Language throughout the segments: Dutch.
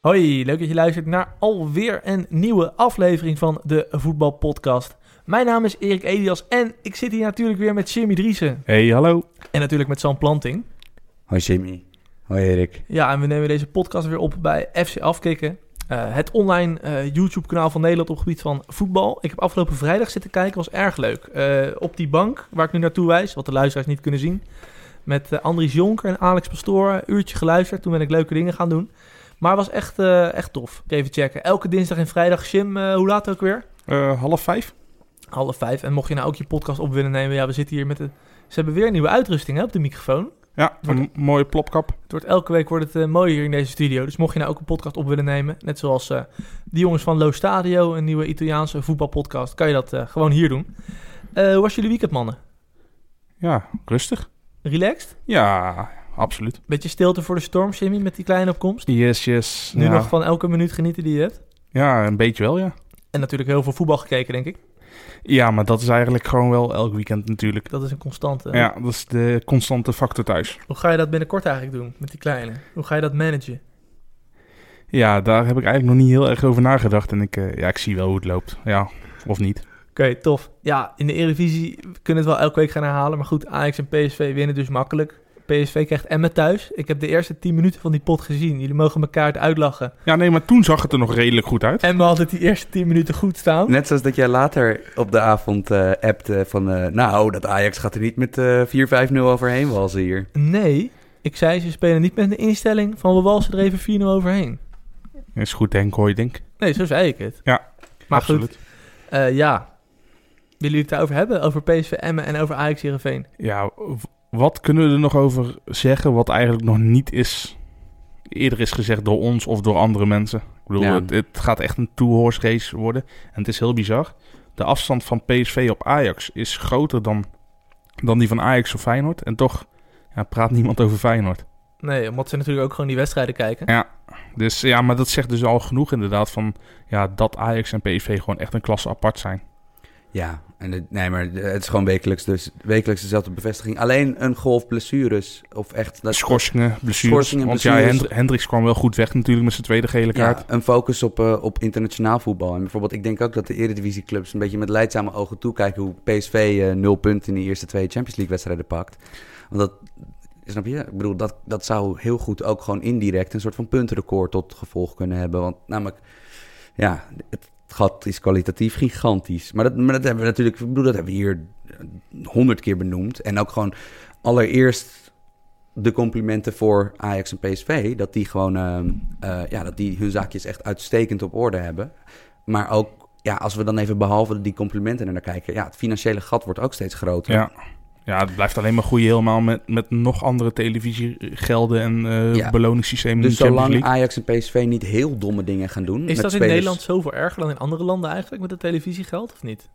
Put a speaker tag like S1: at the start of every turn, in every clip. S1: Hoi, leuk dat je luistert naar alweer een nieuwe aflevering van de Voetbalpodcast. Mijn naam is Erik Elias en ik zit hier natuurlijk weer met Jimmy Driessen.
S2: Hey, hallo.
S1: En natuurlijk met Sam Planting.
S3: Hoi Jimmy. Hoi Erik.
S1: Ja, en we nemen deze podcast weer op bij FC Afkikken. eh, het online eh, YouTube-kanaal van Nederland op het gebied van voetbal. Ik heb afgelopen vrijdag zitten kijken, was erg leuk. Eh, op die bank, waar ik nu naartoe wijs, wat de luisteraars niet kunnen zien. Met eh, Andries Jonker en Alex Pastoor. Een uurtje geluisterd, toen ben ik leuke dingen gaan doen. Maar het was echt, eh, echt tof. Even checken. Elke dinsdag en vrijdag. Jim, eh, hoe laat ook weer?
S2: Eh, half vijf?
S1: Half vijf. En mocht je nou ook je podcast op willen nemen. Ja, we zitten hier met de... Ze hebben weer een nieuwe uitrusting hè, op de microfoon.
S2: Ja, een
S1: Wordt-
S2: mooie plopkap.
S1: Het wordt, elke week wordt het eh, mooier hier in deze studio. Dus mocht je nou ook een podcast op willen nemen, net zoals eh die jongens van Lo Stadio, een nieuwe Italiaanse voetbalpodcast, kan je dat eh, gewoon hier doen. Eh, hoe was jullie weekend, mannen?
S2: Ja, rustig.
S1: Relaxed?
S2: Ja, absoluut.
S1: Beetje stilte voor de storm, Jimmy, met die kleine opkomst. Dus
S2: Yes, yes.
S1: Nu
S2: ja.
S1: nog van elke minuut genieten die je hebt.
S2: Ja, een beetje wel, ja.
S1: En natuurlijk heel veel voetbal gekeken, denk ik.
S2: Ja, maar dat is eigenlijk gewoon wel elk weekend natuurlijk. Eh,
S1: Dat is een constante.
S2: Ja, dat is de constante factor thuis.
S1: Hoe ga je dat binnenkort eigenlijk doen met die kleine? Hoe ga je dat managen?
S2: Ja, daar heb ik eigenlijk nog niet heel erg over nagedacht. En ik, eh, ja, ik zie wel hoe het loopt. Ja, of niet.
S1: Oké, tof. Ja, in de Eredivisie kunnen we het wel elke week gaan herhalen. Maar goed, Ajax en PSV winnen dus makkelijk. PSV krijgt Emmen thuis. Ik heb de eerste 10 minuten van die pot gezien. Jullie mogen elkaar het uitlachen.
S2: Ja, nee, maar toen zag het er nog redelijk goed uit.
S1: Emmen had het die eerste 10 minuten goed staan.
S3: Net zoals dat jij later op de avond eh appte van... eh, nou, dat Ajax gaat er niet met eh 4-5-0 overheen walzen hier.
S1: Nee, ik zei ze spelen niet met een instelling van we walsen er even 4-0 overheen.
S2: Is goed, Henk Hooi, denk ik.
S1: Nee, zo zei ik het.
S2: Ja,
S1: maar
S2: absoluut.
S1: goed. eh, ja, willen jullie het daarover hebben? Over PSV Emmen en over Ajax Heerenveen?
S2: Ja, w- wat kunnen we er nog over zeggen wat eigenlijk nog niet is eerder is gezegd door ons of door andere mensen? Ik bedoel,
S3: Ja.
S2: het, het gaat echt een two-horse race worden. En het is heel bizar. De afstand van PSV op Ajax is groter dan, dan die van Ajax of Feyenoord. En toch ja, praat niemand over Feyenoord.
S1: Nee, omdat ze natuurlijk ook gewoon die wedstrijden kijken.
S2: Dus ja, maar dat zegt dus al genoeg inderdaad van ja, dat Ajax en PSV gewoon echt een klasse apart zijn.
S3: Ja, en het, nee, maar het is gewoon wekelijks, dus, wekelijks dezelfde bevestiging. Alleen een golf blessures of echt... Dat,
S2: Schorsingen, blessures.
S3: Schorsingen,
S2: want ja,
S3: blessures.
S2: Hendri- Hendricks kwam wel goed weg natuurlijk met zijn tweede gele kaart.
S3: ja, een focus op, eh, op internationaal voetbal. En bijvoorbeeld, ik denk ook dat de Eredivisieclubs een beetje met leidzame ogen toekijken... hoe PSV eh, nul punten in de eerste twee Champions League-wedstrijden pakt. Want dat, snap je? Ik bedoel, dat, dat zou heel goed ook gewoon indirect... een soort van puntenrecord tot gevolg kunnen hebben. Want nou, namelijk, ja, het gat is kwalitatief gigantisch. Maar dat, maar dat hebben we natuurlijk... Ik bedoel, dat hebben we hier eh, honderd keer benoemd. En ook gewoon allereerst de complimenten voor Ajax en PSV. Dat die gewoon ehm, eh, ja, dat die hun zaakjes echt uitstekend op orde hebben. Maar ook, ja, als we dan even behalve die complimenten er naar kijken. Ja, het financiële gat wordt ook steeds groter.
S2: Ja. ja, het blijft alleen maar groeien helemaal met, met nog andere televisiegelden en eh,
S3: Ja.
S2: beloningssystemen
S3: Dus
S2: in de Champions
S3: zolang
S2: League.
S3: Ajax en PSV niet heel domme dingen gaan doen.
S1: Is
S3: met
S1: dat in
S3: spelers-
S1: Nederland zoveel erger dan in andere landen eigenlijk met de televisiegeld of niet?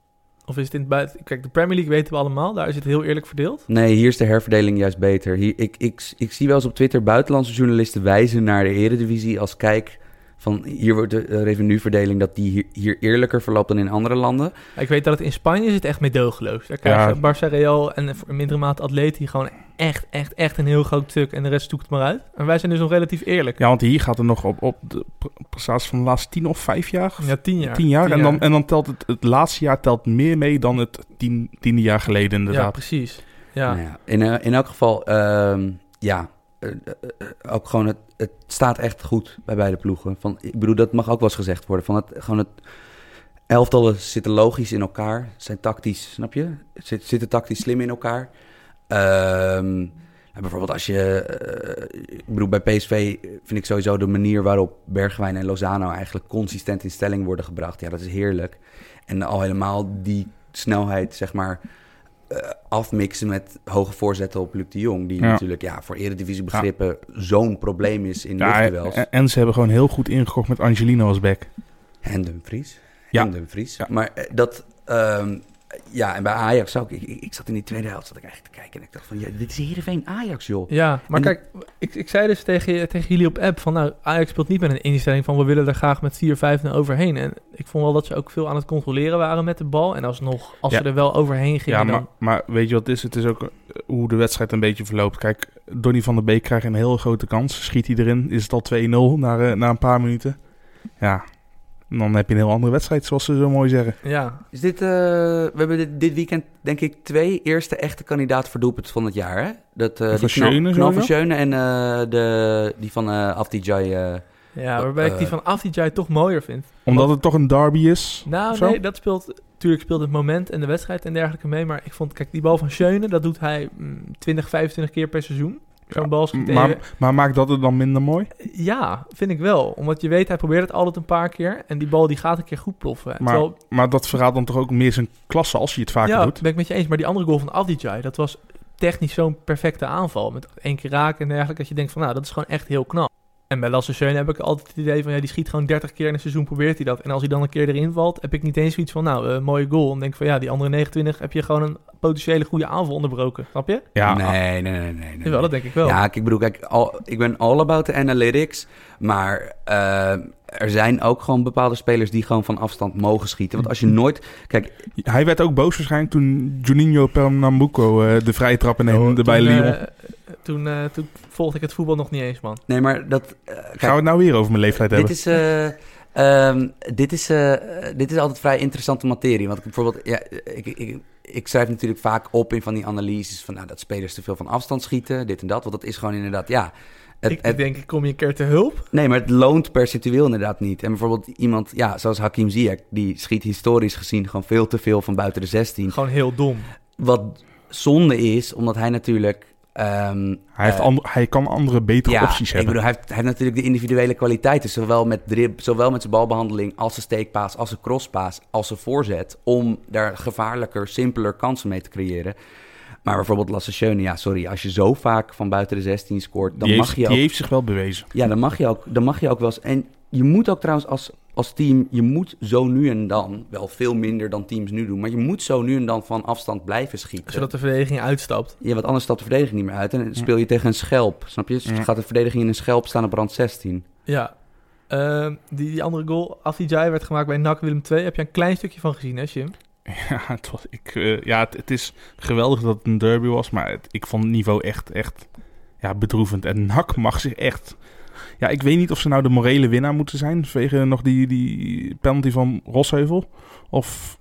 S1: Of is het in het buiten... Kijk, de Premier League weten we allemaal, daar is het heel eerlijk verdeeld.
S3: Nee, hier is de herverdeling juist beter. Hier, ik, ik, ik zie wel eens op Twitter buitenlandse journalisten wijzen naar de eredivisie als kijk van hier wordt de eh, revenueverdeling dat die hier, hier eerlijker verloopt dan in andere landen.
S1: Ik weet dat het in Spanje is het echt meedogeloos. Daar krijgen
S2: Ja.
S1: Barça, Real en voor in mindere mate Atleti gewoon echt, echt, echt een heel groot stuk. En de rest zoekt het maar uit. En wij zijn dus nog relatief eerlijk.
S2: Ja, want hier gaat het nog op, op de pre- prestatie van de laatste tien of vijf jaar. of
S1: Ja, tien jaar.
S2: Tien jaar. En, dan, en dan telt het, het laatste jaar telt meer mee dan het tien, tiende jaar geleden
S1: Ja,
S2: inderdaad.
S1: precies. Ja.
S3: Nou ja, in, eh, in elk geval, ehm, ja, eh, eh, eh, ook gewoon het, het staat echt goed bij beide ploegen. Van, ik bedoel, dat mag ook wel eens gezegd worden. Van het, gewoon het elftallen zitten logisch in elkaar, zijn tactisch, snap je? Zit, zitten tactisch slim in elkaar. Ehm, en bijvoorbeeld als je, eh, ik bedoel, bij PSV vind ik sowieso de manier waarop Bergwijn en Lozano eigenlijk consistent in stelling worden gebracht. Ja, dat is heerlijk. En al helemaal die snelheid, zeg maar, eh, afmixen met hoge voorzetten op Luc de Jong. Die
S2: Ja.
S3: natuurlijk ja, voor eredivisie begrippen zo'n probleem is in ja,
S2: en, en ze hebben gewoon heel goed ingekocht met Angelino als back.
S3: en Dumfries.
S2: Ja.
S3: En Dumfries.
S2: Ja.
S3: Maar eh, dat, ehm, Ja, en bij Ajax zou ik, ik... ik zat in die tweede helft, zat ik eigenlijk te kijken. En ik dacht van, ja, dit is Heerenveen Ajax, joh.
S1: Ja, maar
S3: En-
S1: kijk, ik, ik zei dus tegen, tegen jullie op app van, nou, Ajax speelt niet met een instelling van, we willen er graag met 4-5 naar overheen. En ik vond wel dat ze ook veel aan het controleren waren met de bal. En alsnog, als
S2: Ja.
S1: ze er wel overheen gingen,
S2: Ja, maar,
S1: dan...
S2: maar weet je wat het is? Het is ook eh, hoe de wedstrijd een beetje verloopt. Kijk, Donny van der Beek krijgt een hele grote kans. Schiet hij erin, is het al 2-0 na, eh, na een paar minuten. Ja, en dan heb je een heel andere wedstrijd, zoals ze zo mooi zeggen.
S1: Ja,
S3: Is dit, eh, we hebben dit, dit weekend, denk ik, twee eerste echte kandidaat voor doelpunt van het jaar. Hè? Dat, eh
S2: Van
S3: die knal,
S2: Schöne
S3: knal
S2: sowieso?
S3: van Schöne en eh, de, die van eh Afdijay. eh,
S1: ja waarbij ik die
S3: Eh,
S1: van Afdijay toch mooier vind.
S2: Omdat het toch een derby is.
S1: Nou,
S2: of zo?
S1: nee, dat speelt... Natuurlijk speelt het moment en de wedstrijd en dergelijke mee. Maar ik vond, kijk, die bal van Schöne, dat doet hij mm, 20, 25 keer per seizoen. Zo'n
S2: Ja,
S1: bal schiet Eh, even-
S2: Maar, maar maakt dat het dan minder mooi?
S1: Ja, vind ik wel. Omdat je weet, hij probeert het altijd een paar keer. En die bal die gaat een keer goed ploffen. En
S2: Maar
S1: terwijl-
S2: Maar dat verraadt dan toch ook meer zijn klasse als je het vaker
S1: ja,
S2: doet.
S1: ben ik met je eens. Maar die andere goal van Avdijay, dat was technisch zo'n perfecte aanval. Met één keer raken en dergelijke. Dat je denkt van, nou, dat is gewoon echt heel knap. En bij Lasse Schöne heb ik altijd het idee van, ja, die schiet gewoon 30 keer in een seizoen, probeert hij dat. En als hij dan een keer erin valt, heb ik niet eens zoiets van, nou, eh, mooie goal. En denk ik van, ja, die andere 29 heb je gewoon een potentiële goede aanval onderbroken. Snap je?
S2: Ja,
S3: nee, nee, nee, nee, nee, nee.
S1: Jawel, dat denk ik wel.
S3: Ja, ik bedoel, kijk, al, ik ben all about the analytics. Maar eh, er zijn ook gewoon bepaalde spelers die gewoon van afstand mogen schieten. Want als je nooit... Kijk,
S2: Hij werd ook boos waarschijnlijk toen Juninho Pernambuco eh, de vrije trap inneemde bij
S1: toen,
S2: Lyon.
S1: eh, toen, eh, toen volgde ik het voetbal nog niet eens, man.
S3: nee, maar dat... eh,
S2: Gaan we
S3: kijk,
S2: het nou weer over mijn leeftijd
S3: dit
S2: hebben?
S3: is... eh, ehm, dit, is eh, dit is altijd vrij interessante materie. Want ik bijvoorbeeld, ja, ik, ik, ik schrijf natuurlijk vaak op in van die analyses van nou, dat spelers te veel van afstand schieten, dit en dat. Want dat is gewoon inderdaad, ja. Het,
S1: ik, ik
S3: het-
S1: denk, ik kom je een keer te hulp.
S3: Nee, maar het loont percentueel inderdaad niet. En bijvoorbeeld iemand, ja, zoals Hakim Ziyech, die schiet historisch gezien gewoon veel te veel van buiten de 16.
S1: Gewoon heel dom.
S3: Wat zonde is, omdat hij natuurlijk... ehm,
S2: Hij, heeft
S3: eh,
S2: ander- hij kan andere betere
S3: ja,
S2: opties
S3: ik
S2: hebben.
S3: bedoel, hij heeft, hij heeft natuurlijk de individuele kwaliteiten, zowel met, drib, zowel met zijn balbehandeling, als zijn steekpaas, als zijn crosspaas, als zijn voorzet, om daar gevaarlijker, simpeler kansen mee te creëren. Maar bijvoorbeeld Lasse Schöne, ja, sorry, als je zo vaak van buiten de 16 scoort, dan
S2: die,
S3: mag
S2: heeft,
S3: je
S2: die
S3: ook
S2: heeft zich wel bewezen.
S3: ja, dan mag je ook, dan mag je ook wel eens. En je moet ook trouwens als, als team, je moet zo nu en dan, wel veel minder dan teams nu doen, maar je moet zo nu en dan van afstand blijven schieten.
S1: Zodat de verdediging uitstapt.
S3: Ja, want anders stapt de verdediging niet meer uit en dan speel je tegen een schelp, snap je? Dus
S2: Ja.
S3: gaat de verdediging in een schelp staan op rand 16.
S1: Ja. Ehm, die, die andere goal, Afdijay, werd gemaakt bij NAC Willem II. Heb je een klein stukje van gezien, hè, Jim?
S2: Ja, het, was, ik, eh, ja het, het is geweldig dat het een derby was, maar het- ik vond het niveau echt, echt ja, bedroevend. En NAC mag zich echt... Ja, ik weet niet of ze nou de morele winnaar moeten zijn, vanwege nog die, die penalty van Rosheuvel. Of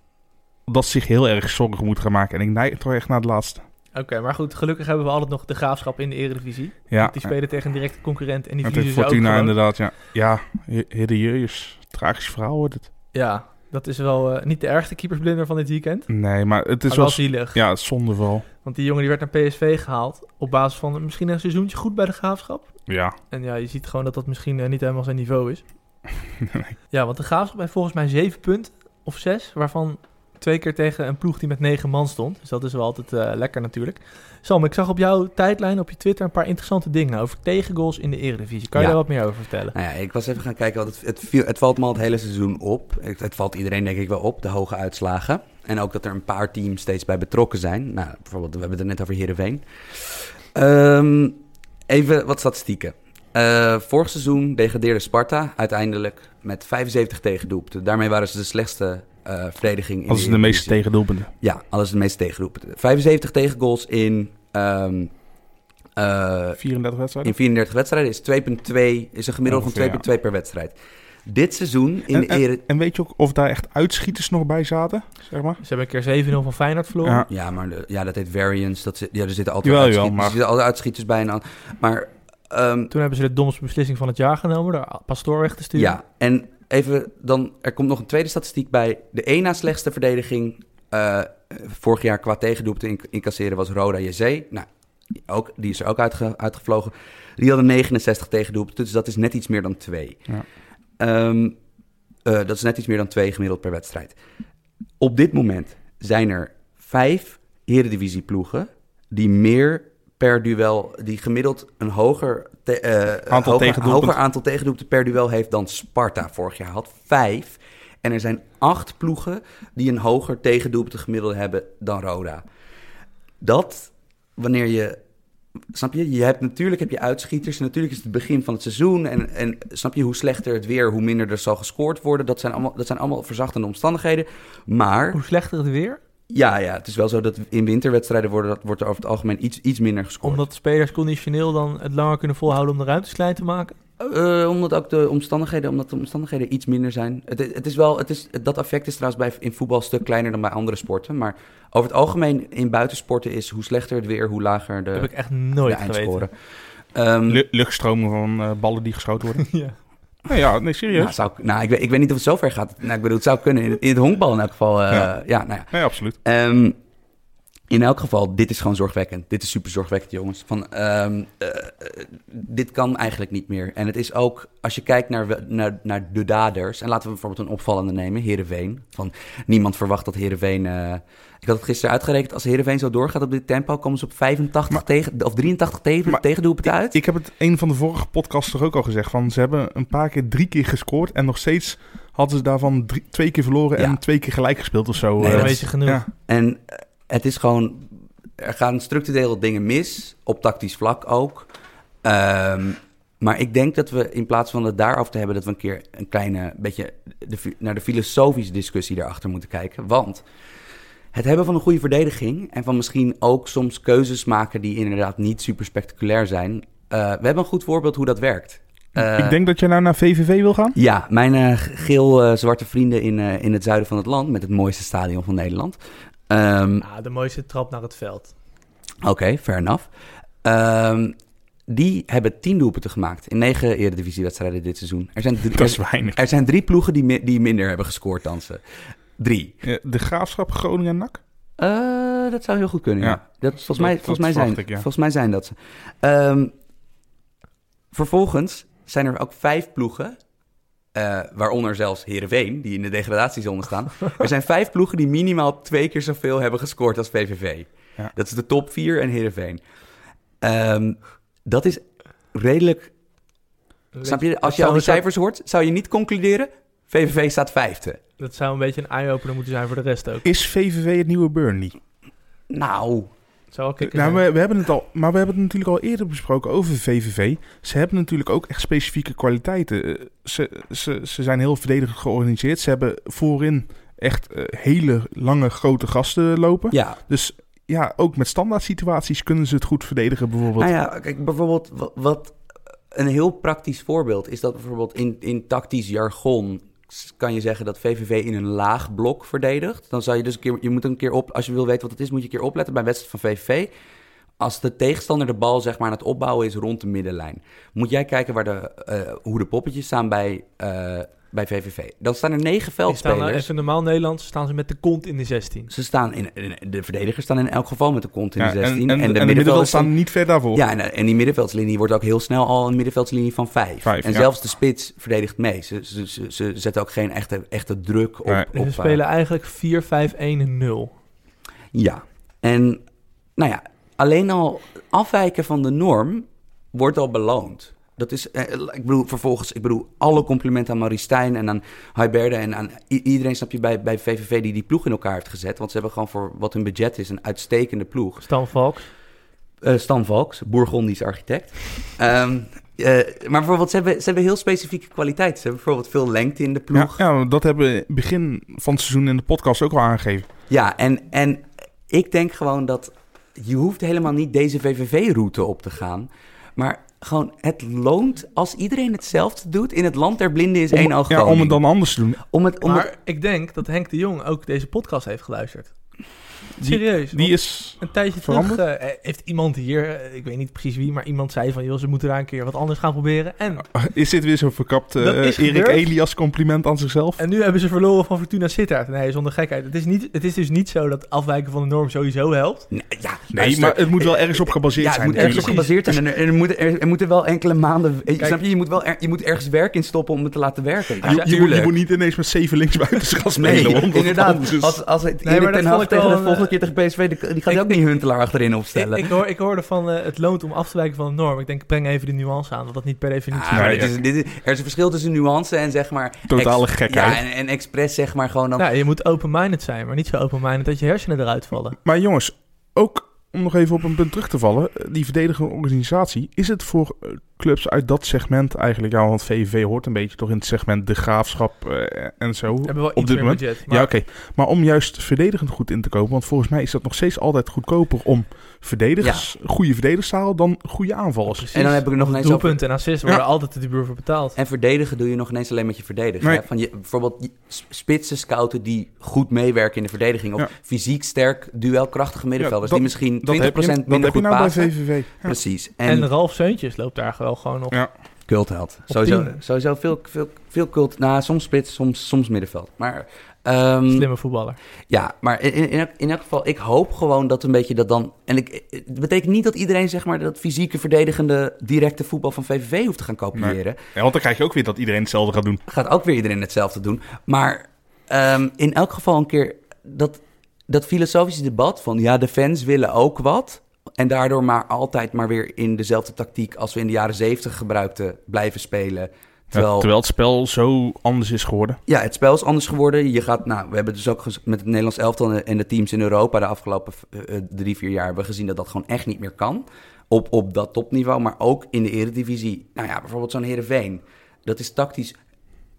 S2: dat ze zich heel erg zorgen moet gaan maken. En ik neig toch echt naar het laatste.
S1: Oké, maar goed, gelukkig hebben we altijd nog de graafschap in de Eredivisie.
S2: Ja,
S1: Want die spelen tegen een directe concurrent en die
S2: en
S1: verliezen
S2: tegen
S1: ze ook
S2: Fortuna
S1: gewoon.
S2: inderdaad, ja. Ja, he- herieus. Tragisch verhaal wordt het.
S1: Ja, dat is wel eh, niet de ergste keepersblinder van dit weekend.
S2: Nee, maar het
S1: maar
S2: is
S1: wel
S2: wel...
S1: zielig.
S2: Ja, zonde vooral.
S1: Want die jongen die werd naar PSV gehaald op basis van misschien een seizoentje goed bij de graafschap.
S2: Ja,
S1: En ja, je ziet gewoon dat dat misschien eh, niet helemaal zijn niveau is. Ja, want de Graafschap heeft volgens mij zeven punten of zes, waarvan twee keer tegen een ploeg die met negen man stond. Dus dat is wel altijd eh, lekker natuurlijk. Sam, ik zag op jouw tijdlijn op je Twitter een paar interessante dingen over tegengoals in de Eredivisie. Kan je
S3: Ja.
S1: daar wat meer over vertellen?
S3: Nou ja, ik was even gaan kijken, want het, het, viel, het valt me al het hele seizoen op. Het, het valt iedereen denk ik wel op, de hoge uitslagen. En ook dat er een paar teams steeds bij betrokken zijn. Nou, bijvoorbeeld, we hebben het er net over Heerenveen. Ehm, even wat statistieken. Eh, vorig seizoen degradeerde Sparta uiteindelijk met 75 tegendoelpunten. Daarmee waren ze de slechtste eh, verdediging in
S2: dat is de meeste
S3: Eredivisie.
S2: tegendoelpunten.
S3: Ja, alles de meeste tegendoelpunten. 75 tegengoals in, ehm, eh,
S2: 34 wedstrijden?
S3: in 34 wedstrijden is 2,2 is een gemiddelde
S2: Ongeveer, ja.
S3: van 2,2 per wedstrijd. Dit seizoen in de
S2: en,
S3: Eredivisie.
S2: en, en weet je ook of daar echt uitschieters nog bij zaten? Zeg maar.
S1: Ze hebben een keer 7-0 van Feyenoord verloren.
S2: Ja.
S3: Ja, maar de- ja, dat heet variance. Dat, zit- ja, er zitten altijd,
S2: Jawel,
S3: uitschiet-
S2: jawel, maar-
S3: er zitten altijd uitschieters bij. En al- maar ehm,
S1: Toen hebben ze de domste beslissing van het jaar genomen, daar Pastoor weg te sturen.
S3: ja, en even dan, er komt nog een tweede statistiek bij. De één na slechtste verdediging eh, vorig jaar qua tegendoelpunten in- incasseren was Roda JC. Nou, ook, die is er ook uitge- uitgevlogen. Die hadden 69 tegendoelpunten, dus dat is net iets meer dan twee.
S2: Ja.
S3: Ehm, eh, dat is net iets meer dan twee gemiddeld per wedstrijd. Op dit moment zijn er vijf Eredivisie-ploegen die meer per duel, die gemiddeld een hoger, te- eh,
S2: Aantal
S3: hoger,
S2: tegendoelpunten.
S3: hoger aantal tegendoelpunten per duel heeft dan Sparta vorig jaar had. Vijf. En er zijn acht ploegen die een hoger tegendoelpunten gemiddelde hebben dan Roda. Dat, wanneer je... Snap je? je hebt, natuurlijk heb je uitschieters. en Natuurlijk is het begin van het seizoen. En, en snap je hoe slechter het weer, hoe minder er zal gescoord worden. Dat zijn allemaal, dat zijn allemaal verzachtende omstandigheden. Maar
S1: Hoe slechter het weer,
S3: ja, ja, het is wel zo dat in winterwedstrijden worden, dat wordt er over het algemeen iets, iets minder gescoord.
S1: omdat de spelers conditioneel dan het langer kunnen volhouden om de ruimtes klein te maken.
S3: Eh, omdat ook de omstandigheden, omdat de omstandigheden iets minder zijn. Het, het is wel, het is, dat effect is trouwens bij, in voetbal een stuk kleiner dan bij andere sporten. Maar over het algemeen in buitensporten is hoe slechter het weer, hoe lager de,
S1: Dat heb ik echt
S3: de
S1: nooit geweten.
S3: eindscoren. Ehm,
S2: Lu- luchtstromen van eh, ballen die geschoten worden.
S1: Ja.
S2: nou ja, nee, serieus.
S3: nou, zou, ik- nou ik, weet, ik weet niet of het zover gaat. Nou, ik bedoel, het zou kunnen. In, het- in het honkbal in elk geval. eh,
S2: Ja.
S3: ja, nou ja.
S2: Nee, absoluut.
S3: Ehm, in elk geval, dit is gewoon zorgwekkend. Dit is super zorgwekkend, jongens. Van, ehm, eh, eh, dit kan eigenlijk niet meer. En het is ook, als je kijkt naar, we- naar, naar de daders... en laten we bijvoorbeeld een opvallende nemen, Heerenveen. Van, niemand verwacht dat Heerenveen... eh, ik had het gisteren uitgerekend, als Heerenveen zo doorgaat op dit tempo... komen ze op 85
S2: Maar-
S3: tegen, of 83 tegen,
S2: Maar-
S3: tegendoelpunten uit.
S2: Ik heb het een van de vorige podcasts toch ook al gezegd. Van, ze hebben een paar keer drie keer gescoord. En nog steeds hadden ze daarvan drie- twee keer verloren
S3: Ja.
S2: en twee keer gelijk gespeeld of zo.
S3: Nee,
S2: eh.
S1: dat
S3: dat
S1: weet je genoeg.
S2: ja.
S3: En eh, het is gewoon, er gaan structureel dingen mis, op tactisch vlak ook. Ehm, maar ik denk dat we in plaats van het daarover te hebben, dat we een keer een kleine beetje de, fi- naar de filosofische discussie daarachter moeten kijken. Want het hebben van een goede verdediging en van misschien ook soms keuzes maken die inderdaad niet super spectaculair zijn. eh, we hebben een goed voorbeeld hoe dat werkt. Eh,
S2: ik denk dat jij nou naar VVV wil gaan.
S3: ja, mijn eh, geel-zwarte vrienden in, eh, in het zuiden van het land, met het mooiste stadion van Nederland. Ehm,
S1: Ah, de mooiste trap naar het veld.
S3: Oké, fair enough. Ehm, die hebben tien doelpunten gemaakt in negen eredivisiewedstrijden dit seizoen. Er zijn drie,
S2: Dat is weinig.
S3: er, er zijn drie ploegen die, mi- die minder hebben gescoord dan ze. Drie.
S2: Eh, De graafschap Groningen en NAC.
S3: Eh, dat zou heel goed kunnen. Ja.
S2: Ja.
S3: Dat, volgens,
S2: Dat-
S3: mij,
S2: dat
S3: volgens, mij zijn,
S2: verwacht ik, ja.
S3: volgens mij zijn dat ze. Ehm, vervolgens zijn er ook vijf ploegen, eh, waaronder zelfs Heerenveen, die in de degradatiezone staan. er zijn vijf ploegen die minimaal twee keer zoveel hebben gescoord als VVV.
S2: Ja.
S3: Dat is de top vier en Heerenveen. Ehm, dat is redelijk... Snap je,
S1: Dat
S3: als je
S1: zou
S3: al die
S1: een soort-
S3: cijfers hoort, zou je niet concluderen... VVV staat vijfde.
S1: Dat zou een beetje een eye-opener moeten zijn voor de rest ook.
S2: Is VVV het nieuwe Burnley?
S3: Nou,
S1: Het zou wel kicken
S2: Nou,
S1: zijn.
S2: we, we hebben het al, maar we hebben het natuurlijk al eerder besproken over VVV. Ze hebben natuurlijk ook echt specifieke kwaliteiten. Eh, Ze, ze, ze zijn heel verdedigend georganiseerd. Ze hebben voorin echt eh, hele lange grote gasten lopen.
S3: ja,
S2: Dus ja, ook met standaard situaties kunnen ze het goed verdedigen bijvoorbeeld.
S3: Nou ja, kijk, bijvoorbeeld wa- wat een heel praktisch voorbeeld is dat bijvoorbeeld in, in tactisch jargon s- kan je zeggen dat VVV in een laag blok verdedigt. Dan zou je dus een keer, je moet een keer op, als je wil weten wat het is, moet je een keer opletten bij een wedstrijd van VVV. Als de tegenstander de bal zeg maar aan het opbouwen is rond de middenlijn, moet jij kijken waar de, eh, hoe de poppetjes staan bij, eh, bij VVV. Dan staan er negen
S1: Die staan, eh,
S3: veldspelers.
S1: even normaal Nederlands staan ze met de kont in de 16.
S3: Ze staan in, in- de verdedigers staan in elk geval met de kont in
S2: Ja,
S3: de
S2: en, en,
S3: 16.
S2: en de middenvelders
S3: middenvelders
S2: staan niet ver daarvoor.
S3: Ja, en, en die middenveldslinie wordt ook heel snel al een middenveldslinie van vijf.
S2: Vijf,
S3: en
S2: ja.
S3: zelfs de spits verdedigt mee. Ze, ze, ze, ze zetten ook geen echte, echte druk op.
S2: Nee.
S3: op
S1: Dus we
S3: eh,
S1: spelen eigenlijk 4-5-1-0.
S3: ja. En nou ja, alleen al afwijken van de norm wordt al beloond. Dat is, eh, ik bedoel, vervolgens, ik bedoel, alle complimenten aan Marie Stijn en aan Huiberde en aan i- iedereen, snap je, bij, bij VVV die die ploeg in elkaar heeft gezet. Want ze hebben gewoon voor wat hun budget is een uitstekende ploeg.
S1: Stan Valks.
S3: eh Stan Valks, Bourgondisch architect. Ehm, eh, maar bijvoorbeeld, ze hebben, ze hebben heel specifieke kwaliteiten. Ze hebben bijvoorbeeld veel lengte in de
S2: Ja,
S3: ploeg. Ja,
S2: ja, dat hebben we begin van het seizoen in de podcast ook al aangegeven.
S3: en, en ik denk gewoon dat je hoeft helemaal niet deze VVV-route op te gaan. Maar gewoon, het loont als iedereen hetzelfde doet. In het land der blinden is één oog
S2: ja, om het
S3: koning.
S2: dan anders te doen.
S3: Om het, om het-
S1: Maar ik denk dat Henk de Jong ook deze podcast heeft geluisterd. Serieus.
S2: Die is...
S1: Een tijdje
S2: Veranderd?
S1: terug eh, heeft iemand hier, eh, ik weet niet precies wie, maar iemand zei van... joh, ze moeten daar een keer wat anders gaan proberen. En,
S2: Is dit weer zo'n verkapt eh,
S1: Dat is
S2: Erik
S1: gebeurd.
S2: Elias compliment aan zichzelf?
S1: en nu hebben ze verloren van Fortuna Sittard. Nee, zonder gekheid. Het is, niet, het is dus niet zo dat afwijken van de norm sowieso helpt.
S3: Nee, ja,
S2: Nee,
S3: luister. eh,
S2: maar het moet wel ergens op gebaseerd
S3: Ja, het
S2: zijn.
S3: moet ergens op
S2: natuurlijk.
S3: gebaseerd zijn. En er, er, moeten, er, er moeten wel enkele maanden... eh,
S1: Kijk.
S3: snap je, je moet, wel er- je moet ergens werk in stoppen om het te laten werken.
S1: Ja,
S2: je, moet, je
S3: tuurlijk.
S2: moet niet ineens met zeven linksbuitens gaan spelen.
S3: Nee,
S2: want dat
S3: inderdaad.
S2: anders is.
S3: Als, als het
S1: Nee,
S3: Erik
S1: maar
S3: ten
S1: dat
S3: Hag
S1: vond ik
S3: tegen
S1: wel
S3: de
S1: een,
S3: volgende keer tegen PSV, die, die gaat hij
S1: ik-
S3: ook niet Huntelaar achterin
S1: Ik,
S3: opstellen.
S1: ik, hoor, ik hoorde van eh, het loont om af te wijken van de norm. Ik denk, ik breng even de nuance aan, dat dat niet per definitie
S3: Ah,
S1: is.
S3: maar
S2: Nee,
S3: dit is, dit is- er is een verschil tussen nuance en zeg maar...
S2: Totale
S3: ex-
S2: gekheid.
S3: Ja, en, en expres zeg maar gewoon dan...
S1: Nou, je moet open-minded zijn, maar niet zo open-minded dat je hersenen eruit vallen.
S2: Maar jongens, ook om nog even op een punt terug te vallen. eh, Die verdedigende organisatie. Is het voor eh, clubs uit dat segment eigenlijk... Ja, want VVV hoort een beetje toch in het segment de graafschap eh, en zo.
S1: We hebben wel
S2: Op
S1: iets
S2: dit
S1: meer
S2: moment?
S1: budget. Maar
S2: Ja, oké. Maar om juist verdedigend goed in te kopen. Want volgens mij is dat nog steeds altijd goedkoper om verdedigers, goede verdedigers te halen dan goede aanvallers.
S1: precies.
S3: en dan heb ik nog ineens over...
S1: Doelpunt en assist worden altijd de duur voor betaald.
S3: En verdedigen doe je nog ineens alleen met je verdediger.
S2: Nee.
S3: hè? Van je, bijvoorbeeld je s- spitsen scouten die goed meewerken in de verdediging. Of
S2: Ja. fysiek
S3: sterk, duelkrachtige middenvelders.
S2: dat-
S3: die misschien 20%
S2: Dat heb je, dat
S3: minder
S2: heb je
S3: goed
S2: nou
S3: pasen.
S2: bij VVV. Ja.
S3: Precies.
S1: En,
S3: En,
S1: Ralf Seuntjes loopt daar wel gewoon op.
S2: Ja.
S3: cultheld. Sowieso, sowieso veel, veel, veel cult. Nou, soms spits, soms, soms middenveld. Maar, ehm,
S1: Slimme voetballer.
S3: Ja, maar in, in, in elk- in elk geval, ik hoop gewoon dat een beetje dat dan... En ik, het betekent niet dat iedereen zeg maar dat fysieke, verdedigende, directe voetbal van VVV hoeft te gaan kopiëren.
S2: Ja, want dan krijg je ook weer dat iedereen hetzelfde gaat doen.
S3: gaat ook weer iedereen hetzelfde doen. Maar ehm, in elk geval een keer dat, dat filosofische debat van ja, de fans willen ook wat. En daardoor maar altijd maar weer in dezelfde tactiek als we in de jaren zeventig gebruikten blijven spelen. Terwijl,
S2: Ja,
S3: ja,
S2: terwijl het spel zo anders is geworden.
S3: het spel is anders geworden. Je gaat, nou, we hebben dus ook gez- met het Nederlands elftal en de- en de teams in Europa de afgelopen eh, eh, drie, vier jaar hebben we gezien dat dat gewoon echt niet meer kan. Op, op dat topniveau, maar ook in de eredivisie. Nou ja, bijvoorbeeld zo'n Herenveen. Dat is tactisch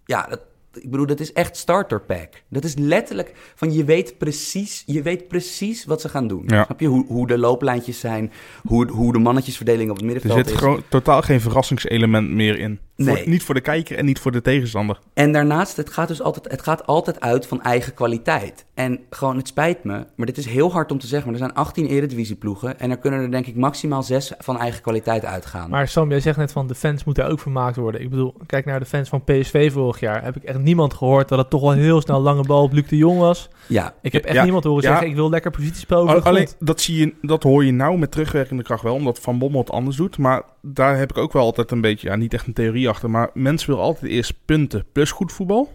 S3: ja, dat, ik bedoel, dat is echt starter pack. Dat is letterlijk van je weet precies, je weet precies wat ze gaan doen.
S2: Ja.
S3: Snap je hoe, hoe de looplijntjes zijn, hoe, hoe de mannetjesverdeling op het
S2: Er
S3: middenveld
S2: zit
S3: is.
S2: gewoon totaal geen verrassingselement meer in.
S3: Nee.
S2: Voor- niet voor de kijker en niet voor de tegenstander.
S3: En daarnaast, het gaat dus altijd, het gaat altijd uit van eigen kwaliteit. En gewoon, het spijt me, maar dit is heel hard om te zeggen, maar er zijn 18 eredivisieploegen en er kunnen er denk ik maximaal 6 van eigen kwaliteit uitgaan.
S1: Maar Sam, jij zegt net van de fans moeten ook vermaakt worden. Ik bedoel, kijk naar de fans van PSV vorig jaar. Heb ik echt niemand gehoord dat het toch wel heel snel lange bal op Luc de Jong was.
S3: ja,
S1: Ik heb echt
S2: Ja,
S1: niemand horen
S2: ja.
S1: zeggen, ik wil lekker positiespel over de
S2: Al-
S1: grond.
S2: Alleen, Oh, dat, zie je, dat hoor je nou met terugwerkende kracht wel, omdat Van Bommel het anders doet. Maar daar heb ik ook wel altijd een beetje, ja, niet echt een theorie achter. Maar mensen willen altijd eerst punten plus goed voetbal.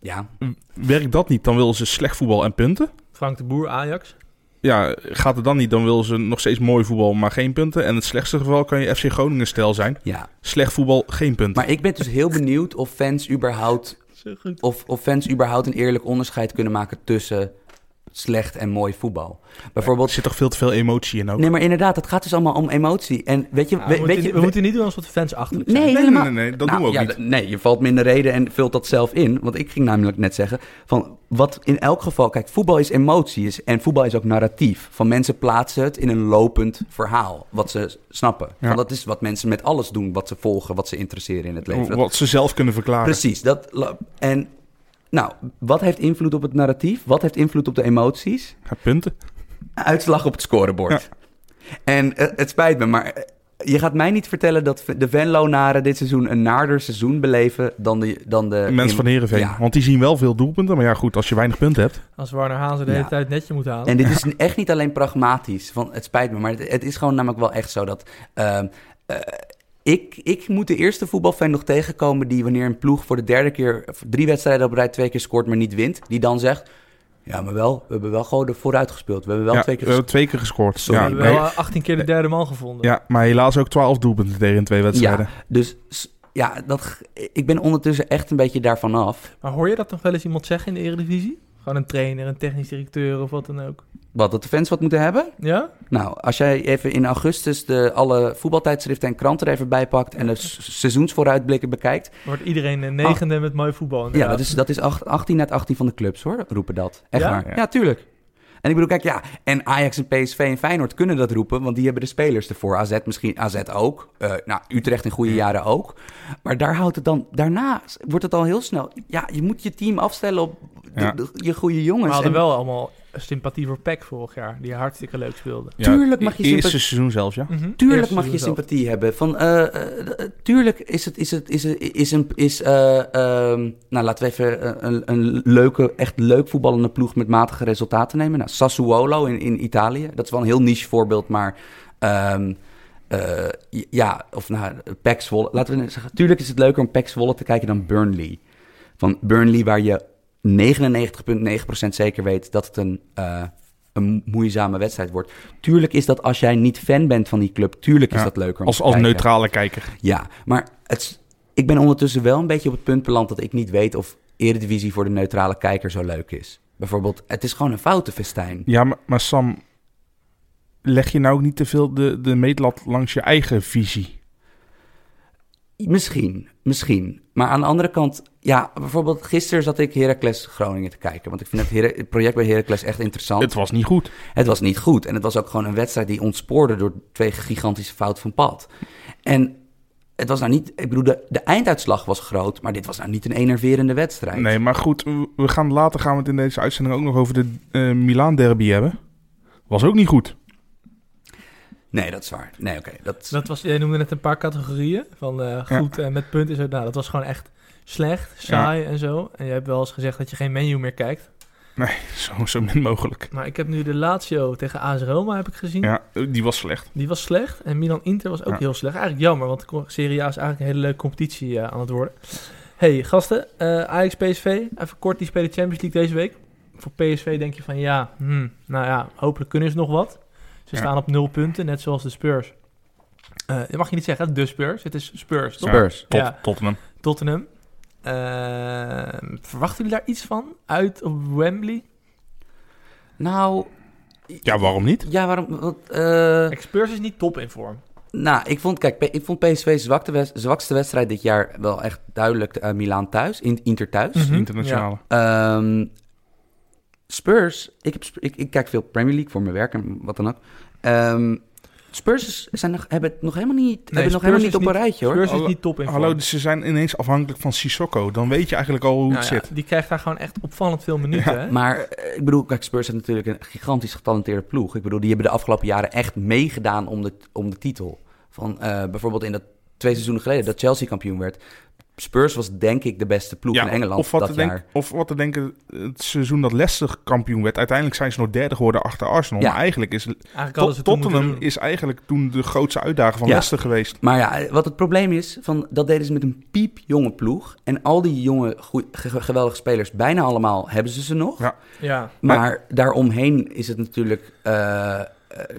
S3: ja,
S2: Werkt dat niet, dan willen ze slecht voetbal en punten.
S1: Frank de Boer, Ajax.
S2: Ja, gaat het dan niet, dan willen ze nog steeds mooi voetbal, maar geen punten. En in het slechtste geval kan je FC Groningen-stijl zijn.
S3: ja.
S2: Slecht voetbal, geen punten.
S3: Maar ik ben dus heel benieuwd of fans überhaupt
S1: Zo goed.
S3: of, of fans überhaupt een eerlijk onderscheid kunnen maken tussen slecht en mooi voetbal.
S2: er
S3: Bijvoorbeeld.
S2: zit toch veel te veel emotie in ook.
S3: Nee, maar inderdaad, het gaat dus allemaal om emotie. En weet je,
S1: Ja, we,
S3: weet,
S1: moeten,
S3: weet je,
S1: we moeten niet doen alsof de fans achterlijk zijn.
S3: Nee,
S2: nee,
S3: helemaal.
S2: nee, nee, dat
S3: Nou,
S2: doen we ook
S3: ja,
S2: niet.
S3: d- Nee, je valt minder reden en vult dat zelf in. Want ik ging namelijk net zeggen van wat in elk geval, kijk, voetbal is emotie is, en voetbal is ook narratief. Van mensen plaatsen het in een lopend verhaal wat ze s- snappen.
S2: Ja.
S3: Van dat is wat mensen met alles doen, wat ze volgen, wat ze interesseren in
S2: Oh,
S3: het leven. Dat-
S2: Wat ze zelf kunnen verklaren.
S3: Precies. Dat, la- en nou, wat heeft invloed op het narratief? Wat heeft invloed op de emoties?
S2: Ja, punten.
S3: Uitslag op het scorebord. En eh, het spijt me, maar eh, je gaat mij niet vertellen dat de Venlo-naren dit seizoen een naarder seizoen beleven dan de... Dan de
S2: Mensen
S3: Eh, in-
S2: van Heerenveen.
S3: Ja.
S2: Want die zien wel veel doelpunten. Maar ja, goed, als je weinig punten hebt.
S1: Als Warner Hazen de hele
S3: Ja.
S1: tijd netje moet halen.
S3: En dit is echt niet alleen pragmatisch. Van, het spijt me, maar het, het is gewoon namelijk wel echt zo dat... ehm, eh, ik, ik moet de eerste voetbalfan nog tegenkomen die wanneer een ploeg voor de derde keer... of drie wedstrijden op rij twee keer scoort, maar niet wint. Die dan zegt, ja, maar wel, we hebben wel gewoon er vooruit gespeeld. We hebben wel
S2: ja,
S3: twee keer
S2: we
S3: gescoord.
S2: hebben twee keer gescoord.
S3: Sorry,
S1: we
S2: ja,
S1: hebben
S2: nee.
S1: wel eh, 18 keer de derde man gevonden.
S2: ja, maar helaas ook 12 doelpunten tegen in twee wedstrijden.
S3: Dus s- ja, dat, g- ik ben ondertussen echt een beetje daarvan af.
S1: Maar hoor je dat nog wel eens iemand zeggen in de Eredivisie? Gewoon een trainer, een technisch directeur of wat dan ook.
S3: Wat, dat de fans wat moeten hebben?
S1: Ja?
S3: Nou, als jij even in augustus de, alle voetbaltijdschriften en kranten er even bij pakt... en de s- seizoensvooruitblikken bekijkt...
S1: Wordt iedereen een negende met mooi voetbal
S3: Ah. Ja,
S1: inderdaad.
S3: dat is, dat is acht- 18 uit 18 van de clubs hoor, roepen dat. Echt
S1: Ja?
S3: waar.
S2: Ja.
S3: Ja. tuurlijk. En ik bedoel, kijk, ja, en Ajax en PSV en Feyenoord kunnen dat roepen, want die hebben de spelers ervoor. AZ misschien, AZ ook. Eh, nou, Utrecht in goede jaren ook. Maar daar houdt het dan, daarna wordt het al heel snel. Ja, je moet je team afstellen op de-
S2: Ja.
S3: de- je goede
S1: We
S3: jongens.
S1: hadden
S3: En-
S1: wel allemaal sympathie voor PEC vorig jaar, die hartstikke leuk speelde. Mhm.
S2: Ja,
S3: Tuurlijk mag je
S2: e- Eerste
S3: sympathie-
S2: seizoen zelf, ja.
S3: Mhm. Tuurlijk
S1: Eerste
S3: mag je
S1: seizoen zelf.
S3: sympathie hebben. Van, eh, eh, eh, tuurlijk is het, is het, is het, is een, is, eh, ehm, nou laten we even eh, een, een leuke, echt leuk voetballende ploeg met matige resultaten nemen. Nou, Sassuolo in, in Italië, dat is wel een heel niche voorbeeld, maar ehm, eh, j- ja, of nou, Pek Zwolle. Laten we zeggen, tuurlijk is het leuker om Pek Zwolle te kijken dan Burnley. Van Burnley waar je 99,9% zeker weet dat het een eh, een moeizame wedstrijd wordt. Tuurlijk is dat als jij niet fan bent van die club, tuurlijk is
S2: Ja,
S3: dat leuker. om
S2: Als,
S3: te
S2: als
S3: kijken.
S2: neutrale kijker.
S3: Ja, maar het, is- ik ben ondertussen wel een beetje op het punt beland dat ik niet weet of Eredivisie voor de neutrale kijker zo leuk is. Bijvoorbeeld, het is gewoon een foutenfestijn.
S2: Ja, maar, maar Sam, leg je nou ook niet te veel de, de meetlat langs je eigen visie?
S3: Misschien, misschien. Maar aan de andere kant, ja, bijvoorbeeld gisteren zat ik Heracles Groningen te kijken. Want ik vind het, Hera- het project bij Heracles echt interessant.
S2: Het
S3: Het...
S2: was niet goed.
S3: was niet goed. En het was ook gewoon een wedstrijd die ontspoorde door twee gigantische fouten van pad. En het was nou niet, ik bedoel, de, de einduitslag was groot, maar dit was nou niet een enerverende wedstrijd.
S2: Nee, maar goed, we- we gaan later gaan we het in deze uitzending ook nog over de eh Milaan derby hebben. Was ook niet goed.
S3: Nee, dat is waar. Nee, oké. dat...
S1: Dat was, jij noemde net een paar categorieën. Van eh, goed en met punten. Zo, nou, dat was gewoon echt slecht, saai en zo. En jij hebt wel eens gezegd dat je geen menu meer kijkt.
S2: Nee, zo, zo min mogelijk.
S1: Maar ik heb nu de Lazio tegen AS Roma heb ik gezien.
S2: Ja, die was slecht.
S1: Die was slecht. En Milan-Inter was ook
S2: Ja.
S1: heel slecht. Eigenlijk jammer, want de co- Serie A is eigenlijk een hele leuke competitie eh, aan het worden. hey, gasten. eh Ajax-PSV. Even kort, die spelen Champions League deze week. Voor PSV denk je van ja, hmm, nou ja, hopelijk kunnen ze nog wat. Ze
S2: Ja.
S1: staan op nul punten, net zoals de Spurs. Eh, dat mag je niet zeggen, hè, de Spurs. Het is Spurs, toch?
S3: Spurs.
S2: Tot,
S1: Ja.
S2: Tottenham.
S1: Tottenham. Eh, verwachten jullie daar iets van? Uit op Wembley?
S3: Nou,
S2: Ja, waarom niet?
S3: ja, waarom? Want, eh,
S1: Kijk, Spurs is niet top in vorm.
S3: Nou, ik vond, kijk, P- ik vond PSV's zwakte wes- zwakste wedstrijd dit jaar wel echt duidelijk eh, Milaan thuis, in, Inter thuis.
S1: Mhm.
S2: Internationale.
S3: Ehm, Spurs, ik, heb, Sp- ik, ik kijk veel Premier League voor mijn werk en wat dan ook. Ehm, Spurs is- zijn nog, hebben het nog helemaal niet, hebben het
S1: Spurs
S3: nog helemaal niet
S1: is
S3: op een
S1: niet-
S3: rijtje hoor.
S1: Spurs is
S2: Hallo-
S1: niet top in vorm.
S2: Hallo, dus ze zijn ineens afhankelijk van Sissoko. Dan weet je eigenlijk al hoe het
S1: Nou ja,
S2: zit.
S1: die krijgt daar gewoon echt opvallend veel minuten. hè?
S3: Maar eh, ik bedoel, kijk, Spurs heeft natuurlijk een gigantisch getalenteerde ploeg. Ik bedoel, die hebben de afgelopen jaren echt meegedaan om de, om de titel. Van eh, bijvoorbeeld in dat twee seizoenen geleden dat Chelsea kampioen werd. Spurs was denk ik de beste ploeg in Engeland
S2: of wat,
S3: dat
S2: te
S3: jaar.
S2: denken, of wat te denken, het seizoen dat Leicester kampioen werd. Uiteindelijk zijn ze nog derde geworden achter Arsenal.
S3: Ja.
S2: Maar eigenlijk is
S1: Eigenlijk
S2: Tot-
S1: alles
S2: Tottenham is eigenlijk toen de grootste uitdaging van
S3: Ja.
S2: Leicester geweest.
S3: Maar ja, wat het probleem is, van, dat deden ze met een piepjonge ploeg. En al die jonge, goe- ge- geweldige spelers, bijna allemaal hebben ze ze nog.
S2: Ja.
S1: Ja.
S3: Maar, daaromheen is het natuurlijk... eh, eh,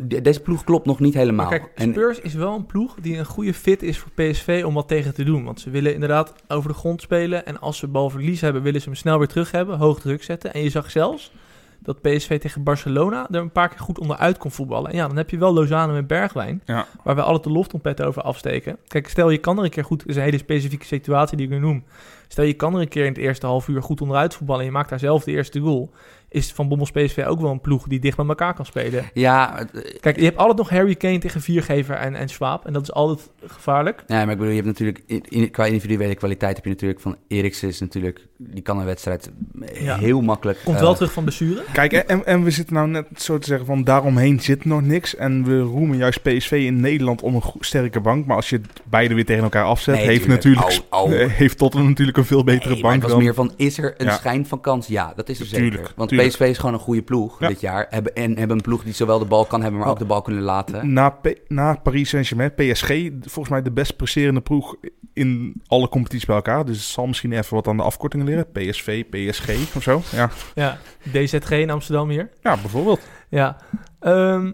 S3: de- deze ploeg klopt nog niet helemaal.
S1: Maar kijk,
S3: En-
S1: Spurs is wel een ploeg die een goede fit is voor PSV om wat tegen te doen. Want ze willen inderdaad over de grond spelen. En als ze balverlies hebben, willen ze hem snel weer terug hebben. Hoog druk zetten. En je zag zelfs dat PSV tegen Barcelona er een paar keer goed onderuit kon voetballen. En ja, dan heb je wel Lozano en Bergwijn.
S2: Ja.
S1: Waar we alle de loftompet over afsteken. Kijk, stel je kan er een keer goed... Dat is een hele specifieke situatie die ik nu noem. Stel je kan er een keer in het eerste half uur goed onderuit voetballen... en je maakt daar zelf de eerste goal. Is Van Bommels PSV ook wel een ploeg die dicht bij elkaar kan spelen.
S3: Ja, het- eh,
S1: Kijk, je hebt altijd nog Harry Kane tegen Viergever en, en Swaap. En dat is altijd gevaarlijk.
S3: nee, maar ik bedoel, je hebt natuurlijk... in- in- qua individuele kwaliteit heb je natuurlijk van... Eriksen is natuurlijk... Die kan een wedstrijd
S1: Ja.
S3: heel makkelijk...
S1: Komt
S3: eh,
S1: wel terug van blessure.
S2: Kijk, en, en we zitten nou net zo te zeggen van daaromheen zit nog niks. En we roemen juist PSV in Nederland om een go- sterke bank. Maar als je het beide weer tegen elkaar afzet,
S3: Nee,
S2: heeft,
S3: tuurlijk. Oh,
S2: natuurlijk,
S3: Au, au.
S2: eh, heeft Tottenham natuurlijk een veel betere
S3: Nee, maar
S2: bank
S3: het
S2: dan...
S3: was meer van, is er een
S2: Ja.
S3: schijn van kans? Ja, dat is er zeker.
S2: Tuurlijk,
S3: Want
S2: tuurlijk.
S3: PSV is gewoon een goede ploeg
S2: Ja. Oh.
S3: dit jaar. Hebben, en hebben een ploeg die zowel de bal kan hebben, maar ook de bal kunnen laten.
S2: Na, P- na Paris Saint-Germain, PSG, volgens mij de best presterende ploeg in alle competities bij elkaar. Dus het zal misschien even wat aan de afkortingen leren. PSV, PSG of zo. Ja,
S1: Ja, DZG in Amsterdam hier.
S2: ja bijvoorbeeld.
S1: Ja. Ehm, zou-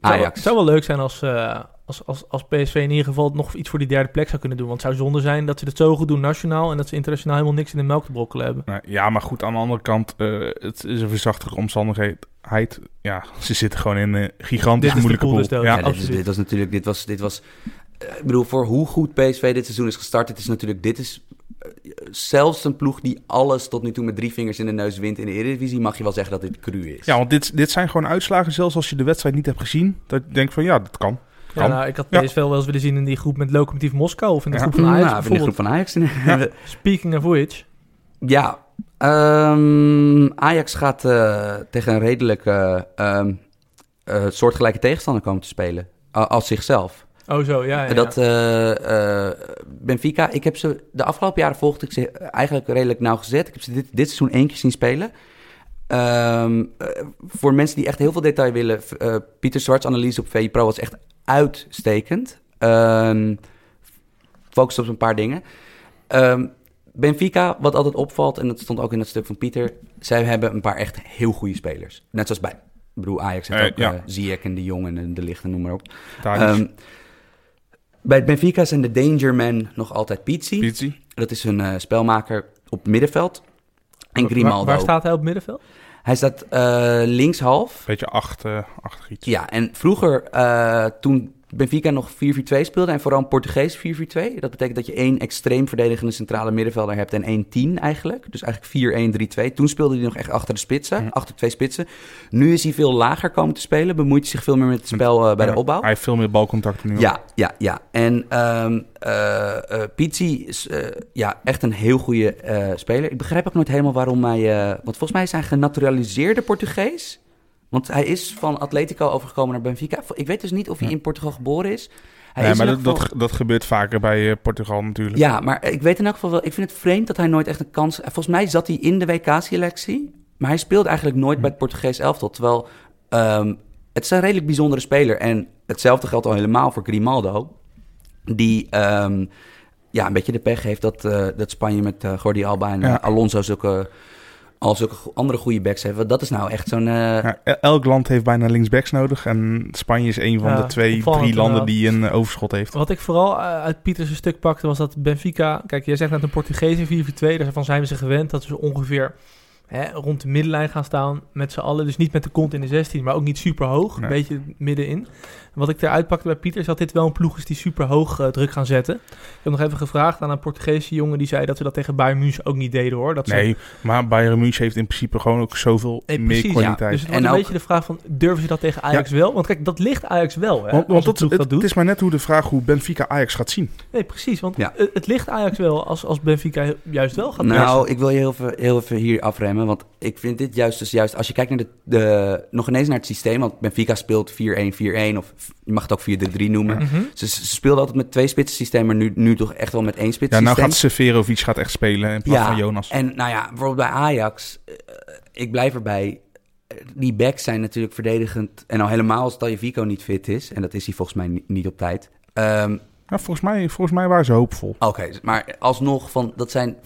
S3: Ajax.
S1: zou wel leuk zijn als, eh, als, als, als PSV in ieder geval nog iets voor die derde plek zou kunnen doen. Want het zou zonde zijn dat ze dat zo goed doen nationaal... en dat ze internationaal helemaal niks in de melk te brokkelen hebben.
S2: Nou, ja, maar goed, aan de andere kant, eh, het is een verzachtige omstandigheid. Ja, ze zitten gewoon in een
S1: Dit
S2: gigantisch
S1: is de
S2: moeilijke
S1: pool
S2: pool.
S1: dus dood.
S2: ja.
S3: Ja, dit, is-
S1: absoluut.
S3: dit was natuurlijk, dit was, dit was, eh, ik bedoel, voor hoe goed PSV dit seizoen is gestart, het is natuurlijk, dit is eh, zelfs een ploeg die alles tot nu toe met drie vingers in de neus wint in de Eredivisie, mag je wel zeggen dat dit cru is.
S2: ja, want dit, dit zijn gewoon uitslagen, zelfs als je de wedstrijd niet hebt gezien. Dat je denkt van, ja, dat kan.
S1: Ja,
S2: Kan.
S1: nou, ik had
S2: Ja.
S1: PSV wel eens willen zien in die groep met Lokomotief Moskou... of in de
S2: Ja.
S1: groep van
S3: Nou,
S1: Ajax
S3: in de groep
S1: bijvoorbeeld.
S3: van Ajax.
S1: Speaking of which...
S3: Ja, ehm, Ajax gaat eh, tegen een redelijke ehm, eh, soortgelijke tegenstander komen te spelen. a- als zichzelf.
S1: Oh zo, ja, ja, ja.
S3: En Dat, eh, eh, Benfica, ik heb ze de afgelopen jaren volgde ik ze eigenlijk redelijk nauwgezet. Ik heb ze dit, dit seizoen één keer zien spelen. Ehm, eh, voor mensen die echt heel veel detail willen, v- eh, Pieter Zwarts analyse op VI Pro was echt uitstekend. Ehm focust op een paar dingen. Ehm, Benfica, wat altijd opvalt, en dat stond ook in dat stuk van Pieter, zij hebben een paar echt heel goede spelers. Net zoals bij Ik bedoel, Ajax heeft
S2: Eh,
S3: ook
S2: ja.
S3: eh, Ziyech en de Jong en de, de Licht en noem maar op.
S2: Tadic,
S3: Ehm, bij Benfica zijn de Danger Men nog altijd Pizzi.
S2: Pizzi.
S3: Dat is hun eh, spelmaker op middenveld. En
S1: Wa-
S3: Grimaldo.
S1: Waar, waar staat hij op het middenveld?
S3: Hij staat eh linkshalf.
S2: Beetje acht, eh, achter iets.
S3: Ja, en vroeger, eh, toen Benfica nog 4-4-2 speelde en vooral een Portugees 4-4-2, dat betekent dat je één extreem verdedigende centrale middenvelder hebt en één 10 eigenlijk. Dus eigenlijk 4-1-3-2. Toen speelde hij nog echt achter de spitsen,
S2: Ja.
S3: achter twee spitsen. Nu is hij veel lager komen te spelen, bemoeit hij zich veel meer met het spel eh, bij de
S2: Ja,
S3: opbouw.
S2: Hij heeft veel meer balcontact nu.
S3: Ja, ja, ja. En ehm eh, eh, Pizzi is eh, ja, echt een heel goede eh, speler. Ik begrijp ook nooit helemaal waarom hij... eh, want volgens mij is hij een genaturaliseerde Portugees. Want hij is van Atletico overgekomen naar Benfica. Ik weet dus niet of hij in Portugal geboren is. Hij
S2: Nee,
S3: is
S2: maar
S3: in
S2: dat,
S3: elk
S2: dat, dat gebeurt vaker bij eh, Portugal natuurlijk.
S3: ja, maar ik weet in elk geval wel. Ik vind het vreemd dat hij nooit echt een kans. Volgens mij zat hij in de WK-selectie. Maar hij speelde eigenlijk
S2: Hm.
S3: nooit bij het Portugees elftal. Terwijl ehm, het is een redelijk bijzondere speler. En hetzelfde geldt al helemaal voor Grimaldo. Die ehm, ja, een beetje de pech heeft dat, eh, dat Spanje met eh Jordi Alba en eh,
S2: Ja.
S3: Alonso zulke, al zulke go- andere goede backs heeft. Want dat is nou echt zo'n. eh,
S2: Ja, el- elk land heeft bijna linksbacks nodig. En Spanje is een van
S1: Ja,
S2: de twee,
S1: opvallend
S2: drie landen
S1: inderdaad.
S2: die een eh, overschot heeft.
S1: Wat ik vooral eh, uit Pieters stuk pakte was dat Benfica... Kijk, jij zegt net een Portugees in 4-4-2. Daarvan zijn we ze gewend dat ze ongeveer hè, rond de middenlijn gaan staan met z'n allen. Dus niet met de kont in de 16, maar ook niet super hoog.
S2: Nee.
S1: Een beetje middenin. Wat ik eruit pakte bij Pieters, dat dit wel een ploeg is die super hoog druk gaan zetten. Ik heb nog even gevraagd aan een Portugese jongen die zei dat ze dat tegen Bayern München ook niet deden hoor. Dat ze-
S2: Nee, maar Bayern München heeft in principe gewoon ook zoveel
S1: Nee,
S2: meer
S1: precies.
S2: kwaliteit.
S1: Dus het
S3: En
S1: wordt een
S3: ook-
S1: beetje de vraag van, durven ze dat tegen Ajax wel? Want kijk, dat ligt Ajax wel, hè?
S2: want
S1: eh, als
S2: want
S1: een
S2: dat,
S1: ploeg
S2: het,
S1: dat doet.
S2: het is maar net hoe de vraag hoe Benfica Ajax gaat zien.
S1: Nee, precies, want
S3: Ja.
S1: het, het ligt Ajax wel als, als Benfica juist wel gaat
S3: nou,
S1: persen.
S3: ik wil je heel even, heel even hier afremmen. Want ik vind dit juist, dus juist als je kijkt naar de, de- nog ineens naar het systeem. Want Benfica speelt 4-1-4-1 of je mag het ook 4-3-3 noemen.
S1: Mhm.
S3: Ze, ze speelden altijd met twee spitsen systeem, maar nu, nu toch echt wel met één spits
S2: Ja,
S3: systeem.
S2: nou gaat Severovic gaat echt spelen in plaats
S3: Ja,
S2: van Jonas.
S3: En nou ja, bijvoorbeeld bij Ajax, eh, ik blijf erbij. eh, Die backs zijn natuurlijk verdedigend. En al helemaal als Tajavico niet fit is, en dat is hij volgens mij ni- niet op tijd. Ehm,
S2: Ja, volgens, mij, volgens mij waren ze hoopvol.
S3: Oké, dus maar alsnog, van, dat, zijn,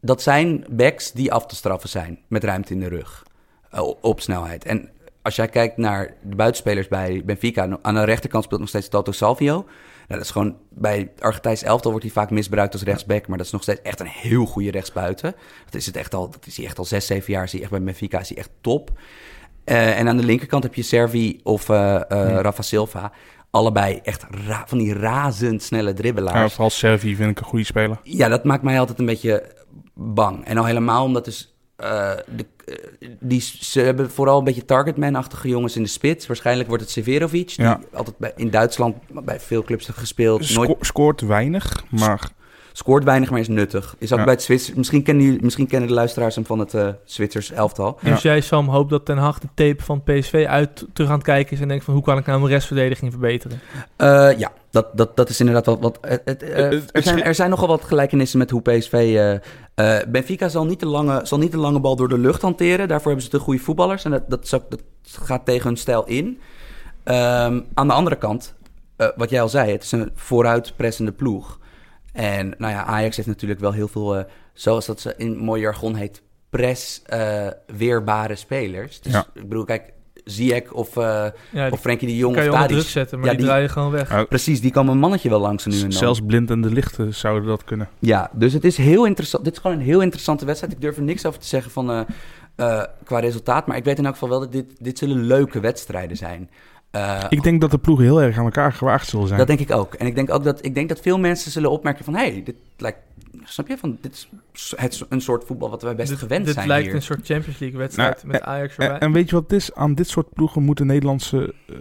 S3: dat zijn backs die af te straffen zijn met ruimte in de rug eh, op- op snelheid. En als jij kijkt naar de buitenspelers bij Benfica, nou, aan de rechterkant speelt nog steeds Toto Salvio. Nou, dat is gewoon, bij Argentijns elftal wordt hij vaak misbruikt als rechtsback, maar dat is nog steeds echt een heel goede rechtsbuiten. Dat is, het echt al, dat is hij echt al zes, zeven jaar, is hij echt bij Benfica, is hij echt top. Eh, en aan de linkerkant heb je Servi of eh, eh, Rafa Silva. Allebei echt ra- van die razendsnelle
S2: Ja,
S3: dribbelaars.
S2: vooral Servi vind ik een goede speler.
S3: Ja, dat maakt mij altijd een beetje bang. En al helemaal omdat dus... eh, de, eh, die, ze hebben vooral een beetje targetman-achtige jongens in de spits. Waarschijnlijk wordt het Severovic. Die
S2: Ja.
S3: altijd bij, in Duitsland bij veel clubs heeft gespeeld.
S2: Sco-
S3: nooit,
S2: scoort weinig, maar
S3: scoort weinig, maar is nuttig. Is ook
S2: Ja.
S3: bij het Zwitsers... Misschien kennen, jullie- misschien kennen de luisteraars hem van het eh Zwitsers elftal.
S1: Dus jij, Sam, hoopt dat Ten Hag de tape van PSV uit terug aan het kijken is... en denkt van, hoe kan ik nou mijn restverdediging verbeteren?
S3: Eh, ja, dat, dat, dat is inderdaad wat... wat het- het, eh,
S2: Het- het
S3: er, zijn,
S2: schi-
S3: er zijn nogal wat gelijkenissen met hoe PSV... eh, eh, Benfica zal niet, de lange, zal niet de lange bal door de lucht hanteren. Daarvoor hebben ze de goede voetballers. En dat, dat, is ook- dat gaat tegen hun stijl in. Ehm, aan de andere kant, eh, wat jij al zei... het is een vooruitpressende ploeg. En nou ja, Ajax heeft natuurlijk wel heel veel... eh, zoals dat ze in mooi jargon heet... press eh, weerbare spelers. Dus
S2: Ja.
S3: ik bedoel, kijk... Ziyech of, eh
S1: Ja, die
S3: of Frenkie de Jong
S1: kan
S3: of
S1: je onder druk
S3: Tadic...
S1: zetten, maar
S3: Ja,
S1: die,
S3: die-
S1: draai je gewoon weg.
S3: Precies, die kan een mannetje wel langs nu en dan.
S2: zelfs blind en de lichten zouden dat kunnen.
S3: Ja, dus het is heel interessant. Dit is gewoon een heel interessante wedstrijd. Ik durf er niks over te zeggen van, eh, eh, qua resultaat. Maar ik weet in elk geval wel dat dit, dit zullen leuke wedstrijden zijn. Eh,
S2: Ik denk dat de ploegen heel erg aan elkaar gewaagd zullen zijn.
S3: dat denk ik ook. En ik denk ook dat, ik denk dat veel mensen zullen opmerken van... hé, hey, dit lijkt... Snap je? Van, dit is s- het, is een soort voetbal wat wij best
S1: dit
S3: gewend
S1: dit
S3: zijn
S1: lijkt
S3: hier. eh,
S1: een soort Champions League-wedstrijd
S2: Nou,
S1: met Ajax erbij.
S2: En, en weet je wat het is? Aan dit soort ploegen moeten Nederlandse, eh,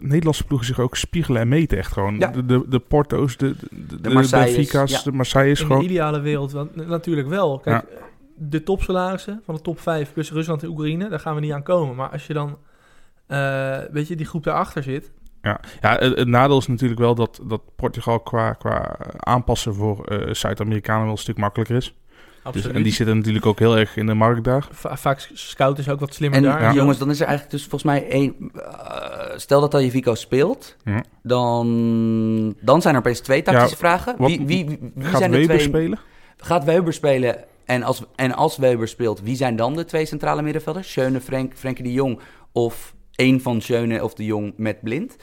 S2: Nederlandse ploegen zich ook spiegelen en meten. Echt gewoon.
S3: Ja.
S2: De, de, de Porto's, de, de, de,
S3: Marseilles,
S2: Benfica's,
S3: ja.
S2: de Marseilles.
S1: In de
S2: Gewoon,
S1: ideale wereld wel- n- natuurlijk wel. Kijk, eh, de topsalarissen van de top 5 plus Rusland en Oekraïne, daar gaan we niet aan komen. Maar als je dan, eh, weet je, die groep daarachter zit.
S3: Dus-
S2: ja, het, het nadeel is natuurlijk wel dat, dat Portugal qua, qua aanpassen voor eh, Zuid-Amerikanen wel een stuk makkelijker is. Dus, en die zitten natuurlijk ook heel erg in de markt daar.
S1: Va- vaak scout is ook wat slimmer
S3: En
S1: daar. Ja.
S3: jongens, dan is er eigenlijk dus volgens mij één... eh, stel dat Tajevico speelt,
S2: Ja.
S3: dan, dan zijn er opeens twee tactische vragen.
S2: wat-
S3: Wie, wie, wie, wie
S2: Gaat
S3: zijn de
S2: Weber
S3: twee...
S2: spelen?
S3: Gaat Weber spelen en als, en als Weber speelt, wie zijn dan de twee centrale middenvelders? Schöne, Frenk, Frenkie de Jong of één van Schöne of de Jong met Blind.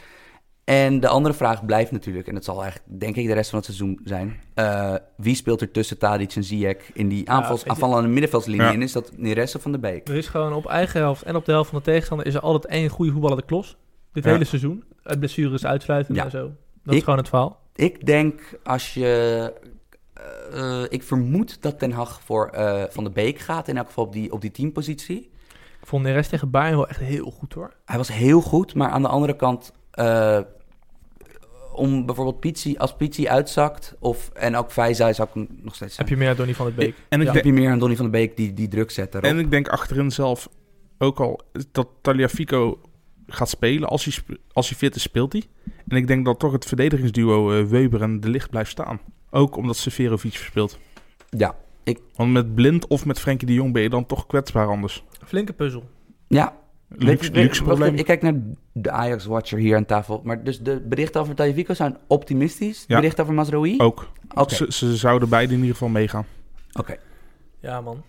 S3: En de andere vraag blijft natuurlijk, en dat zal eigenlijk denk ik de rest van het seizoen zijn. eh, wie speelt er tussen Tadic en Ziyech in die aanvals,
S1: weet je-
S3: aanvallende middenveldslinie?
S2: Ja.
S3: En is dat Neres of Van de Beek?
S1: Er is gewoon op eigen helft en op de helft van de tegenstander is er altijd één goede voetballer de klos. Dit
S2: Ja.
S1: hele seizoen. Het blessure is uitsluitend
S3: Ja.
S1: en zo. Dat
S3: Ik-
S1: is gewoon het verhaal.
S3: Ik denk als je. eh, eh, ik vermoed dat Ten Hag voor eh, Van de Beek gaat. In elk geval op die, op die teampositie.
S1: Ik vond de rest tegen Bayern wel echt heel goed hoor.
S3: Hij was heel goed, maar aan de andere kant. eh, om bijvoorbeeld Pizzi, als Pizzi uitzakt. Of, en ook Vijza zou ik hem nog steeds.
S1: Heb je meer Donny van het Beek.
S2: En ik,
S1: Ja.
S3: heb
S2: denk,
S3: je meer aan Donny van de Beek die, die druk zet daarop.
S2: en ik denk achterin zelf ook al dat Taliafico gaat spelen. Als hij, sp- als hij fit is, speelt hij. En ik denk dat toch het verdedigingsduo eh, Weber en De Licht blijft staan. Ook omdat Severovic verspeelt.
S3: Ja,
S2: Want met Blind of met Frenkie de Jong ben je dan toch kwetsbaar anders.
S1: Flinke puzzel.
S3: ja. Weet-
S2: Luxe,
S3: weet-
S2: luxe
S3: wacht
S2: probleem.
S3: even, Ik kijk naar de Ajax-watcher hier aan tafel. Maar dus de berichten over Tajavico zijn optimistisch. De
S2: Ja.
S3: berichten over Mazraoui?
S2: Ook.
S3: Oké.
S2: Ze, ze zouden beide in ieder geval meegaan.
S3: Oké.
S1: Ja, man.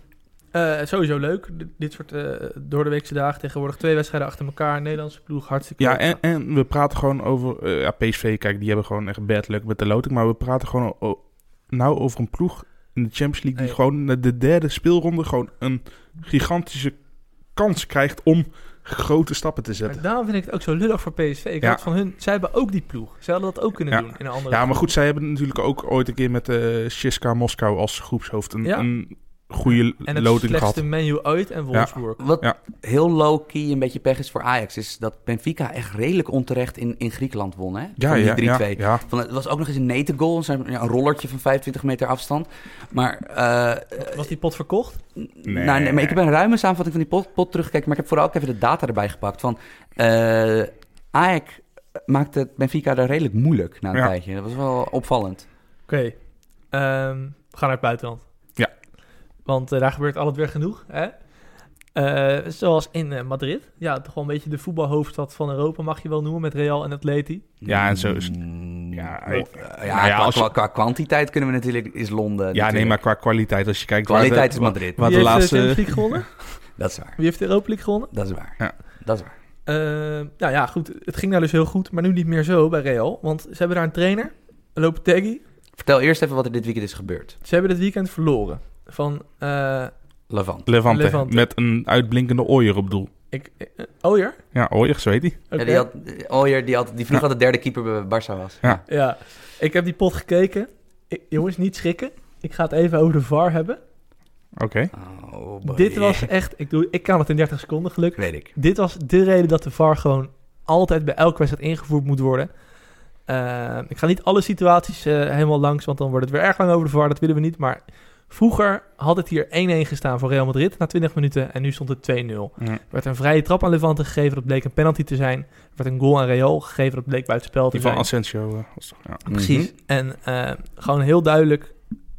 S1: Eh, sowieso leuk. D- dit soort eh door de weekse dagen tegenwoordig twee wedstrijden achter elkaar. Nederlandse ploeg, hartstikke
S2: Ja,
S1: leuk.
S2: en, en we praten gewoon over... eh, ja, PSV, kijk, die hebben gewoon echt bad luck met de loting. Maar we praten gewoon o- nou over een ploeg in de Champions League... die
S1: Nee.
S2: gewoon na de derde speelronde gewoon een gigantische kans krijgt... om grote stappen te
S1: Maar
S2: zetten.
S1: daarom vind ik het ook zo lullig voor PSV. Ik
S2: Ja.
S1: had van hun, zij hebben ook die ploeg. Zij hadden dat ook kunnen
S2: Ja.
S1: doen in een andere
S2: Ja, maar goed, zij hebben natuurlijk ook ooit een keer met eh Shiska Moskou als groepshoofd... een,
S1: Ja.
S2: een goede
S1: En het
S2: loting
S1: slechtste
S2: gehad.
S1: menu uit en Wolfsburg.
S3: Wat
S2: Ja.
S3: heel low-key een beetje pech is voor Ajax... is dat Benfica echt redelijk onterecht in, in Griekenland won, hè?
S2: Ja,
S3: Van die
S2: ja,
S3: 3-2.
S2: ja, ja.
S3: Van, het was ook nog eens een nete goal. Een, soort- ja, een rollertje van 25 meter afstand. Maar, eh,
S1: Was die pot verkocht?
S2: Nee.
S3: nou, nee, maar ik heb een ruime samenvatting van die pot, pot teruggekeken. Maar ik heb vooral ook even de data erbij gepakt. Van, eh Ajax maakte Benfica daar redelijk moeilijk na een
S2: Ja.
S3: tijdje. Dat was wel opvallend.
S1: Oké. Ehm, we gaan naar het buitenland.
S2: Ja.
S1: Want eh, daar gebeurt altijd weer genoeg. Hè? Eh, zoals in eh, Madrid. Ja, toch wel een beetje de voetbalhoofdstad van Europa, mag je wel noemen, met Real en Atleti.
S2: Ja, en zo is-
S3: Mm,
S2: Ja, nou
S3: eh, ja,
S2: ja,
S3: qua,
S2: als je-
S3: qua, qua kwantiteit kunnen we natuurlijk... Is Londen
S2: Ja, nee,
S3: natuurlijk.
S2: maar qua kwaliteit, als je kijkt... waar de-
S3: Kwaliteit is
S2: waar-
S3: Madrid.
S2: waar
S1: Wie
S2: de
S1: heeft
S2: laatste-
S1: de Champions League gewonnen?
S3: Dat is waar.
S1: Wie heeft de Europa League gewonnen?
S3: Dat is waar.
S2: Ja.
S3: Dat is waar.
S1: Ehm, nou ja, goed. Het ging nou dus heel goed, maar nu niet meer zo bij Real. Want ze hebben daar een trainer, Lopetegui.
S3: Vertel eerst even wat er dit weekend is gebeurd.
S1: Ze hebben dit weekend verloren. Van, eh,
S3: Levant.
S2: Levante,
S1: Levante.
S2: met een uitblinkende ooier op doel.
S1: ik, eh, Oyer?
S2: Ja, ooier, zo heet hij.
S1: Oké.
S3: Ja, die had, Oyer, die, had, die vroeg
S2: Ja.
S3: had de derde keeper bij Barça was.
S1: Ja, ik heb die pot gekeken. Ik- jongens, niet schrikken. Ik ga het even over de VAR hebben.
S2: Oké.
S3: Oh, boy.
S1: Dit was echt... Ik, doe, ik kan het in 30 seconden, gelukkig.
S3: Weet ik.
S1: Dit was de reden dat de VAR gewoon altijd bij elke wedstrijd ingevoerd moet worden. Eh, ik ga niet alle situaties eh, helemaal langs, want dan wordt het weer erg lang over de VAR. Dat willen we niet, maar... Vroeger had het hier 1-1 gestaan voor Real Madrid na 20 minuten en nu stond het 2-0.
S2: Ja.
S1: Er werd een vrije trap aan Levante gegeven, dat bleek een penalty te zijn. Er werd een goal aan Real gegeven, dat bleek buitenspel te
S2: Die
S1: zijn.
S2: van Asensio eh, was toch... Ja,
S1: Precies. En eh, gewoon heel duidelijk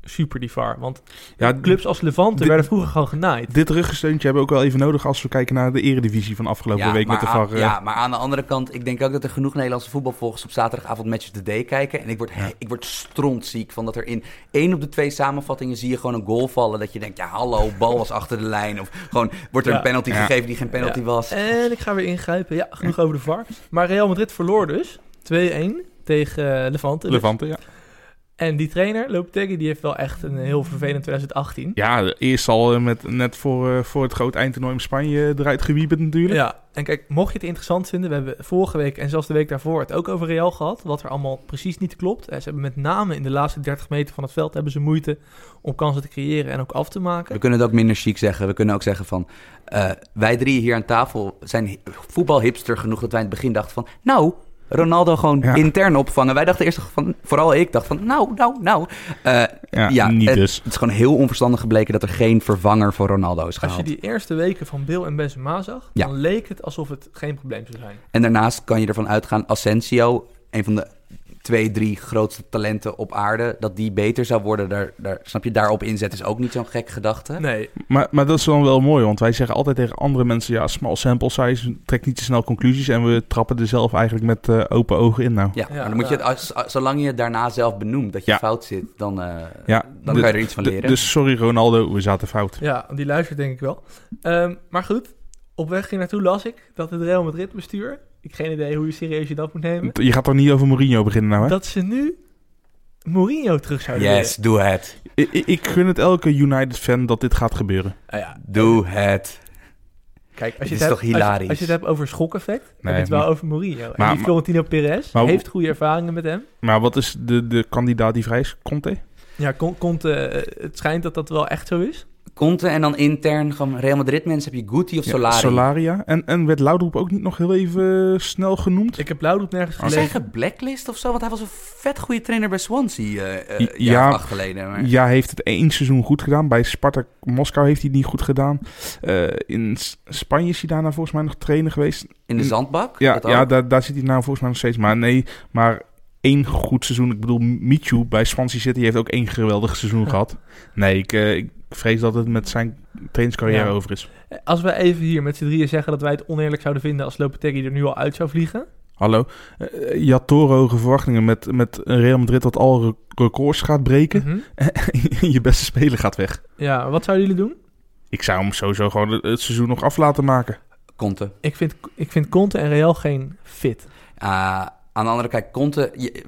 S1: super die VAR. Want
S2: ja club...
S1: clubs als Levante
S2: dit-
S1: werden vroeger gewoon genaaid.
S2: dit ruggesteuntje hebben we ook wel even nodig... als we kijken naar de eredivisie van afgelopen week met de
S3: maar aan-
S2: VAR. eh,
S3: ja, maar aan de andere kant, ik denk ook dat er genoeg Nederlandse voetbalvolgers op zaterdagavond Match of the Day kijken. En ik word,
S2: Ja.
S3: ik word strontziek van dat er in één op de twee samenvattingen zie je gewoon een goal vallen. Dat je denkt, ja hallo, bal was achter de lijn. Of gewoon wordt er
S1: Ja.
S3: een penalty
S2: Ja.
S3: gegeven die geen penalty
S1: Ja.
S3: was.
S1: En ik ga weer ingrijpen. Ja, genoeg over de VAR. Maar Real Madrid verloor dus 2-1 tegen eh, Levante.
S2: Levante, ja.
S1: En die trainer, Lopetegui, die heeft wel echt een heel vervelend 2018.
S2: Ja, eerst al eh, met, net voor, eh, voor het groot eindtoernooi in Spanje eh, eruit gewieperd natuurlijk.
S1: Ja, en kijk, mocht je het interessant vinden, we hebben vorige week en zelfs de week daarvoor het ook over Real gehad, wat er allemaal precies niet klopt. Eh, Ze hebben met name in de laatste 30 meter van het veld hebben ze moeite om kansen te creëren en ook af te maken.
S3: We kunnen het ook minder chic zeggen. We kunnen ook zeggen van, eh, wij drie hier aan tafel zijn hi- voetbalhipster genoeg dat wij in het begin dachten van, nou... Ronaldo gewoon
S2: Ja.
S3: intern opvangen. Wij dachten eerst van, vooral ik dacht van, nou, nou, nou. Eh,
S2: Ja,
S3: ja,
S2: niet
S3: het,
S2: dus.
S3: Het is gewoon heel onverstandig gebleken dat er geen vervanger voor Ronaldo is
S1: Als
S3: gehaald.
S1: je die eerste weken van Bill en Benzema zag,
S3: Ja.
S1: dan leek het alsof het geen probleem zou zijn.
S3: En daarnaast kan je ervan uitgaan, Asensio, een van de twee, drie grootste talenten op aarde, dat die beter zou worden. Daar, daar, snap je, daarop inzet is ook niet zo'n gek gedachte.
S1: Nee,
S2: Maar, maar dat is dan wel mooi, want wij zeggen altijd tegen andere mensen... ja, small sample size, trek niet te snel conclusies... en we trappen er zelf eigenlijk met eh, open ogen in nou.
S3: Ja,
S1: Ja,
S3: maar dan moet je het, als, als- zolang je het daarna zelf benoemt dat je
S2: Ja.
S3: fout zit, dan, eh,
S2: Ja,
S3: dan
S2: de- dus-
S3: kan je er iets van
S2: D-
S3: leren.
S2: dus sorry Ronaldo, we zaten fout.
S1: ja, die luistert denk ik wel. Ehm, maar goed, Op weg hier naartoe las ik dat het Real Madrid bestuur... Ik geen idee hoe je serieus je dat moet nemen.
S2: Je gaat toch niet over Mourinho beginnen nou, hè?
S1: Dat ze nu Mourinho terug zouden
S3: Yes, doe het.
S2: I- I- ik gun het elke United-fan dat dit gaat gebeuren.
S1: willen. Nou ja,
S3: Doe het.
S1: Kijk,
S3: Het
S1: als je
S3: is
S1: het hebt,
S3: toch hilarisch?
S1: Als je, als je het hebt over schokeffect, dan heb
S2: Nee,
S1: je het wel
S2: maar-
S1: over Mourinho. en
S2: maar-
S1: die Florentino Perez
S2: maar-
S1: heeft goede ervaringen met hem.
S2: Maar wat is de, de kandidaat die vrij is? Conte?
S1: Ja, kon, komt, het schijnt dat dat wel echt zo is.
S3: Conte en dan intern gewoon Real Madrid mensen heb je Guti of
S2: Ja,
S3: Solari.
S2: Solaria. En, en werd Laudrup ook niet nog heel even eh, snel genoemd?
S1: Ik heb Blauwdoet nergens
S3: Is hij
S1: gelezen.
S3: geblacklist of zo? Want hij was een vet goede trainer bij Swansea eh
S2: Ja.
S3: eh jaar of acht geleden. Maar...
S2: Ja, hij heeft het één seizoen goed gedaan. Bij Spartak Moskou heeft hij het niet goed gedaan. Eh, in S- Spanje is hij daarna volgens mij nog trainer geweest.
S3: In de zandbak?
S2: Ja,
S3: Dat ook?
S2: ja daar, daar zit hij nou volgens mij nog steeds. Maar nee, maar één goed seizoen. Ik bedoel, Michu bij Swansea City heeft ook één geweldig seizoen gehad. Nee, ik, eh, ik vrees dat het met zijn trainingscarrière
S1: Ja.
S2: over is.
S1: Eh, Als wij even hier met z'n drieën zeggen dat wij het oneerlijk zouden vinden als Lopetegui er nu al uit zou vliegen.
S2: Hallo. Eh, je had torenhoge verwachtingen met, met een Real Madrid dat al re- records gaat breken.
S1: Mhm.
S2: En je beste speler gaat weg.
S1: Ja, wat zouden jullie doen?
S2: Ik zou hem sowieso gewoon het het seizoen nog af laten maken.
S3: Conte.
S1: Ik vind, ik vind Conte en Real geen fit.
S3: Ah, aan de andere kant, Conte, je-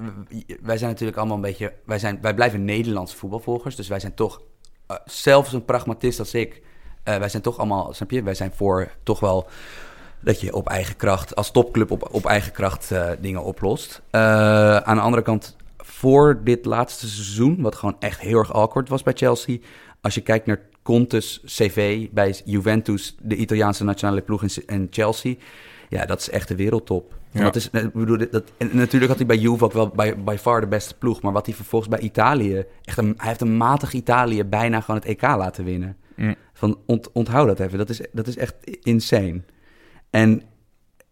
S3: je- wij zijn natuurlijk allemaal een beetje, wij, zijn, wij blijven Nederlandse voetbalvolgers, dus wij zijn toch, eh, zelfs een pragmatist als ik, eh, wij zijn toch allemaal, snap je, wij zijn voor toch wel dat je op eigen kracht, als topclub op, op eigen kracht eh, dingen oplost. Eh, aan de andere kant, voor dit laatste seizoen, wat gewoon echt heel erg awkward was bij Chelsea, als je kijkt naar Conte's cv bij Juventus, de Italiaanse nationale ploeg en- en Chelsea, ja, dat is echt de wereldtop.
S2: Ja.
S3: Dat is, eh, ik bedoel, dit- dat, en natuurlijk had hij bij Juve ook wel bij, by far de beste ploeg. Maar wat hij vervolgens bij Italië... Echt een, hij heeft een matig Italië bijna gewoon het EK laten winnen.
S2: Mm.
S3: Van, ont, onthoud dat even. Dat is, dat is echt insane. En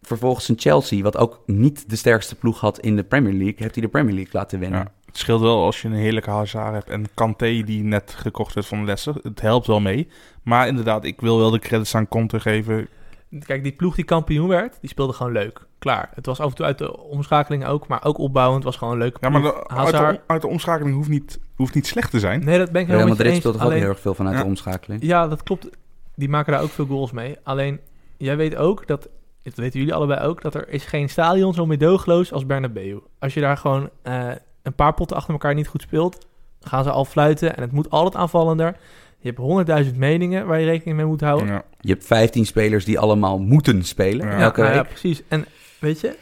S3: vervolgens een Chelsea, wat ook niet de sterkste ploeg had in de Premier League... heeft hij de Premier League laten winnen.
S2: Ja. Het scheelt wel als je een heerlijke Hazard hebt en Kanté die net gekocht werd van Leicester. Het helpt wel mee. Maar inderdaad, ik wil wel de credits aan Conte geven.
S1: Kijk, die ploeg die kampioen werd, die speelde gewoon leuk. Klaar. Het was af en toe uit de omschakeling ook, maar ook opbouwend was gewoon een leuke
S2: Ja,
S1: ploeg.
S2: maar de- uit, de,
S1: Hazard-
S2: om- uit de omschakeling hoeft niet, hoeft niet slecht te zijn.
S1: Nee, dat ben ik
S3: Real
S1: helemaal met je
S3: Madrid
S1: eens.
S3: speelt toch ook
S1: Alleen-
S3: heel erg veel vanuit
S2: Ja.
S3: de omschakeling.
S1: Ja, dat klopt. Die maken daar ook veel goals mee. Alleen, jij weet ook dat, dat weten jullie allebei ook, dat er is geen stadion zo medogeloos als Bernabeu. Als je daar gewoon eh, een paar potten achter elkaar niet goed speelt, gaan ze al fluiten en het moet altijd aanvallender. Je hebt honderdduizend meningen waar je rekening mee moet houden.
S2: Ja.
S3: Je hebt 15 spelers die allemaal moeten spelen
S2: Ja.
S3: elke
S1: nou
S3: week.
S1: ja, precies. En weet je,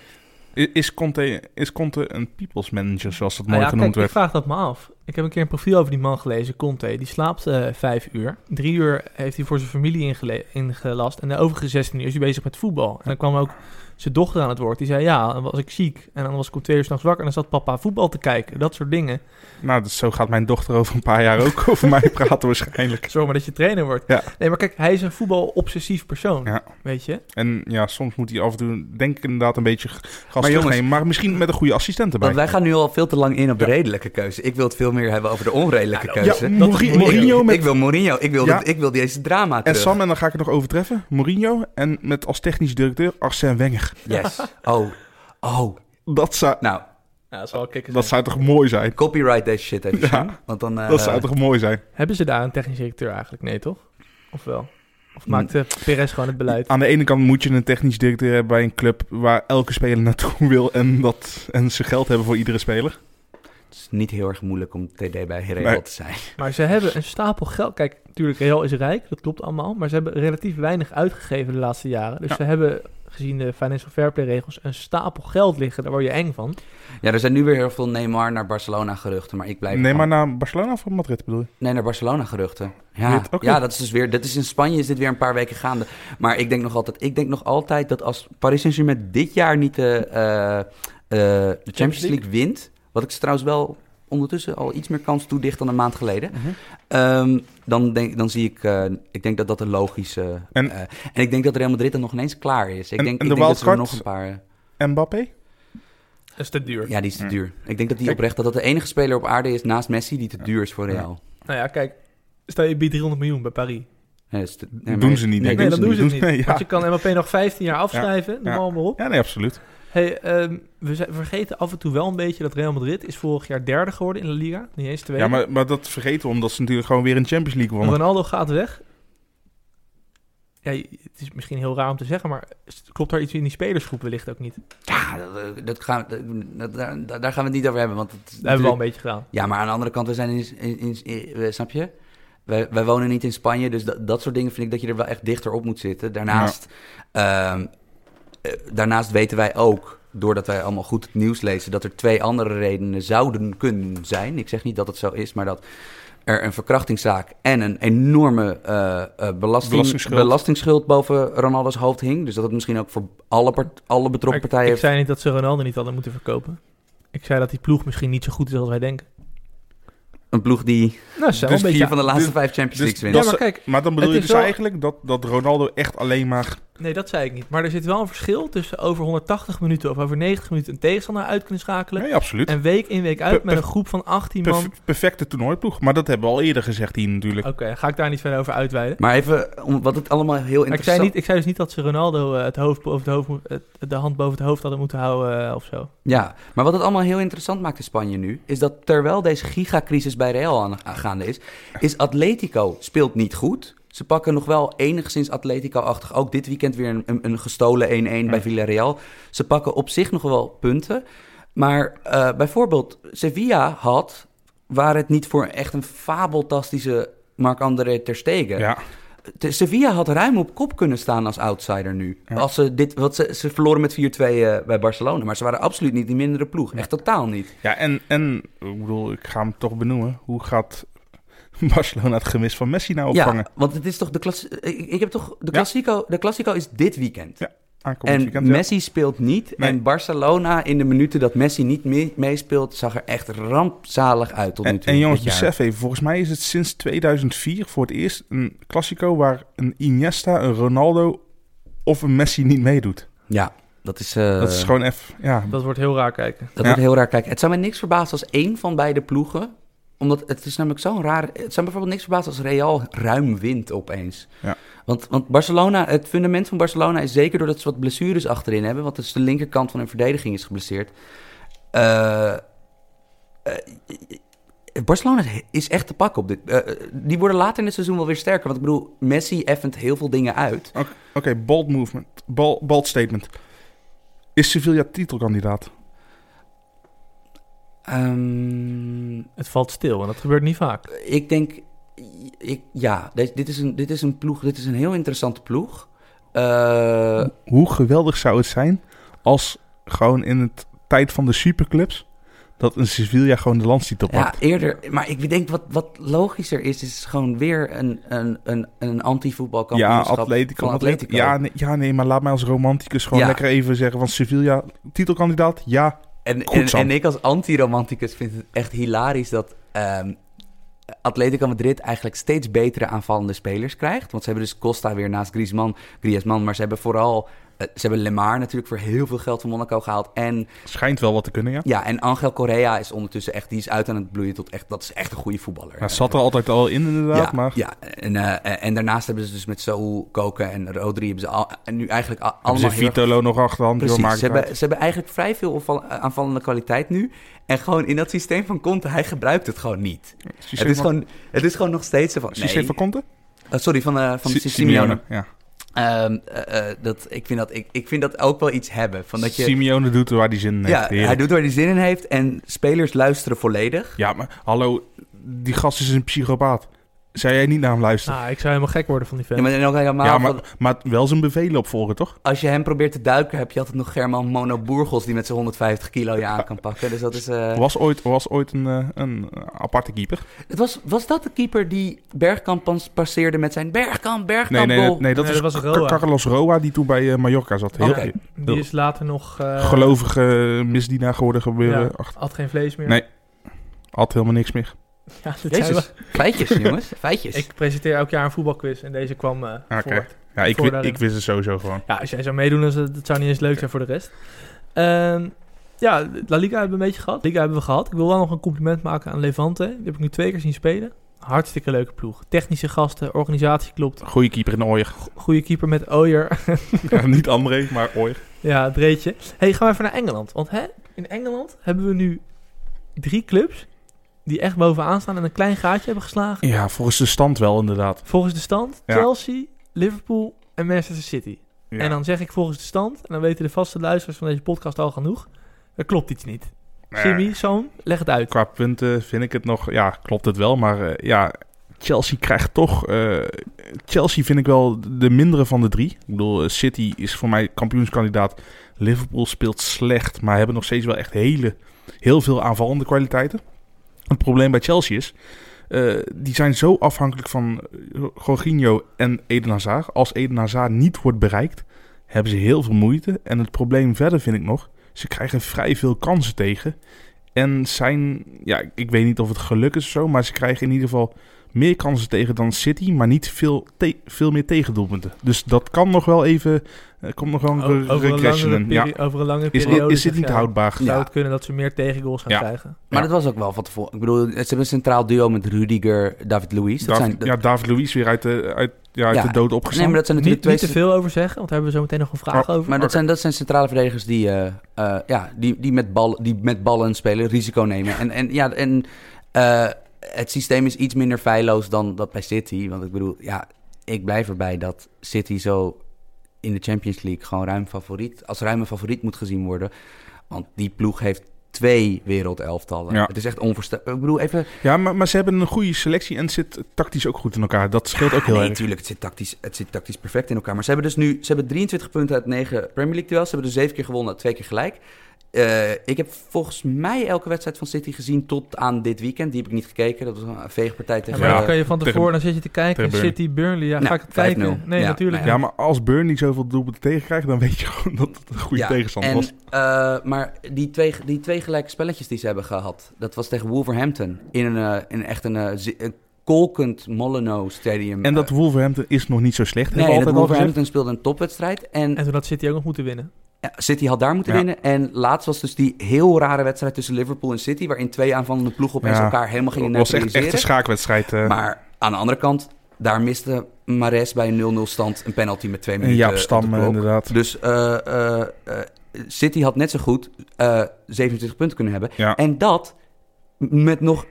S2: I- Is, Conte, is Conte een people's manager, zoals dat mooi
S1: nou ja,
S2: genoemd
S1: kijk, ik
S2: werd?
S1: vraag dat me af. Ik heb een keer een profiel over die man gelezen, Conte. Die slaapt eh, vijf uur. Drie uur heeft hij voor zijn familie ingele- ingelast. En de overige 16 uur is hij bezig met voetbal. En dan kwam ook zijn dochter aan het woord. Die zei, ja, dan was ik ziek. En dan was ik om twee uur s'nachts wakker. En dan zat papa voetbal te kijken. Dat soort dingen.
S2: Nou, dus zo gaat mijn dochter over een paar jaar ook over mij praten waarschijnlijk.
S1: Zorg maar dat je trainer wordt.
S2: Ja.
S1: Nee, maar kijk, hij is een voetbalobsessief persoon.
S2: Ja.
S1: Weet je?
S2: En ja, soms moet hij af en toe, denk ik inderdaad, een beetje gas
S3: jongens-
S2: terugnemen. Maar misschien met een goede assistent erbij.
S3: Want wij gaan nu al veel te lang in op de
S2: Ja.
S3: redelijke keuze. Ik wil het veel meer hebben over de onredelijke
S2: Ja,
S3: keuze.
S2: Mourinho- Mourinho met
S3: Ik wil Mourinho. Ik wil,
S2: Ja.
S3: dit- ik wil deze drama
S2: En
S1: Eh.
S3: terug.
S2: Sam, en dan ga ik het nog overtreffen, Mourinho. En met als technisch directeur Arsène Wenger.
S3: Yes. Oh. Oh.
S2: Dat zou,
S3: Nou,
S1: Ja, dat zal kicken
S2: dat zou toch mooi zijn?
S3: copyright deze shit even. Sam, Want dan... eh,
S2: Dat zou toch mooi zijn?
S1: Hebben ze daar een technisch directeur eigenlijk? Nee, toch? Of wel? Of maakt eh, Perez gewoon het beleid?
S2: Aan de ene kant moet je een technisch directeur hebben bij een club waar elke speler naartoe wil en, dat, en ze geld hebben voor iedere speler.
S3: Het is niet heel erg moeilijk om TD bij Real
S2: Nee.
S3: te zijn.
S1: Maar ze hebben een stapel geld. Kijk, natuurlijk, Real is rijk, dat klopt allemaal. Maar ze hebben relatief weinig uitgegeven de laatste jaren. Dus
S2: Ja.
S1: ze hebben, gezien de financial fair play regels, een stapel geld liggen. Daar word je eng van.
S3: Ja, er zijn nu weer heel veel Neymar naar Barcelona geruchten. Maar ik blijf...
S2: Nee, maar naar Barcelona of Madrid bedoel je?
S3: Nee, naar Barcelona geruchten.
S2: Weet
S3: Ja,
S2: het ook
S3: ja
S2: niet.
S3: dat is dus weer. Dat is in Spanje is dit weer een paar weken gaande. Maar ik denk nog altijd, ik denk nog altijd dat als Paris Saint-Germain dit jaar niet de, eh, eh, de Champions
S1: League?
S3: League wint, wat ik ze trouwens wel ondertussen al iets meer kans toedicht dan een maand geleden,
S2: Mhm.
S3: ehm, dan, denk, dan zie ik, eh, ik denk dat dat een logische.
S2: En-
S3: En, en ik denk dat Real Madrid dan nog ineens klaar is. Ik
S2: En-
S3: denk,
S2: en
S3: ik
S2: de
S3: denk dat ze er
S2: wildcard?
S3: nog een paar. eh,
S2: Mbappé?
S1: Dat is te duur.
S3: Ja, die is te
S2: Hm.
S3: duur. Ik denk dat die
S2: Kijk.
S3: oprecht dat dat de enige speler op aarde is naast Messi die te duur is voor
S2: Ja.
S3: Real.
S1: Nou ja, kijk, stel je biedt 300 miljoen bij Paris.
S3: Nee, dat is te- nee,
S2: doen
S3: maar-
S2: ze niet,
S3: nee,
S2: denk
S1: Nee,
S2: ik.
S1: dan
S2: dus doen
S1: doen
S2: ze
S1: ze het
S2: niet.
S1: niet.
S2: Nee, ja.
S1: Want je kan MLP nog 15 jaar afschrijven. Noem
S2: ja.
S1: allemaal op.
S2: Ja, nee, absoluut.
S1: Hey, ehm, we zijn- vergeten af en toe wel een beetje dat Real Madrid is vorig jaar derde geworden in de Liga. Niet eens tweede.
S2: Ja, maar, maar dat vergeten we omdat ze natuurlijk gewoon weer een Champions League wonnen.
S1: Ronaldo gaat weg. ja, het is misschien heel raar om te zeggen, maar klopt daar iets in die spelersgroep wellicht ook niet?
S3: Ja, dat, eh, dat gaan, we- dat, daar, daar gaan we het niet over hebben. Want het, is
S1: Dat hebben we wel een
S3: natuurlijk-
S1: beetje gedaan.
S3: Ja, maar aan de andere kant, we zijn in... in, in- in- eh, snap je? Wij, wij wonen niet in Spanje, dus dat, dat soort dingen vind ik dat je er wel echt dichter op moet zitten. Daarnaast, ehm, eh, daarnaast weten wij ook, doordat wij allemaal goed het nieuws lezen, dat er twee andere redenen zouden kunnen zijn. Ik zeg niet dat het zo is, maar dat er een verkrachtingszaak en een enorme eh, eh, belasting,
S2: Belastingsschuld.
S3: belastingsschuld boven Ronaldo's hoofd hing. Dus dat het misschien ook voor alle, part- alle
S1: Maar
S3: betrokken
S1: ik-
S3: partijen
S1: Ik zei niet dat ze Ronaldo niet hadden moeten verkopen. Ik zei dat die ploeg misschien niet zo goed is als wij denken.
S3: een ploeg die
S1: Nou, ze zijn wel een
S2: Dus
S1: beetje...
S3: vier van de laatste
S2: dus-
S3: vijf Champions
S2: dus
S3: Leagues wint.
S1: Ja,
S2: dat
S1: maar
S2: ze-
S1: kijk.
S2: Maar dan bedoel
S1: Het
S2: je
S1: is
S2: dus
S1: wel-
S2: eigenlijk dat, dat Ronaldo echt alleen maar...
S1: Nee, dat zei ik niet. Maar er zit wel een verschil tussen over 180 minuten of over 90 minuten een tegenstander uit kunnen schakelen.
S2: Nee, absoluut.
S1: En week in week uit
S2: Per-
S1: met
S2: per-
S1: een groep van 18 man.
S2: Perf- perfecte toernooiploeg. Maar dat hebben we al eerder gezegd hier natuurlijk.
S1: Oké, ga ik daar niet verder over uitweiden.
S3: Maar even, om, wat het allemaal heel
S1: Maar ik, zei
S3: interessant...
S1: niet, ik zei dus niet dat ze Ronaldo eh, het hoofd boven het hoofd, moet- het- de hand boven het hoofd hadden moeten houden eh, of zo.
S3: Ja, maar wat het allemaal heel interessant maakt in Spanje nu... is dat terwijl deze gigacrisis bij Real aan, aan- gaande is... is Atletico speelt niet goed. Ze pakken nog wel enigszins Atletico-achtig. Ook dit weekend weer een, een, een gestolen 1-1 bij Villarreal. Ze pakken op zich nog wel punten. Maar eh, bijvoorbeeld Sevilla had... waar het niet voor echt een fabeltastische Marc-André Ter Stegen...
S2: Ja.
S3: De Sevilla had ruim op kop kunnen staan als outsider nu.
S2: Ja.
S3: Als ze, dit, wat ze, ze verloren met 4-2 eh, bij Barcelona. Maar ze waren absoluut niet die mindere ploeg. Echt totaal niet.
S2: Ja, en, en ik bedoel, ik ga hem toch benoemen. Hoe gaat Barcelona het gemis van Messi nou opvangen?
S3: Ja, want het is toch de klassie- ik, ik heb toch de
S2: Ja.
S3: Classico. De Classico is dit weekend.
S2: Ja, aankomend
S3: en
S2: weekend. ja.
S3: Messi speelt niet.
S2: Nee.
S3: En Barcelona in de minuten dat Messi niet mee- meespeelt, zag er echt rampzalig uit tot nu
S2: En,
S3: toe.
S2: en jongens,
S3: dit jaar.
S2: besef even, volgens mij is het sinds 2004 voor het eerst een Classico waar een Iniesta, een Ronaldo of een Messi niet meedoet.
S3: Ja, dat is. eh,
S2: dat is gewoon even, ja,
S1: Dat wordt heel raar kijken.
S2: Ja.
S3: Dat wordt heel raar. Kijk, het zou mij niks verbazen als één van beide ploegen. Omdat het is namelijk zo'n raar. Het zou me bijvoorbeeld niks verbazen als Real ruim wint opeens.
S2: Ja.
S3: Want, want Barcelona, het fundament van Barcelona is zeker doordat ze wat blessures achterin hebben. Want dus de linkerkant van hun verdediging is geblesseerd. Eh, eh, Barcelona is he- is echt te pakken op dit. eh, eh, die worden later in het seizoen wel weer sterker. Want ik bedoel, Messi effent heel veel dingen uit.
S2: Oké, oké, bold movement, bal- bold statement. Is Sevilla titelkandidaat?
S3: Ehm,
S1: Het valt stil en dat gebeurt niet vaak.
S3: ik denk, ik, ja, dit, dit, is een, dit is een ploeg, dit is een heel interessante ploeg. Eh,
S2: Hoe geweldig zou het zijn als gewoon in het tijd van de superclubs dat een Sevilla gewoon de landstitel
S3: ja,
S2: pakt?
S3: eerder, maar ik denk wat, wat logischer is, is gewoon weer een, een, een, een
S2: Ja,
S3: anti-voetbalkampioenschap
S2: Atletico.
S3: van
S2: Madrid.
S3: Atletico.
S2: Ja nee, ja, nee, maar laat mij als romanticus gewoon
S3: Ja.
S2: lekker even zeggen van Sevilla, titelkandidaat, ja.
S3: en,
S2: goed,
S3: en,
S2: Sam.
S3: en ik als anti-romanticus vind het echt hilarisch dat ehm, Atletico Madrid eigenlijk steeds betere aanvallende spelers krijgt. Want ze hebben dus Costa weer naast Griezmann, Griezmann maar ze hebben vooral... eh, Ze hebben Lemar natuurlijk voor heel veel geld van Monaco gehaald. En
S2: Schijnt wel wat te kunnen, ja.
S3: Ja, en Angel Correa is ondertussen echt, die is uit aan het bloeien tot echt, dat is echt een goede voetballer.
S2: Nou, zat er altijd al in inderdaad,
S3: ja,
S2: maar
S3: ja en, eh, en daarnaast hebben ze dus met Saul, Koken en Rodri hebben ze al, en nu eigenlijk al-
S2: hebben
S3: allemaal
S2: ze
S3: heel erg-
S2: Vitolo nog achterhand. joh, maakt
S3: Precies, ze
S2: het
S3: hebben,
S2: uit.
S3: ze hebben eigenlijk vrij veel opval- eh, aanvallende kwaliteit nu. En gewoon in dat systeem van Conte, hij gebruikt het gewoon niet. Het
S2: Systeem
S3: is
S2: van-
S3: gewoon, het is gewoon nog steeds zo van...
S2: Systeem
S3: Nee,
S2: van Conte?
S3: Eh, sorry, van, eh van
S2: Si-
S3: Simeone.
S2: Ja.
S3: Ehm, eh, eh, dat, ik, vind dat, ik, ik vind dat ook wel iets hebben. Van dat je,
S2: Simeone doet er waar hij zin in heeft.
S3: ja, hij
S2: Heerlijk.
S3: doet waar hij zin in heeft en spelers luisteren volledig.
S2: Ja, maar hallo, die gast is een psychopaat. Zou jij niet naar hem luisteren?
S1: Ah, ik zou helemaal gek worden van die fan.
S3: Ja, Ah, maar dan ook helemaal.
S2: ja,
S3: van-
S2: maar, maar wel zijn bevelen opvolgen, toch?
S3: als je hem probeert te duiken, heb je altijd nog German Mono Burgos die met zijn 150 kilo je aan kan pakken. Dus dat is. eh,
S2: Was ooit, was ooit een, eh, een eh, aparte keeper.
S3: Het was, was dat de keeper die Bergkamp pas- passeerde met zijn Bergkamp,
S2: Nee,
S3: Bergkamp?
S2: nee, nee,
S3: goal?
S2: nee, dat
S1: Nee,
S2: is
S1: dat was
S2: Ca-
S1: Roa.
S2: Carlos Roa, die toen bij eh, Mallorca zat. Heel
S3: Oké.
S1: Die is later nog... eh,
S2: gelovige misdienaar geworden gebeuren.
S1: ja,
S2: Ach,
S1: had geen vlees meer.
S2: Nee. had helemaal niks meer.
S1: Ja, dit zijn
S3: Jezus. Feitjes, jongens. Feitjes.
S1: we. Ik presenteer elk jaar een voetbalquiz en deze kwam eh
S2: Oké.
S1: voort.
S2: Ja, ik, wi-
S1: Voordelen.
S2: ik wist het sowieso gewoon.
S1: Ja, als jij zou meedoen, dan zou- dat zou niet eens leuk zijn voor de rest. Ehm, ja, La Liga hebben we een beetje gehad. Liga hebben we gehad. Ik wil wel nog een compliment maken aan Levante. Die heb ik nu twee keer zien spelen. Hartstikke leuke ploeg. Technische gasten, organisatie klopt.
S2: Goeie keeper in Ooyer.
S1: Goede keeper met Oyer.
S2: Ja, niet André, maar Ooyer.
S1: Ja, het reetje. hey, gaan we even naar Engeland. Want hè, in Engeland hebben we nu drie clubs die echt bovenaan staan en een klein gaatje hebben geslagen.
S2: Ja, volgens de stand wel inderdaad.
S1: Volgens de stand,
S2: Ja.
S1: Chelsea, Liverpool en Manchester City.
S2: Ja.
S1: En dan zeg ik volgens de stand, en dan weten de vaste luisteraars van deze podcast al genoeg, er klopt iets niet.
S2: Nee,
S1: Jimmy, Sam, leg het uit.
S2: Qua punten vind ik het nog... Ja, klopt het wel. Maar eh, ja, Chelsea krijgt toch... eh, Chelsea vind ik wel de mindere van de drie. Ik bedoel, eh, City is voor mij kampioenskandidaat. Liverpool speelt slecht, maar hebben nog steeds wel echt hele, heel veel aanvallende kwaliteiten. Het probleem bij Chelsea is... eh, die zijn zo afhankelijk van eh, Jorginho en Eden Hazard. Als Eden Hazard niet wordt bereikt, hebben ze heel veel moeite. En het probleem verder vind ik nog... ze krijgen vrij veel kansen tegen. En zijn... Ja, ik weet niet of het geluk is of zo... maar ze krijgen in ieder geval meer kansen tegen dan City, maar niet veel, te- veel meer tegendoelpunten. Dus dat kan nog wel even, eh, komt nog wel een re-
S1: over, een
S2: regression
S1: langere
S2: in. Ja.
S1: peri- over een lange
S2: Is,
S1: periode.
S2: is dit
S1: zeg
S2: niet
S1: jij,
S2: houdbaar?
S1: Zou
S3: Ja.
S1: het kunnen dat ze meer tegengoals gaan
S2: Ja.
S1: krijgen?
S3: Maar
S2: Ja.
S3: dat was ook wel van tevoren. Ik bedoel, ze hebben een centraal duo met Rudiger, David Luiz. Dat
S2: David,
S3: zijn, dat-
S2: ja, David Luiz weer uit de, uit, ja, uit
S3: Ja.
S2: de dood
S3: nee,
S2: opgestaan.
S3: maar dat zijn
S1: Niet,
S3: natuurlijk
S1: niet te
S3: twee... Oh,
S1: veel over zeggen, want daar hebben we zo meteen nog een vraag over.
S3: Maar dat zijn, dat zijn centrale verdedigers die, eh, eh, ja, die, die, met bal, die met ballen spelen, risico nemen. En, en, ja, en eh, het systeem is iets minder feilloos dan dat bij City. Want ik bedoel, ja, ik blijf erbij dat City zo in de Champions League gewoon ruim favoriet, als ruime favoriet moet gezien worden. Want die ploeg heeft twee wereldelftallen.
S2: Ja.
S3: Het is echt onvoorstelbaar. Ik bedoel, even...
S2: Ja, maar, maar ze hebben een goede selectie en het zit tactisch ook goed in elkaar. Dat scheelt ook heel
S3: nee,
S2: erg.
S3: tuurlijk, het zit, tactisch, het zit tactisch perfect in elkaar. Maar ze hebben dus nu ze hebben 23 punten uit 9 Premier League duels. Ze hebben dus 7 keer gewonnen, 2 keer gelijk. Eh, ik heb volgens mij elke wedstrijd van City gezien tot aan dit weekend. Die heb ik niet gekeken. Dat was een veegpartij
S1: Ja,
S3: tegen...
S1: maar
S2: Ja.
S1: dan kan je van
S2: Tegen-
S1: tevoren, dan zit je te kijken,
S2: tegen Burnley.
S1: City, Burnley, ja,
S3: Nou,
S1: ga ik het
S3: 5-0.
S1: kijken? Nee,
S3: Ja,
S1: natuurlijk
S3: nou
S2: Ja,
S1: niet.
S2: maar als Burnley zoveel doelpunten tegenkrijgt, dan weet je gewoon dat het een goede
S3: Ja,
S2: tegenstander
S3: en,
S2: was.
S3: eh, maar die twee, die twee gelijke spelletjes die ze hebben gehad, dat was tegen Wolverhampton. In een, eh, in echt een, eh, zi- een kolkend Molyneux stadium.
S2: En dat
S3: Eh,
S2: Wolverhampton is nog niet zo slecht.
S3: Nee,
S2: hebben we
S3: dat
S2: altijd al gezegd.
S3: Wolverhampton speelde een topwedstrijd. En
S1: En toen had City ook nog moeten winnen.
S3: Ja, City had daar moeten
S2: Ja.
S3: winnen. En laatst was dus die heel rare wedstrijd tussen Liverpool en City... waarin twee aanvallende ploegen opeens
S2: Ja.
S3: elkaar helemaal gingen
S2: Het was echt, echt
S3: neutraliseren.
S2: een schaakwedstrijd. eh.
S3: Maar aan de andere kant, daar miste Mares bij een 0-0 stand... een penalty met twee
S2: en
S3: minuten
S2: Jaap
S3: op de
S2: Stam, eh,
S3: klok.
S2: inderdaad.
S3: Dus eh, eh, eh, City had net zo goed eh 27 punten kunnen hebben.
S2: Ja.
S3: En dat met nog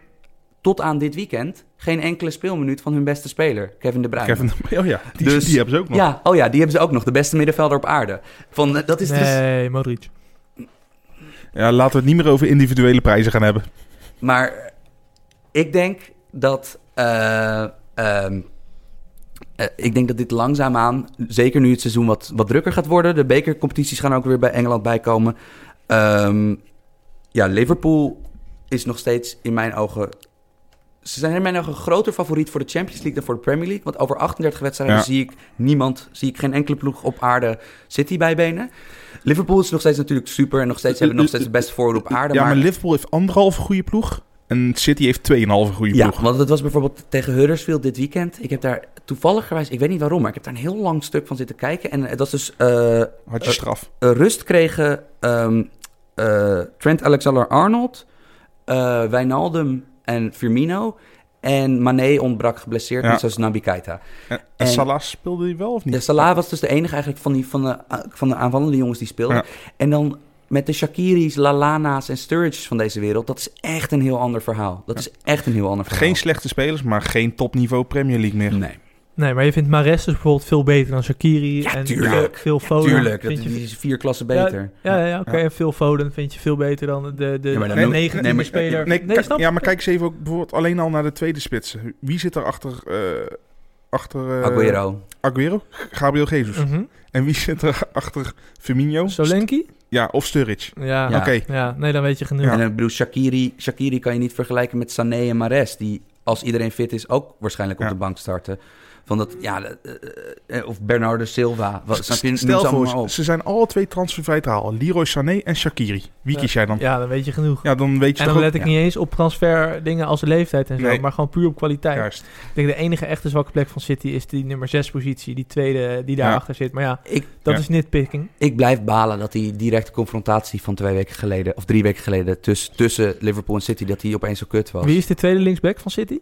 S3: tot aan dit weekend... geen enkele speelminuut van hun beste speler, Kevin De Bruyne.
S2: Kevin, oh ja, die,
S3: Dus-
S2: die hebben ze ook nog.
S3: Ja, oh ja, die hebben ze ook nog. De beste middenvelder op aarde. Van, eh, dat is dus...
S1: Nee, Modric.
S2: Ja, laten we het niet meer over individuele prijzen gaan hebben.
S3: Maar ik denk dat. eh, ehm, eh, ik denk dat dit langzaamaan, zeker nu het seizoen wat, wat drukker gaat worden. De bekercompetities gaan ook weer bij Engeland bijkomen. Ehm, ja, Liverpool is nog steeds in mijn ogen. Ze zijn in mijn ogen een groter favoriet voor de Champions League dan voor de Premier League. Want over 38 wedstrijden
S2: Ja.
S3: zie ik niemand, zie ik geen enkele ploeg op aarde City bijbenen. Liverpool is nog steeds natuurlijk super en nog steeds hebben nog steeds het beste voorhoede op aarde.
S2: Eh, ja, maar,
S3: maar
S2: Liverpool heeft anderhalve goede ploeg. En City heeft 2,5 goede
S3: Ja,
S2: ploeg.
S3: want het was bijvoorbeeld tegen Huddersfield dit weekend. Ik heb daar toevalligerwijs, ik weet niet waarom, maar ik heb daar een heel lang stuk van zitten kijken. En het was dus eh, eh,
S2: Had je straf.
S3: rust kregen ehm, eh, Trent Alexander-Arnold, eh, Wijnaldum en Firmino. En Mané ontbrak geblesseerd,
S2: Ja.
S3: net zoals Nabi Keita.
S2: En, en
S3: en-
S2: Salah speelde hij wel of niet?
S3: Ja, Salah was dus de enige eigenlijk van, die, van, de, eh, van de aanvallende jongens die speelden.
S2: Ja.
S3: En dan met de Shakiris, Lalana's en Sturridge's van deze wereld. Dat is echt een heel ander verhaal. Dat is echt een heel ander verhaal.
S2: Geen slechte spelers, maar geen topniveau Premier League meer.
S3: Nee.
S1: Nee, maar je vindt Mares dus bijvoorbeeld veel beter dan Shakiri.
S3: Ja,
S1: en
S3: tuurlijk.
S1: Veel Foden.
S3: Tuurlijk, dat,
S1: vind je,
S3: die is vier klassen
S1: Ja,
S3: beter.
S1: ja, ja, ja, oké.
S2: Ja.
S1: En veel Foden vind je veel beter dan de, de,
S3: Ja, maar dan
S1: de
S3: noem-
S1: negentiende
S3: nee, maar-
S1: speler.
S2: Nee, kijk-
S1: snap
S2: ja,
S1: ik.
S2: maar kijk eens even ook bijvoorbeeld alleen al naar de tweede spitsen. Wie zit er achter, eh, achter eh,
S3: Aguero. Mm.
S2: Aguero? Gabriel Jesus.
S1: Mhm.
S2: En wie zit er achter Firmino?
S1: Solanki?
S2: Ja, of Sturridge.
S1: Ja.
S3: Ja.
S1: Ja.
S2: Oké.
S1: nee, dan weet je genoeg.
S3: En dan, ik bedoel, Shakiri, Shakiri kan je niet vergelijken met Sané en Mares. Die, als iedereen fit is, ook waarschijnlijk op
S2: Ja.
S3: de bank starten. Van dat, ja, eh, eh, eh, of Bernardo Silva. Wat, snap je, noem
S2: Stel
S3: ze allemaal
S2: voor,
S3: maar op.
S2: ze zijn alle twee transfervrij te halen. Leroy Sané en Shakiri. Wie
S1: Ja.
S2: kies jij dan? Ja,
S1: Ja, dan weet je genoeg.
S2: dan weet je
S1: En
S2: toch
S1: dan
S2: ook-
S1: let ik
S3: ja.
S1: niet eens op transfer dingen als leeftijd en zo,
S2: Nee.
S1: maar gewoon puur op kwaliteit.
S2: Juist.
S1: Ik denk de enige echte zwakke plek van City is die nummer 6 positie, die tweede die daarachter achter zit. Maar ja,
S3: Ik,
S1: dat
S2: Ja.
S1: is nitpicking.
S3: ik blijf balen dat die directe confrontatie van twee weken geleden... of drie weken geleden tuss- tussen Liverpool en City... dat die opeens zo kut was.
S1: Wie is de tweede linksback van City?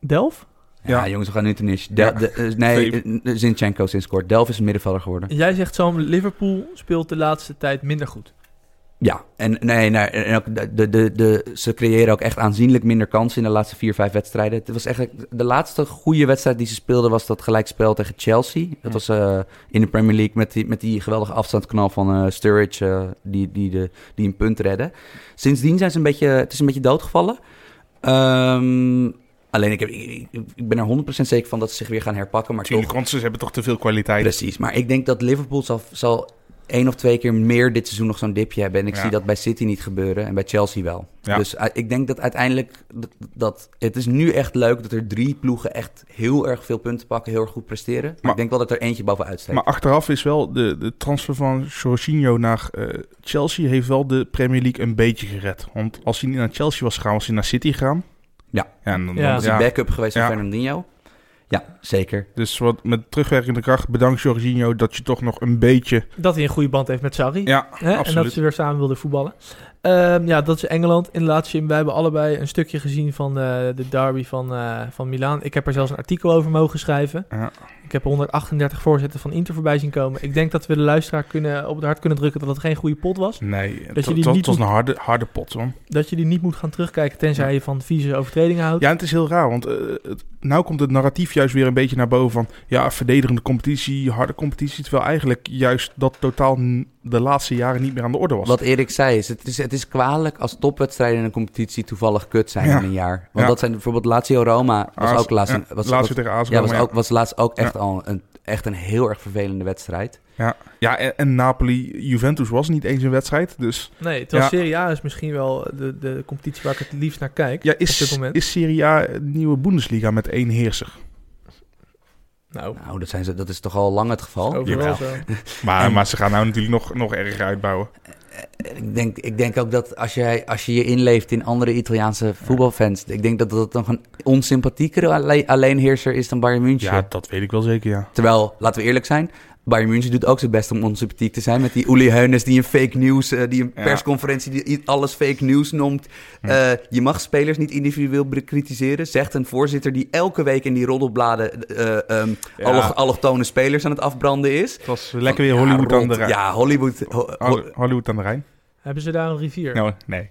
S1: Delf?
S3: Ja,
S2: Ja.
S3: jongens, we gaan nu te niche.
S2: Ja.
S3: Del- de- eh, nee,
S2: Twee-
S3: eh, Zinchenko sinds kort. Delft is een middenvelder geworden.
S1: Jij zegt Sam, Liverpool speelt de laatste tijd minder goed.
S3: Ja, en, nee, nee, en ook de, de, de, de- ze creëren ook echt aanzienlijk minder kansen in de laatste vier, vijf wedstrijden. Het was echt de laatste goede wedstrijd die ze speelden was dat gelijkspel tegen Chelsea. Dat was eh, in de Premier League met die, met die geweldige afstandsknal van eh, Sturridge eh, die, die, de, die een punt redde. Sindsdien zijn ze een beetje, het is een beetje doodgevallen. Ehm, alleen ik, heb, ik, ik- ik ben er 100% zeker van dat ze zich weer gaan herpakken. Maar toch,
S2: Natuurlijk, want ze hebben toch te veel kwaliteit.
S3: Precies, maar ik denk dat Liverpool zal, zal één of twee keer meer dit seizoen nog zo'n dipje hebben. En ik
S2: Ja.
S3: zie dat bij City niet gebeuren en bij Chelsea wel.
S2: Ja.
S3: Dus eh, ik denk dat uiteindelijk dat, dat... Het is nu echt leuk dat er drie ploegen echt heel erg veel punten pakken, heel erg goed presteren. Maar,
S2: Maar-
S3: ik denk wel dat er eentje bovenuit steekt.
S2: maar achteraf is wel de, de transfer van Jorginho naar eh, Chelsea heeft wel de Premier League een beetje gered. Want als hij niet naar Chelsea was gegaan, was hij naar City gegaan.
S3: Ja.
S2: en dan,
S1: Ja.
S2: dan-
S3: dat is een backup geweest van
S2: Ja.
S3: Fernandinho. Ja, zeker.
S2: Dus wat, met terugwerkende kracht, bedankt Jorginho dat je toch nog een beetje...
S1: Dat hij een goede band heeft met Sarri.
S2: Ja,
S1: Hè? En dat
S2: absoluut.
S1: ze weer samen wilden voetballen. Ehm, ja, dat is Engeland. In de laatste zin, wij hebben allebei een stukje gezien van eh, de derby van, eh, van Milaan. Ik heb er zelfs een artikel over mogen schrijven.
S2: Ja.
S1: Ik heb 138 voorzetten van Inter voorbij zien komen. Ik denk dat we de luisteraar kunnen, op het hart kunnen drukken dat het geen goede pot was.
S2: Nee, het,
S1: die
S2: het was,
S1: niet
S2: het was
S1: moet-
S2: een harde, harde pot, man.
S1: Dat je die niet moet gaan terugkijken tenzij
S2: Ja.
S1: je van vieze overtredingen houdt.
S2: Ja, en het is heel raar, want eh, het, nou komt het narratief juist weer een beetje naar boven van... ja, verdedigende competitie, harde competitie... terwijl eigenlijk juist dat totaal n- de laatste jaren niet meer aan de orde was.
S3: Wat Erik zei is het, is, het is kwalijk als topwedstrijden in een competitie toevallig kut zijn
S2: Ja.
S3: in een jaar. Want
S2: Ja.
S3: dat zijn bijvoorbeeld Lazio Roma was
S2: Aas-
S3: ook laatst,
S2: ja,
S3: was, was,
S2: laatst weer tegen AS
S3: ja, was,
S2: Roma, ja.
S3: ook, was laatst ook echt al een, echt een heel erg vervelende wedstrijd.
S2: Ja, en, en Napoli, Juventus was niet eens een wedstrijd, dus...
S1: Nee, terwijl
S2: Ja.
S1: Serie A is misschien wel de, de competitie waar ik het liefst naar kijk.
S2: Ja,
S1: op dit
S2: is,
S1: moment.
S2: is Serie A een nieuwe Bundesliga met één heerser?
S1: nou,
S3: Nou, dat, zijn ze, dat is toch al lang het geval.
S1: overal
S2: jawel.
S1: zo.
S2: Maar,
S3: En-
S2: maar ze gaan nou natuurlijk nog, nog erger uitbouwen.
S3: Ik denk, ik denk ook dat als je, als je je inleeft in andere Italiaanse voetbalfans... ik denk dat dat nog een onsympathiekere alle- alleenheerser is dan Bayern München.
S2: Ja, dat weet ik wel zeker, ja.
S3: Terwijl, laten we eerlijk zijn... Bayern München doet ook zijn best om onsympathiek te zijn... met die Uli Heunes die een fake news... eh, die een
S2: Ja. Hm.
S3: persconferentie die i- alles fake news noemt. Eh, je mag spelers niet individueel bekritiseren... zegt een voorzitter die elke week in die roddelbladen... eh ehm
S2: Ja.
S3: allo- allochtone spelers aan het afbranden is...
S2: Het was lekker weer Hollywood
S3: ja,
S2: aan de Rijn.
S3: Ja, Hollywood, ho- ho-
S2: Ho- Hollywood aan de Rijn?
S1: Hebben ze daar een rivier?
S2: Nou, nee.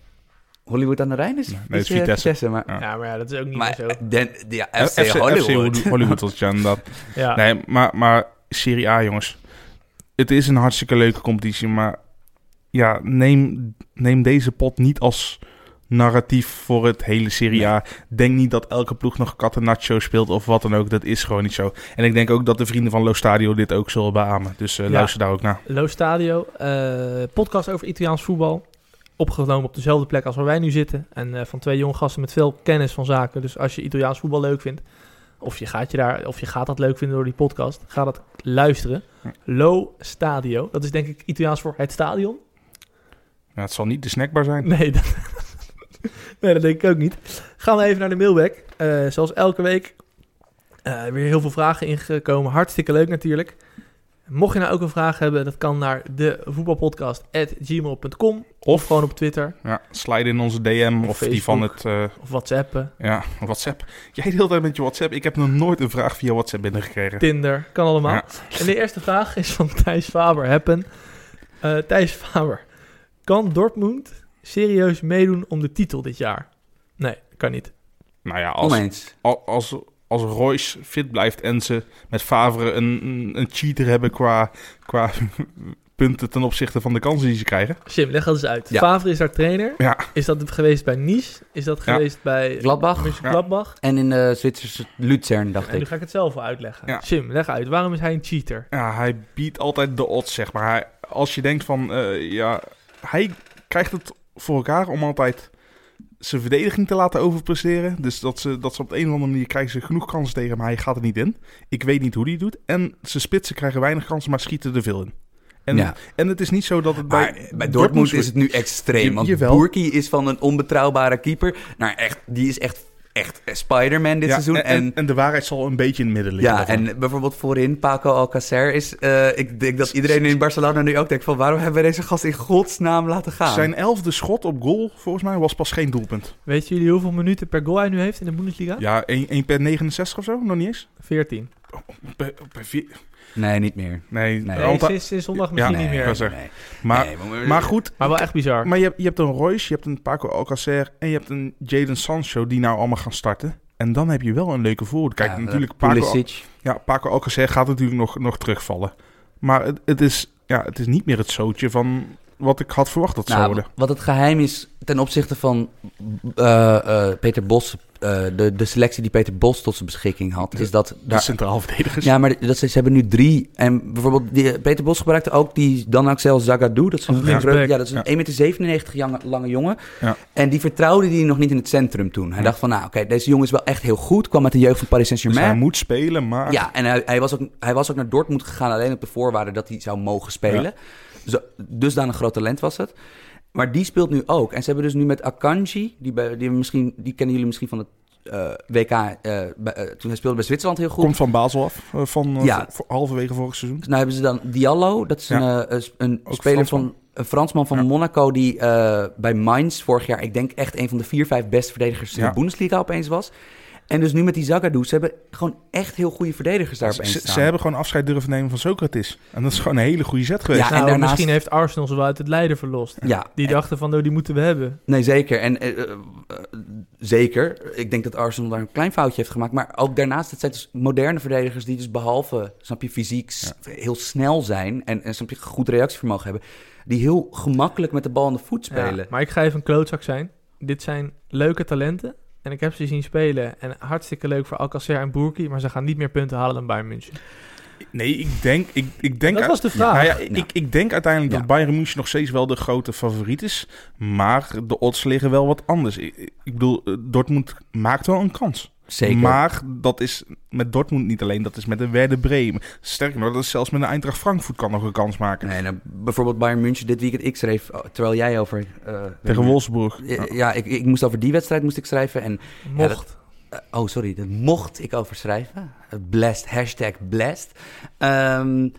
S3: Hollywood aan de Rijn is
S2: Nee,
S3: is,
S2: het is
S3: eh,
S2: Vitesse.
S3: maar,
S2: Ja.
S1: Ja, maar ja, dat is ook niet
S3: maar
S1: meer zo.
S3: Den, ja,
S2: Eh,
S3: FC, Hollywood.
S2: Hollywood was het, ja, inderdaad.
S1: Ja.
S2: Nee, maar, maar Serie A, jongens. Het is een hartstikke leuke competitie, maar ja, neem, neem deze pot niet als narratief voor het hele Serie A. Denk niet dat elke ploeg nog Catenaccio speelt of wat dan ook. Dat is gewoon niet zo. En ik denk ook dat de vrienden van Lo Stadio dit ook zullen beamen. Dus eh,
S1: Ja.
S2: luister daar ook naar.
S1: Lo Stadio, eh, podcast over Italiaans voetbal. Opgenomen op dezelfde plek als waar wij nu zitten. En eh, van twee jonge gasten met veel kennis van zaken. Dus als je Italiaans voetbal leuk vindt, of je gaat, je daar, of je gaat dat leuk vinden door die podcast, ga dat luisteren. Lo Stadio, dat is denk ik Italiaans voor het stadion.
S2: Ja, het zal niet de snackbar zijn.
S1: Nee, dat, nee, dat denk ik ook niet. Gaan we even naar de mailback. Eh, zoals elke week eh, weer heel veel vragen ingekomen. Hartstikke leuk natuurlijk. Mocht je nou ook een vraag hebben, dat kan naar de voetbalpodcast@gmail.com of gewoon op Twitter
S2: Ja, slide in onze DM of die van
S1: Facebook.
S2: het eh,
S1: of WhatsAppen,
S2: ja, WhatsApp. Jij deelt altijd met je WhatsApp. Ik heb nog nooit een vraag via WhatsApp binnengekregen.
S1: Tinder, kan allemaal.
S2: Ja.
S1: En de eerste vraag is van Thijs Faber Happen. Eh, Thijs Faber, kan Dortmund serieus meedoen om de titel dit jaar? Nee, kan niet.
S2: Nou ja, als,
S3: Oneens.
S2: al- als, als Royce fit blijft en ze met Favre een, een- een cheater hebben qua, qua punten ten opzichte van de kansen die ze krijgen.
S1: Sim, leg dat eens uit.
S3: Ja.
S1: Favre is daar trainer.
S2: Ja.
S1: Is dat geweest bij Nice? Is dat
S2: Ja.
S1: geweest bij
S3: Gladbach
S1: München
S2: Ja.
S1: Gladbach?
S3: en in de Zwitserse Luzern, dacht
S1: En nu
S3: ik.
S1: ga ik het zelf wel uitleggen.
S2: Ja.
S1: Sim, leg uit. Waarom is hij een cheater?
S2: Ja, hij biedt altijd de odds, zeg maar. Hij- als je denkt van, eh, ja, hij krijgt het voor elkaar om altijd zijn verdediging te laten overpresteren. Dus dat ze, dat ze op de een of andere manier krijgen ze genoeg kansen tegen hem, maar hij gaat er niet in. Ik weet niet hoe hij het doet. En zijn spitsen krijgen weinig kansen, maar schieten er veel in. En,
S3: Ja.
S2: en het is niet zo dat het bij,
S3: Maar bij Dortmund is het nu
S2: Je-
S3: extreem. Want
S2: jawel.
S3: Burki is van een onbetrouwbare keeper naar echt... Die is echt, echt Spider-Man dit
S2: Ja,
S3: seizoen.
S2: En, en,
S3: En,
S2: en de waarheid zal een beetje in het midden liggen.
S3: ja,
S2: daarvan.
S3: en bijvoorbeeld voorin Paco Alcacer is... eh, ik denk dat iedereen in Barcelona nu ook denkt van... Waarom hebben we deze gast in godsnaam laten gaan?
S2: Zijn elfde schot op goal, volgens mij, was pas geen doelpunt.
S1: Weet jullie hoeveel minuten per goal hij nu heeft in de Bundesliga?
S2: Ja, 1 per 69 of zo, nog niet eens.
S1: 14.
S2: Bij, bij vier-
S3: Nee, niet meer.
S2: nee,
S3: Nee.
S1: Nee,
S2: Alta-
S1: sinds, sinds zondag misschien
S2: Ja,
S3: nee,
S1: niet meer.
S2: ik was er.
S3: Nee.
S2: maar,
S3: Nee,
S2: maar goed,
S1: Maar wel echt bizar.
S2: maar je, hebt- je hebt een Royce, je hebt een Paco Alcacer en je hebt een Jaden Sancho die nou allemaal gaan starten. En dan heb je wel een leuke voorhoede. Kijk,
S3: Ja, eh,
S2: natuurlijk Paco,
S3: Pulisic.
S2: Ja, Paco Alcacer gaat natuurlijk nog, nog terugvallen. Maar het, het is, ja, het is niet meer het zootje van wat ik had verwacht dat het zou
S3: Nou,
S2: worden.
S3: wat het geheim is ten opzichte van eh, eh, Peter Bos, eh, de, de selectie die Peter Bos tot zijn beschikking had, is dat
S2: De
S3: daar
S2: centraal verdedigers.
S3: Ja, maar dat, ze ze hebben nu drie. En bijvoorbeeld die, eh, Peter Bos gebruikte ook die Dan Axel Zagadou. Dat is
S1: Als
S3: een,
S1: linksback.
S3: grote- ja, dat is
S2: Ja.
S3: een 1,97 meter jange- lange jongen.
S2: Ja.
S3: En die vertrouwde die nog niet in het centrum toen. Hij
S2: Ja.
S3: dacht van, nou oké, deze jongen is wel echt heel goed. Kwam uit de jeugd van Paris
S2: Dus hij
S3: Saint-Germain.
S2: moet spelen, maar...
S3: ja, en hij, hij, was ook, hij was ook naar Dortmund gegaan alleen op de voorwaarde dat hij zou mogen spelen. Zo, dus dan een groot talent was het. Maar die speelt nu ook. En ze hebben dus nu met Akanji, die, bij, die, misschien, die kennen jullie misschien van het eh, WK, eh, bij- eh, toen hij speelde bij Zwitserland heel goed.
S2: Komt van Basel af, eh, van eh,
S3: Ja.
S2: voor- halverwege vorig seizoen.
S3: Nou hebben ze dan Diallo, dat is een, eh, een- een
S2: Ook
S3: speler
S2: Fransman.
S3: van een Fransman van
S2: Ja.
S3: Monaco die eh, bij Mainz vorig jaar, ik denk echt een van de vier, vijf beste verdedigers in
S2: Ja.
S3: de Bundesliga opeens was. En dus nu met die Zagadou, ze hebben gewoon echt heel goede verdedigers daar
S2: Ze,
S3: opeens staan.
S2: ze hebben gewoon afscheid durven nemen van Socrates. En dat is gewoon een hele goede zet geweest.
S3: Ja,
S1: Nou,
S3: en daarnaast-
S1: Misschien heeft Arsenal ze wel uit het lijden verlost.
S3: Ja,
S1: Die
S3: eh,
S1: dachten van, oh, die moeten we hebben.
S3: nee zeker. En eh, eh, eh, zeker, ik denk dat Arsenal daar een klein foutje heeft gemaakt. Maar ook daarnaast, het zijn dus moderne verdedigers die dus behalve, snap je, fysiek s- heel snel zijn en, en snap je, goed reactievermogen hebben. Die heel gemakkelijk met de bal aan de voet spelen.
S1: Ja, maar ik ga even een klootzak zijn. Dit zijn leuke talenten. En ik heb ze zien spelen. En hartstikke leuk voor Alcacer en Boerki. Maar ze gaan niet meer punten halen dan Bayern München.
S2: Nee, ik denk... Ik, ik denk
S1: dat was de vraag.
S2: Nou ja,
S3: Ja.
S2: ik, ik denk uiteindelijk
S3: Ja.
S2: dat Bayern München nog steeds wel de grote favoriet is. Maar de odds liggen wel wat anders. Ik, ik bedoel, eh, Dortmund maakt wel een kans.
S3: Zeker.
S2: Maar dat is met Dortmund niet alleen, dat is met een Werder Bremen. Sterker nog, dat is zelfs met een Eintracht Frankfurt kan nog een kans maken.
S3: Nee, nou, bijvoorbeeld Bayern München dit weekend. Ik schreef, oh, terwijl jij over... eh,
S2: Tegen Wolfsburg.
S3: Ja, ja, ik, ik moest over die wedstrijd moest ik schrijven. En,
S1: Mocht.
S3: eh, oh, sorry, dat mocht ik over schrijven. Blessed, hashtag blessed. Ehm,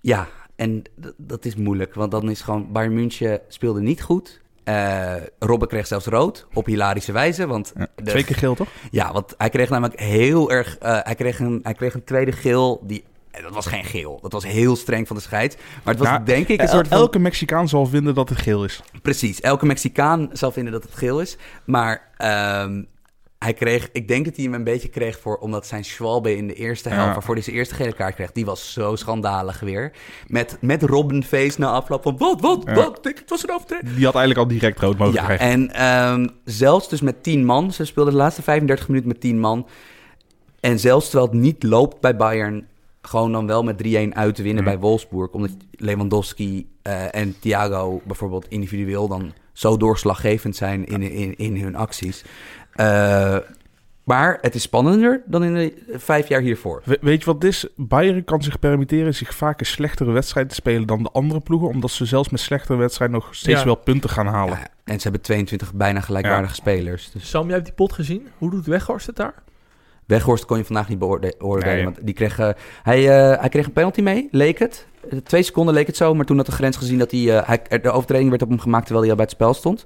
S3: ja, en d- dat is moeilijk. Want dan is gewoon, Bayern München speelde niet goed. Eh Robben kreeg zelfs rood, op hilarische wijze. Want
S2: Ja,
S3: de-
S2: Twee keer geel, toch?
S3: ja, want hij kreeg namelijk heel erg. eh, hij, kreeg een, hij kreeg een tweede geel. Die, eh, dat was geen geel. Dat was heel streng van de scheids. Maar het was
S2: Nou,
S3: denk ik een
S2: El-
S3: soort van...
S2: Elke Mexicaan zal vinden dat het geel is.
S3: Precies, elke Mexicaan zal vinden dat het geel is. Maar ehm, hij kreeg, ik denk dat hij hem een beetje kreeg voor, omdat zijn Schwalbe in de eerste helft,
S2: Ja.
S3: waarvoor hij zijn eerste gele kaart kreeg, die was zo schandalig weer. Met, met Robbenface na afloop van, wat, wat,
S2: Ja.
S3: wat, Ik- het was een overtreding.
S2: Die had eigenlijk al direct rood mogen
S3: Ja,
S2: krijgen.
S3: en ehm, zelfs dus met 10 man. Ze speelden de laatste 35 minuten met 10 man. En zelfs terwijl het niet loopt bij Bayern... gewoon dan wel met 3-1 uit te winnen
S2: Mm.
S3: bij Wolfsburg. Omdat Lewandowski eh, en Thiago bijvoorbeeld individueel... dan zo doorslaggevend zijn in, in, in hun acties. Eh, maar het is spannender dan in de vijf jaar hiervoor.
S2: We- weet je wat het is? Bayern kan zich permitteren zich vaak een slechtere wedstrijd te spelen dan de andere ploegen. Omdat ze zelfs met slechtere wedstrijden nog steeds
S1: Ja.
S2: wel punten gaan halen.
S3: Ja, en ze hebben 22 bijna gelijkwaardige spelers. Dus
S1: Sam, jij hebt die pot gezien. Hoe doet Weghorst het daar?
S3: Weghorst kon je vandaag niet beoorde- beoordelen.
S2: Nee.
S3: Want die kreeg, eh, hij, eh, hij kreeg een penalty mee, leek het. Eh, Twee seconden leek het zo, maar toen had de grens gezien dat hij, eh, hij- er- de overtreding werd op hem gemaakt terwijl hij al bij het spel stond.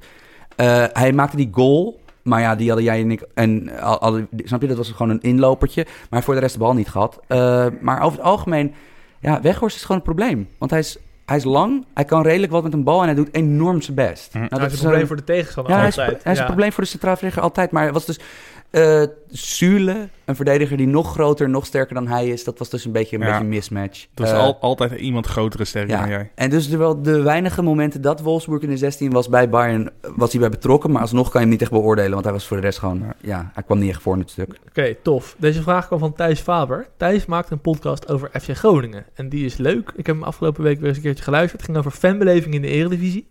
S3: Eh, hij maakte die goal, maar ja, die hadden jij en ik. En, eh, al- al- snap je, dat was gewoon een inlopertje. Maar hij heeft voor de rest de bal niet gehad. Eh, maar over het algemeen, ja, Weghorst is gewoon een probleem. Want hij is, hij is lang, hij kan redelijk wat met een bal en hij doet enorm zijn best.
S2: Hm.
S1: Nou, dat is een
S3: eh,
S1: probleem voor de tegenstander
S3: Ja, hij is,
S1: altijd.
S3: hij is
S1: Ja.
S3: een probleem voor de centraal verdediger altijd. Maar het was dus eh Zule, een verdediger die nog groter, nog sterker dan hij is. Dat was dus een beetje een,
S2: Ja.
S3: beetje een mismatch.
S2: Dat is
S3: Eh,
S2: al, altijd iemand grotere sterker
S3: ja.
S2: dan jij.
S3: En dus terwijl de weinige momenten dat Wolfsburg in de 16 was bij Bayern, eh, was hij bij betrokken. Maar alsnog kan je hem niet echt beoordelen, want hij was voor de rest gewoon... Ja,
S2: Ja.
S3: hij kwam niet echt voor in het stuk.
S1: Oké, tof. Deze vraag kwam van Thijs Faber. Thijs maakt een podcast over FC Groningen. En die is leuk. Ik heb hem afgelopen week weer eens een keertje geluisterd. Het ging over fanbeleving in de eredivisie.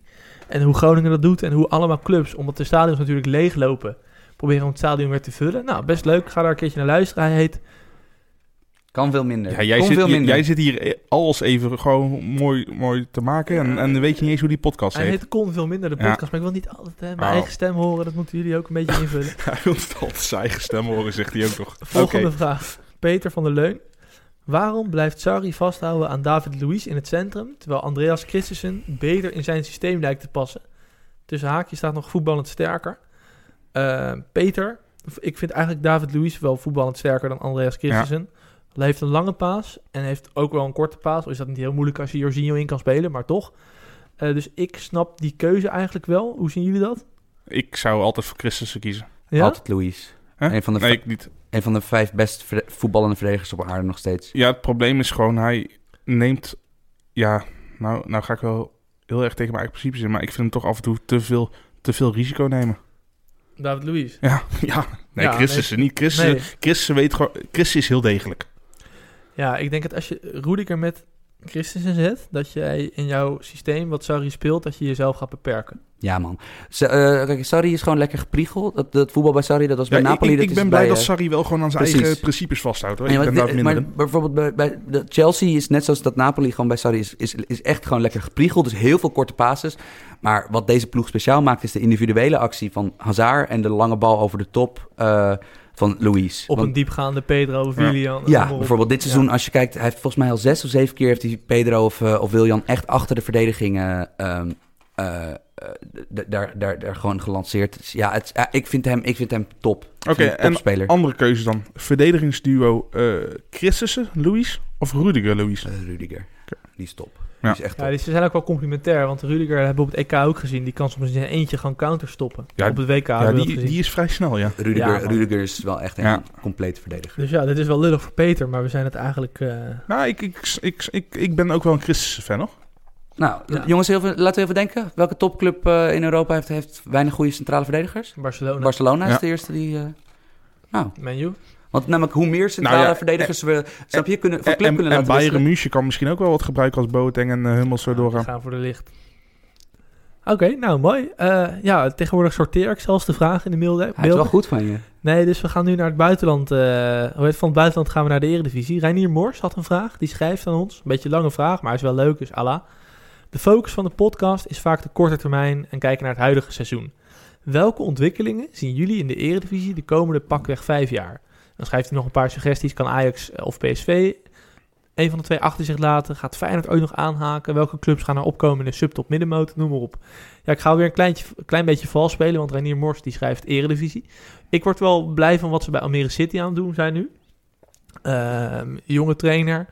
S1: En hoe Groningen dat doet. En hoe allemaal clubs, omdat de stadions natuurlijk leeglopen, proberen om het stadion weer te vullen. Nou, best leuk. Ga daar een keertje naar luisteren. Hij heet...
S3: Kan veel minder.
S2: Ja, jij,
S3: Kon
S2: zit,
S3: veel
S2: hier-
S3: minder.
S2: jij zit hier e- alles even gewoon mooi, mooi te maken. En, en weet je niet eens hoe die podcast
S1: Hij
S2: heet.
S1: heet Kon Veel Minder, de
S2: Ja.
S1: podcast. Maar ik wil niet altijd hè, mijn
S3: Nou.
S2: Oh.
S1: eigen stem horen. Dat moeten jullie ook een beetje invullen.
S2: Hij wil het altijd zijn eigen stem horen, zegt hij ook nog.
S1: Volgende vraag. Peter van der Leun. Waarom blijft Sarri vasthouden aan David Luiz in het centrum, terwijl Andreas Christensen beter in zijn systeem lijkt te passen? Tussen haakjes staat nog voetballend sterker. Eh, Peter, v- ik vind eigenlijk David Luiz wel voetballend sterker dan Andreas Christensen. Hij heeft een lange paas en heeft ook wel een korte paas. Al Is dat niet heel moeilijk als je Jorginho in kan spelen, maar toch. Eh, dus ik snap die keuze eigenlijk wel. Hoe zien jullie dat?
S2: Ik zou altijd voor Christensen kiezen.
S1: Ja?
S3: Altijd Louis.
S2: Hè?
S3: Een van de
S2: nee,
S3: fa-
S2: ik niet.
S3: Een van de vijf best verde- voetballende verdedigers op aarde nog steeds.
S2: Ja, het probleem is gewoon, hij neemt... Ja, nou, nou ga ik wel heel erg tegen mijn eigen principes in, maar ik vind hem toch af en toe te veel, te veel risico nemen.
S1: David Luiz.
S2: Ja, ja. Nee,
S1: Ja,
S2: Christensen niet. Christensen,
S1: Nee.
S2: Christensen weet gewoon... Christensen is heel degelijk.
S3: Dus
S1: Ja, ik denk dat als je Rudiger met Christensen zet, dat jij in jouw systeem, wat Sarri speelt, dat je jezelf gaat beperken.
S3: Ja, man. Z- eh, kijk, Sarri is gewoon lekker gepriegeld. Dat, dat voetbal bij Sarri, dat was bij
S2: Ja, ik-
S3: Napoli.
S2: ik,
S3: dat
S2: ik
S3: is
S2: ben
S3: bij,
S2: blij dat
S3: eh,
S2: Sarri wel gewoon aan zijn
S3: precies.
S2: eigen principes vasthoudt. Hoor.
S3: nee,
S2: ik
S3: maar
S2: ben
S3: dit-
S2: daar minder
S3: maar
S2: in.
S3: bijvoorbeeld bij, bij de Chelsea is net zoals dat Napoli gewoon bij Sarri is, is, is echt gewoon lekker gepriegeld. Dus heel veel korte passes. Maar wat deze ploeg speciaal maakt is de individuele actie van Hazard en de lange bal over de top eh, van Louis.
S1: Op
S3: Want-
S1: een diepgaande Pedro of
S2: Ja.
S1: Willian.
S3: Ja, bijvoorbeeld dit seizoen, als je kijkt, hij heeft volgens mij al zes of zeven keer heeft hij Pedro of, eh, of Wiljan echt achter de verdediging eh, ehm, eh, eh, d- daar, daar, daar gewoon gelanceerd. Dus ja, het, ja, ik, vind hem, ik vind hem top. Ik vind
S2: Oké,
S3: hem
S2: en
S3: topspeler.
S2: Andere keuze dan. Verdedigingsduo eh Christensen, Louis of Rudiger, Louis.
S3: Eh, Rudiger, die is top.
S2: Ja.
S3: Die is echt top.
S1: Ja, die- ze zijn ook wel complimentair, want Rudiger hebben we op het EK ook gezien. Die kan soms in zijn eentje gaan counterstoppen.
S2: Ja,
S1: op het WK
S2: Ja,
S1: hebben we
S2: die,
S1: dat gezien.
S2: die is vrij snel, ja.
S3: Rudiger,
S1: Ja, man.
S3: Rudiger is wel echt een
S2: Ja.
S3: complete verdediger.
S1: Dus ja, dit is wel lullig voor Peter, maar we zijn het eigenlijk... eh,
S2: Nou, ik, ik, ik, ik, ik ben ook wel een Christensen fan, hoor.
S3: Nou,
S1: Ja.
S3: jongens, heel veel, laten we even denken. Welke topclub eh, in Europa heeft, heeft weinig goede centrale verdedigers?
S1: Barcelona,
S3: Barcelona
S2: Ja.
S3: is de eerste die... eh, nou,
S1: Menu.
S3: want namelijk hoe meer centrale
S2: Nou ja,
S3: verdedigers we snap je, kunnen, van
S2: En,
S3: club
S2: en,
S3: kunnen
S2: en
S3: laten
S2: Bayern
S3: wisselen.
S2: München kan misschien ook wel wat gebruiken als Boateng en eh, Hummels zo doorgaan.
S1: gaan voor de licht. Oké, nou mooi. Eh, ja, tegenwoordig sorteer ik zelfs de vragen in de mail.
S3: Hij is wel goed van je.
S1: Nee, dus we gaan nu naar het buitenland. eh, hoe heet het, van het buitenland gaan we naar de Eredivisie. Reinier Mors had een vraag, die schrijft aan ons. Een beetje lange vraag, maar hij is wel leuk, dus ala. De focus van de podcast is vaak de korte termijn en kijken naar het huidige seizoen. Welke ontwikkelingen zien jullie in de Eredivisie de komende pakweg vijf jaar? Dan schrijft hij nog een paar suggesties. Kan Ajax eh, of PSV een van de twee achter zich laten? Gaat Feyenoord ooit nog aanhaken? Welke clubs gaan er opkomen in de subtop middenmoot? Noem maar op. Ja, ik ga weer een kleintje, klein beetje vals spelen, want Reinier Mors die schrijft Eredivisie. Ik word wel blij van wat ze bij Almere City aan het doen zijn nu. Ehm, jonge trainer.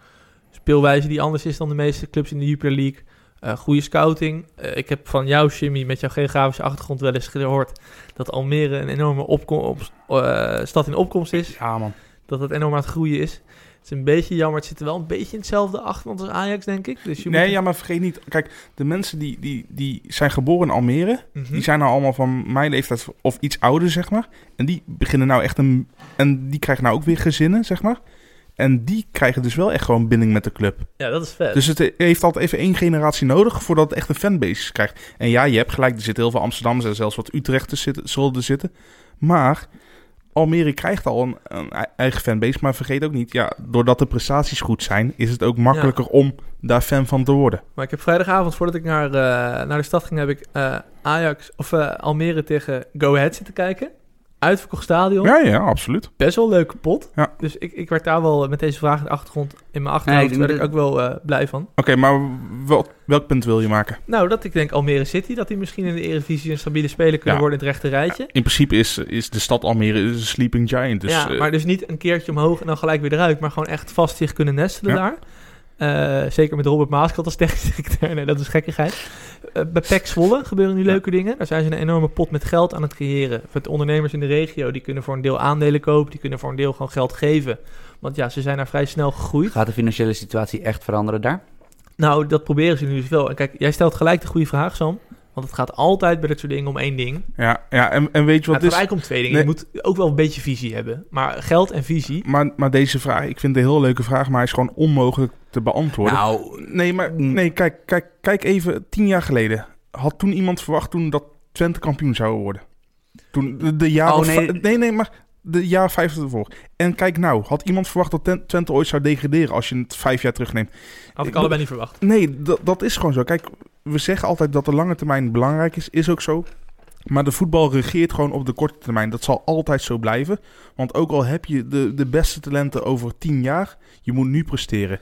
S1: Speelwijze die anders is dan de meeste clubs in de Jupiler League. Eh, goede scouting. Eh, ik heb van jou, Jimmy, met jouw geografische achtergrond wel eens gehoord... dat Almere een enorme opko- op, eh, stad in opkomst is.
S2: Ja, man.
S1: Dat het enorm aan het groeien is. Het is een beetje jammer. Het zit er wel een beetje in hetzelfde achtergrond als Ajax, denk ik. Dus je
S2: Nee,
S1: moet...
S2: ja, maar vergeet niet. Kijk, de mensen die, die, die zijn geboren in Almere,
S1: Mhm.
S2: die zijn nou allemaal van mijn leeftijd of iets ouder, zeg maar. En die beginnen nou echt een... En die krijgen nou ook weer gezinnen, zeg maar. En die krijgen dus wel echt gewoon binding met de club.
S1: ja, dat is vet.
S2: Dus het heeft altijd even één generatie nodig voordat het echt een fanbase krijgt. En ja, je hebt gelijk, er zitten heel veel Amsterdammers en zelfs wat Utrechters zitten, zullen er zitten. Maar Almere krijgt al een, een ei- eigen fanbase. Maar vergeet ook niet, ja, doordat de prestaties goed zijn, is het ook makkelijker om daar fan van te worden.
S1: Maar ik heb vrijdagavond, voordat ik naar, eh, naar de stad ging, heb ik eh, Ajax of eh, Almere tegen Go Ahead zitten kijken. Uitverkocht stadion.
S2: Ja, ja, absoluut.
S1: Best wel een leuke pot.
S2: Ja.
S1: Dus ik, ik werd daar wel eh, met deze vraag in de achtergrond, in mijn achterhoofd,
S3: Nee, ik
S1: werd
S3: denk
S1: ik ook wel eh, blij van.
S2: Oké, maar wat, welk punt wil je maken?
S1: Nou, dat ik denk Almere City, dat die misschien in de Eredivisie een stabiele speler kunnen
S2: Ja.
S1: worden in het rechte rijtje.
S2: In principe is, is de stad Almere een sleeping giant. Dus,
S1: ja,
S2: eh,
S1: maar dus niet een keertje omhoog en dan gelijk weer eruit, maar gewoon echt vast zich kunnen nestelen
S2: Ja.
S1: daar. Eh, zeker met Robert Maaskant als technisch directeur. Nee, dat is gekkigheid. Eh, bij PEC Zwolle gebeuren nu leuke dingen. Daar zijn ze een enorme pot met geld aan het creëren. Met ondernemers in de regio, die kunnen voor een deel aandelen kopen. Die kunnen voor een deel gewoon geld geven. Want ja, ze zijn daar vrij snel gegroeid.
S3: Gaat de financiële situatie echt veranderen daar?
S1: Nou, dat proberen ze nu dus wel. En kijk, jij stelt gelijk de goede vraag, Sam. Want het gaat altijd bij dit soort dingen om één ding.
S2: ja, ja en, en weet je
S1: Nou, het gaat
S2: wat is?
S1: eigenlijk om twee dingen.
S2: Nee.
S1: Je moet ook wel een beetje visie hebben. Maar geld en visie...
S2: Maar, maar deze vraag, ik vind het een heel leuke vraag, maar hij is gewoon onmogelijk te beantwoorden.
S3: Nou,
S2: Nee, maar
S3: Mm.
S2: nee, kijk, kijk, kijk even tien jaar geleden. Had toen iemand verwacht toen dat Twente kampioen zou worden? Toen de, de jaren...
S3: Oh, nee.
S2: va- nee, nee, maar de jaren vijf ervoor. En kijk nou, had iemand verwacht dat Ten- Twente ooit zou degraderen als je het vijf jaar terugneemt?
S1: Had ik
S2: Ik-
S1: allebei niet verwacht.
S2: Nee, dat, dat is gewoon zo. Kijk, we zeggen altijd dat de lange termijn belangrijk is. Is ook zo. Maar de voetbal regeert gewoon op de korte termijn. Dat zal altijd zo blijven. Want ook al heb je de, de beste talenten over tien jaar, je moet nu presteren.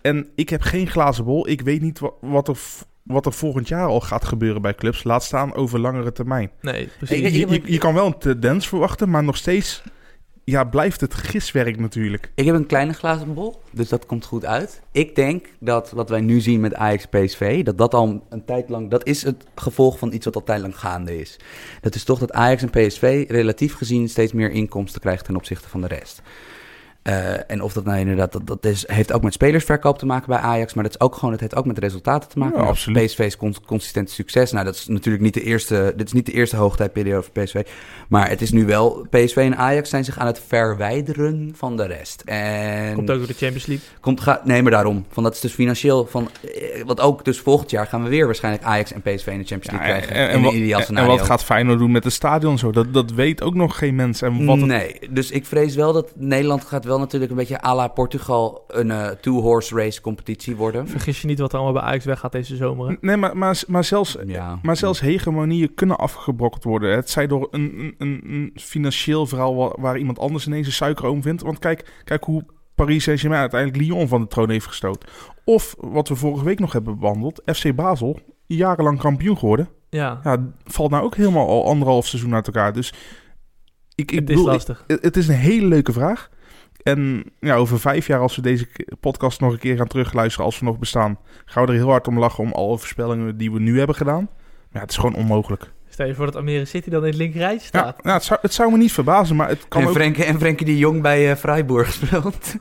S2: En ik heb geen glazen bol. Ik weet niet wat, wat, er, v- wat er volgend jaar al gaat gebeuren bij clubs. Laat staan over langere termijn.
S1: Nee, precies.
S2: Je, je, je kan wel een tendens verwachten, maar nog steeds ja, blijft het giswerk natuurlijk.
S3: Ik heb een kleine glazen bol, dus dat komt goed uit. Ik denk dat wat wij nu zien met Ajax PSV, dat dat al een tijd lang... Dat is het gevolg van iets wat al tijd lang gaande is. Dat is toch dat Ajax en PSV relatief gezien steeds meer inkomsten krijgt ten opzichte van de rest. Eh, en of dat nou inderdaad, dat, dat is, heeft ook met spelersverkoop te maken bij Ajax, maar dat is ook gewoon, het heeft ook met resultaten te maken.
S2: Ja,
S3: Als
S2: absoluut.
S3: PSV's cons- consistent succes, nou dat is natuurlijk niet de eerste, dit is niet de eerste hoogtijdperiode voor PSV, maar het is nu wel, PSV en Ajax zijn zich aan het verwijderen van de rest. En
S1: Komt ook door de Champions League.
S3: Komt, ga, nee, maar daarom. Van dat is dus financieel. Van, eh, want ook dus volgend jaar gaan we weer waarschijnlijk Ajax en PSV in de Champions League
S2: Ja,
S3: krijgen.
S2: en, en
S3: in
S2: wat,
S3: een ideaal
S2: en- en
S3: scenario.
S2: wat gaat Feyenoord doen met het stadion en zo? Dat, dat weet ook nog geen mens. En wat het-
S3: Nee, dus ik vrees wel dat Nederland gaat wel natuurlijk een beetje à la Portugal een eh, two-horse race competitie worden.
S1: Vergis je niet wat er allemaal bij Ajax weggaat deze zomer. hè?
S2: nee maar, maar, maar zelfs
S3: Ja.
S2: Maar zelfs hegemonieën kunnen afgebrokkeld worden. Het zij door een, een- een, een financieel verhaal wa- waar, iemand anders ineens een suikeroom vindt. Want kijk, kijk hoe Paris Saint-Germain uiteindelijk Lyon van de troon heeft gestoten. Of wat we vorige week nog hebben behandeld, FC Basel, jarenlang kampioen geworden.
S1: Ja,
S2: Ja, valt nou ook helemaal al anderhalf seizoen uit elkaar. Dus ik, ik
S1: het is
S2: bedoel, ik-
S1: lastig.
S2: het het is een hele leuke vraag. En ja, over vijf jaar, als we deze k- podcast nog een keer gaan terugluisteren, als we nog bestaan, gaan we er heel hard om lachen om alle voorspellingen die we nu hebben gedaan. Maar ja, het is gewoon onmogelijk.
S1: Stel je voor dat Amerika City dan in het linkerrijtje
S2: Ja,
S1: staat.
S2: ja, het, zou, het zou me niet verbazen, maar het kan
S3: En,
S2: ook...
S3: Frenkie, en Frenkie de Jong bij eh, Freiburg speelt.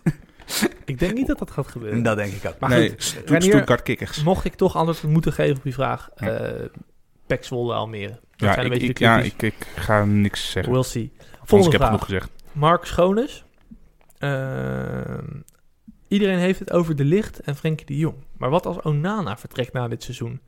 S1: Ik denk niet dat dat gaat gebeuren.
S3: dat denk ik ook.
S1: Maar
S2: nee,
S1: goed,
S2: Stu-
S1: Reinier-
S2: Stuttgart Kikkers.
S1: mocht ik toch anders moeten geven op die vraag,
S2: Ja.
S1: eh Pek Zwolle Almere. Dat
S2: Ja,
S1: zijn een
S2: ik,
S1: beetje
S2: ik-
S1: de
S2: ja
S1: clubjes.
S2: ik, ik ga niks zeggen,
S1: We'll see.
S2: want ik
S1: Volgende
S2: heb
S1: vraag.
S2: genoeg gezegd.
S1: Mark Schoones. Ehm, iedereen heeft het over De Licht en Frenkie de Jong. Maar wat als Onana vertrekt na dit seizoen?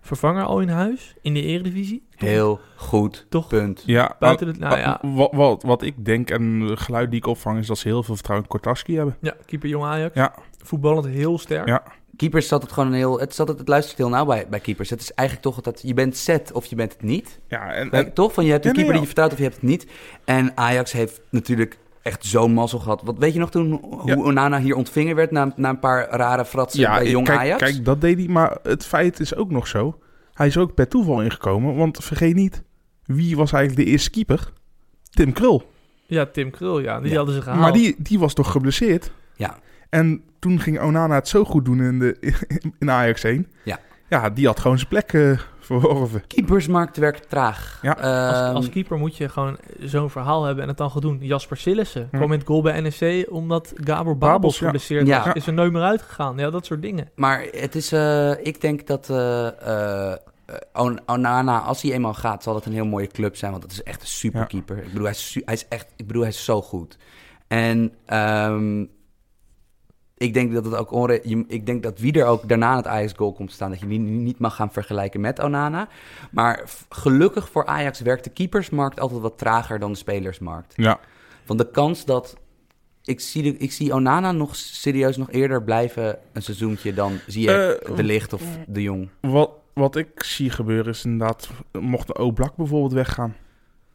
S1: Vervanger al in huis? In de eredivisie? Toch-
S3: Heel goed
S1: Toch
S3: punt.
S2: Ja,
S1: buiten de...
S2: oh,
S1: Nou ja,
S2: Wat, wat, wat ik denk en het geluid die ik opvang is dat ze heel veel vertrouwen in Kortaski hebben.
S1: ja, keeper Jong Ajax.
S2: Ja.
S1: Voetballend heel sterk.
S2: Ja.
S3: Keepers zat het gewoon een heel... Het, zat het, het luistert heel nauw bij, bij keepers. Het is eigenlijk toch dat je bent set of je bent het niet.
S2: Ja, en,
S3: Nee,
S2: en-
S3: toch? Van je hebt een
S2: Ja, nee,
S3: keeper die je
S2: ja.
S3: vertrouwt of je hebt het niet. En Ajax heeft natuurlijk echt zo'n mazzel gehad. Wat weet je nog toen hoe
S2: Ja.
S3: Onana hier ontvingen werd na, na een paar rare fratsen bij jong
S2: kijk,
S3: Ajax?
S2: Kijk, dat deed hij. Maar het feit is ook nog zo. Hij is ook per toeval ingekomen. Want vergeet niet, wie was eigenlijk de eerste keeper? Tim Krul.
S1: Ja, Tim Krul, ja. Die
S3: Ja.
S1: hadden ze gehaald.
S2: Maar die, die was toch geblesseerd?
S3: Ja.
S2: En toen ging Onana het zo goed doen in, de, in Ajax 1.
S3: Ja.
S2: Ja, die had gewoon zijn plek eh, verworven.
S3: Keepersmarkt werkt traag.
S2: Ja.
S1: Als,
S3: Ehm,
S1: als keeper moet je gewoon zo'n verhaal hebben en het dan gaan doen. Jasper Sillissen
S2: Hm.
S1: kwam in het goal bij NEC omdat Gabor
S2: Babels,
S1: Babels
S2: ja.
S1: geblesseerd
S3: Ja.
S1: was. Is er nooit meer uitgegaan. Ja, dat soort dingen.
S3: Maar het is, eh, ik denk dat eh, eh, On- Onana, als hij eenmaal gaat, zal het een heel mooie club zijn. Want het is echt een superkeeper. Ik, bedoel, hij is, su- hij is echt, ik bedoel, hij is zo goed. En ehm, ik denk dat het ook onre- je- ik denk dat wie er ook daarna aan het Ajax goal komt te staan, dat je die nu niet mag gaan vergelijken met Onana. Maar f- gelukkig voor Ajax werkt de keepersmarkt altijd wat trager dan de spelersmarkt.
S2: Ja.
S3: Want de kans dat. Ik zie, de- ik zie Onana nog serieus nog eerder blijven een seizoentje dan zie je
S2: Eh,
S3: De Licht of De Jong.
S2: Wat, wat ik zie gebeuren is inderdaad... Mocht de Oblak bijvoorbeeld weggaan...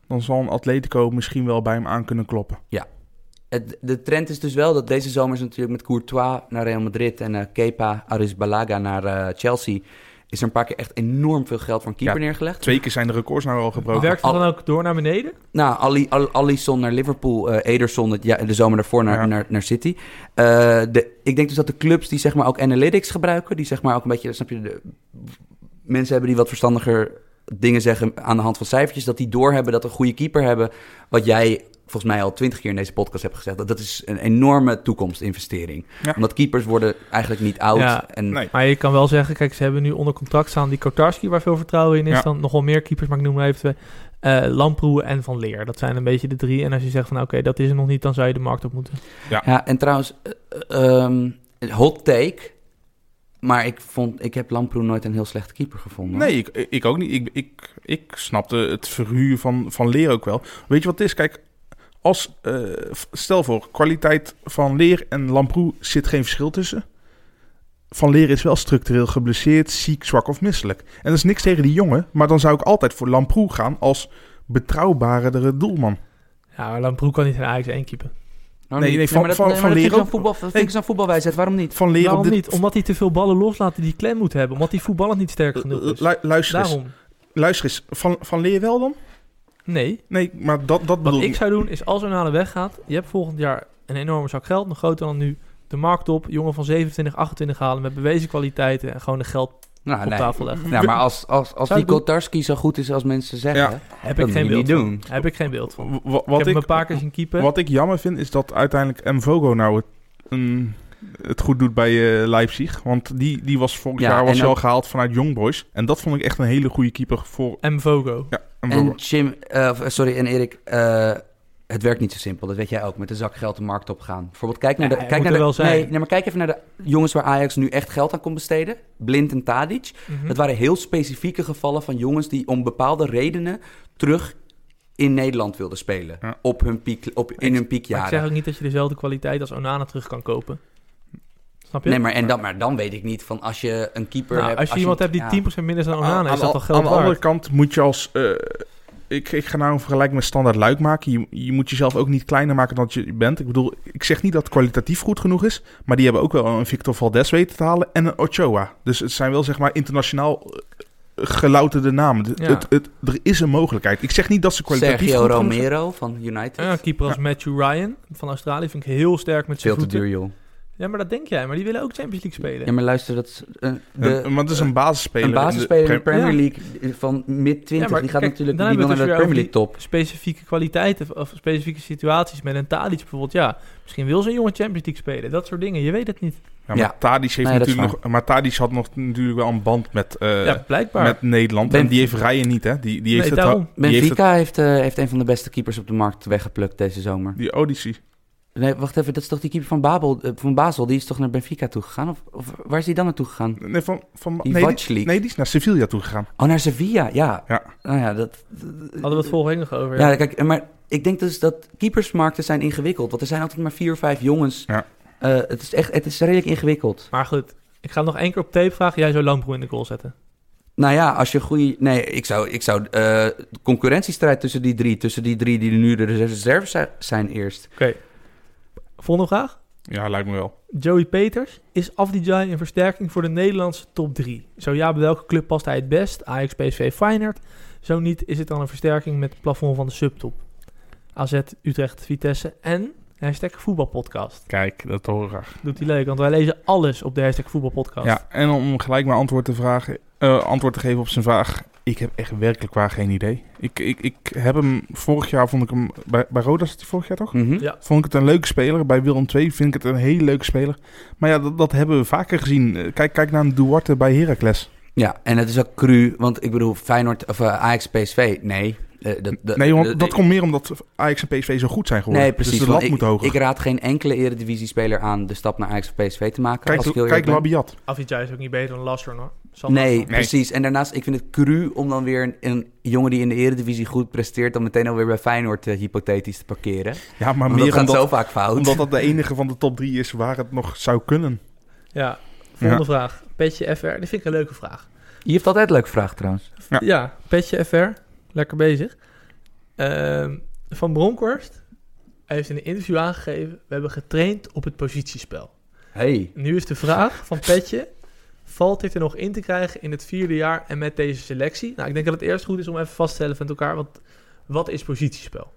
S2: Dan zal een Atletico misschien wel bij hem aan kunnen kloppen.
S3: Het, de trend is dus wel dat deze zomer is natuurlijk met Courtois naar Real Madrid en eh, Kepa Arrizabalaga naar eh, Chelsea. Is er een paar keer echt enorm veel geld voor een keeper
S2: Ja.
S3: neergelegd.
S2: Twee keer zijn de records nou al gebroken.
S1: Werkt het
S3: al-
S1: dan ook door naar beneden?
S3: Nou, Ali, Al- Alisson naar Liverpool, eh, Ederson het, ja, de zomer daarvoor naar,
S2: Ja.
S3: naar, naar City. Eh, de, ik denk dus dat de clubs die zeg maar ook analytics gebruiken, die zeg maar ook een beetje, snap je, de, mensen hebben die wat verstandiger dingen zeggen aan de hand van cijfertjes, dat die doorhebben dat een goede keeper hebben, wat jij volgens mij al twintig keer in deze podcast hebt gezegd, dat, dat is een enorme toekomstinvestering.
S2: Ja.
S3: Omdat keepers worden eigenlijk niet oud.
S1: Ja.
S3: en,
S2: Nee.
S1: Maar je kan wel zeggen, kijk, ze hebben nu onder contract staan die Kotarski, waar veel vertrouwen in is.
S2: Ja.
S1: Dan nogal meer keepers, maar ik noem maar even twee. Eh, Lamproe en Van Leer. Dat zijn een beetje de drie. En als je zegt van, nou, oké, dat is er nog niet, dan zou je de markt op moeten.
S3: Ja, en trouwens, eh, ehm, hot take, maar ik, vond, ik heb Lamproe nooit een heel slechte keeper gevonden.
S2: Nee, ik, ik ook niet. Ik, ik, ik snapte het verhuur van, van leer ook wel. Weet je wat het is? Kijk, als, eh, f- stel voor, kwaliteit van leer en Lamproe zit geen verschil tussen. Van leer is wel structureel geblesseerd, ziek, zwak of misselijk. En dat is niks tegen die jongen, maar dan zou ik altijd voor Lamproe gaan als betrouwbaardere doelman.
S1: Ja, maar Lamproe kan niet in Ajax één keeper.
S2: Nee, nee, van-
S3: maar dat-
S2: van- van
S3: Nou, nee, maar dat vind ik
S2: Lero-
S3: zo'n voetbal, dat vind ik zo'n voetbalwijsheid, waarom niet?
S2: Van leer
S1: Waarom
S2: op dit...
S1: niet? Omdat hij te veel ballen loslaat die die klem moet hebben. Omdat die voetballend niet sterk genoeg is.
S2: Lu- luister, Eh, eens,
S1: Daarom.
S2: luister eens, van, van leer wel dan?
S1: Nee.
S2: Nee, maar dat, dat
S1: Wat
S2: bedoel
S1: ik zou doen is als Onana weggaat, je hebt volgend jaar een enorme zak geld, nog groter dan nu. De markt op, jongen van 27, 28 halen met bewezen kwaliteiten en gewoon de geld
S3: Nou,
S1: op
S3: nee.
S1: tafel leggen.
S3: Ja, maar als, als, als
S1: Zou ik
S3: Nico
S1: doen?
S3: Tarski zo goed is als mensen zeggen,
S2: Ja.
S1: Heb
S3: dat
S1: ik
S3: moet
S1: geen
S3: je
S1: beeld.
S3: niet
S1: van.
S3: doen.
S1: Heb ik geen beeld. van.
S2: Wa- wa-
S1: Ik
S2: Wat
S1: heb
S2: ik,
S1: hem een paar keer zien keeper.
S2: wat ik jammer vind, is dat uiteindelijk Mvogo nou het, een- het goed doet bij eh, Leipzig. Want die, die was vorig
S3: Ja,
S2: jaar
S3: en
S2: was hij
S3: ook-
S2: al gehaald vanuit Young Boys. En dat vond ik echt een hele goede keeper voor
S1: Mvogo.
S2: Mvogo.
S3: En Jim, eh, of, eh, sorry, en Erik, eh, het werkt niet zo simpel. Dat weet jij ook, met een zak geld de markt op gaan. Bijvoorbeeld, kijk naar
S1: Ja,
S3: de...
S1: het
S3: kijk
S1: moet
S3: naar
S1: er
S3: de-
S1: wel zijn.
S3: Nee, nee, maar kijk even naar de jongens waar Ajax nu echt geld aan kon besteden. Blind en Tadic.
S1: Mhm.
S3: Het waren heel specifieke gevallen van jongens die om bepaalde redenen terug in Nederland wilden spelen.
S2: Ja.
S3: Op hun piek, op, in hun
S1: Maar ik zeg
S3: piekjaren.
S1: ook niet dat je dezelfde kwaliteit als Onana terug kan kopen. Snap je?
S3: Nee, maar, en dan, maar dan weet ik niet van als je een keeper
S1: Nou,
S3: hebt...
S1: als je iemand hebt die
S3: ja.
S1: 10% minder is dan
S2: Aan-
S1: Onana, Oh, nou, is
S2: aan-
S1: dat al geld
S2: Aan de andere
S1: waard.
S2: kant moet je als... eh, ik, ik ga nou een vergelijking met standaard luik maken. Je, je moet jezelf ook niet kleiner maken dan dat je bent. Ik bedoel, ik zeg niet dat het kwalitatief goed genoeg is. Maar die hebben ook wel een Victor Valdes weten te halen en een Ochoa. Dus het zijn wel, zeg maar, internationaal eh, gelouterde namen. Het-
S1: Ja.
S2: Het, het, er is een mogelijkheid. Ik zeg niet dat ze kwalitatief
S3: Sergio
S2: goed genoeg zijn.
S3: Romero van United.
S1: Ja, een keeper als Matthew Ryan van Australië vind ik heel sterk met zijn
S3: Veel te
S1: voeten.
S3: duur, joh.
S1: Ja, maar dat denk jij. Maar die willen ook Champions League spelen.
S3: Ja, maar luister, dat is, eh, de,
S2: Een- want het is een basisspeler.
S3: een basisspeler in de
S2: Premier-
S3: Premier League van mid-20,
S1: Ja, maar
S3: die gaat
S1: kijk,
S3: natuurlijk
S1: dan
S3: die
S1: hebben we
S3: wil naar de
S1: het dus
S3: Premier League
S1: weer
S3: top.
S1: Specifieke kwaliteiten of specifieke situaties met een Tadic bijvoorbeeld. Ja, misschien wil zo'n jongen Champions League spelen. Dat soort dingen. Je weet het niet.
S2: Ja, maar
S3: Ja.
S2: Tadic heeft
S3: Nee, dat is
S2: natuurlijk nog... Maar Tadic had nog natuurlijk wel een band met... eh,
S1: ja, blijkbaar.
S2: Met Nederland.
S3: Ben-
S2: en die heeft Rijen niet, hè? Die, die heeft
S1: Nee,
S2: het
S1: daarom.
S2: Die heeft het-
S3: Benfica heeft, eh, heeft een van de beste keepers op de markt weggeplukt deze zomer.
S2: Die Odyssey.
S3: Nee, wacht even, dat is toch die keeper van, Babel, eh, van Basel? Die is toch naar Benfica toe gegaan? Of, of waar is die dan naartoe gegaan?
S2: Nee, van, van,
S3: Die
S2: nee,
S3: Watch
S2: die,
S3: League.
S2: nee, die is naar Sevilla toegegaan.
S3: Oh, naar Sevilla, ja.
S2: Ja.
S3: Nou ja, dat...
S1: Hadden we het vorige week nog over.
S3: Ja, kijk, maar ik denk dus dat keepersmarkten zijn ingewikkeld. Want er zijn altijd maar vier of vijf jongens.
S2: Ja.
S3: Eh, het is echt, het is redelijk ingewikkeld.
S1: Maar goed, ik ga hem nog één keer op tape vragen. Jij zou Lamproe in de goal zetten.
S3: Nou ja, als je een goede. Nee, ik zou, ik zou eh, de concurrentiestrijd tussen die drie, tussen die drie die nu de reserve zi- zijn eerst.
S1: Volgende vraag.
S2: Ja, lijkt me wel.
S1: Joey Peters. Is Afdijay een versterking voor de Nederlandse top 3? Zo ja, bij welke club past hij het best? Ajax, PSV, Feyenoord. Zo niet, is het dan een versterking met het plafond van de subtop? AZ, Utrecht, Vitesse en hashtag voetbalpodcast.
S2: Kijk, dat hoor ik graag.
S1: Doet hij leuk, want wij lezen alles op de hashtag voetbalpodcast.
S2: Ja, en om gelijk maar antwoord te, vragen, eh, antwoord te geven op zijn vraag. Ik heb echt werkelijk waar geen idee. Ik, ik, ik heb hem vorig jaar, vond ik hem... Bij, bij Roda zat hij vorig jaar toch?
S3: Mhm.
S1: Ja.
S2: Vond ik het een leuke speler. Bij Willem II vind ik het een hele leuke speler. Maar ja, dat, dat hebben we vaker gezien. Eh, Kijk, kijk naar een Duarte bij Heracles.
S3: Ja, en het is ook cru, want ik bedoel, Feyenoord of eh, Ajax PSV, nee. Eh, dat, dat,
S2: Nee, want
S3: eh,
S2: dat komt meer omdat Ajax en PSV zo goed zijn geworden.
S3: Nee, precies.
S2: Dus de
S3: want
S2: lat moet
S3: ik,
S2: hoger.
S3: ik raad geen enkele eredivisie-speler aan de stap naar Ajax of PSV te maken. als ik
S2: kijk,
S3: heel
S2: kijk
S3: eerlijk ben.
S2: Labiat.
S1: Afdijay is ook niet beter dan Lasser, hoor. Zal
S3: Nee,
S1: Lasser.
S3: precies. En daarnaast, ik vind het cru om dan weer een, een jongen die in de eredivisie goed presteert... dan meteen alweer bij Feyenoord eh, hypothetisch te parkeren.
S2: Ja, maar
S3: Want dat
S2: meer
S3: gaat
S2: omdat
S3: zo vaak fout.
S2: Omdat dat de enige van de top drie is waar het nog zou kunnen.
S1: Ja, volgende vraag. Petje FR, die vind ik een leuke vraag.
S3: Je heeft altijd leuke vraag trouwens.
S2: Ja.
S1: Ja, Petje FR. Lekker bezig. Ehm, van Bronkhorst heeft in een interview aangegeven... we hebben getraind op het positiespel.
S3: Hey.
S1: Nu is de vraag van Petje... valt dit er nog in te krijgen in het vierde jaar en met deze selectie? Nou, ik denk dat het eerst goed is om even vast te stellen van elkaar... want wat is positiespel?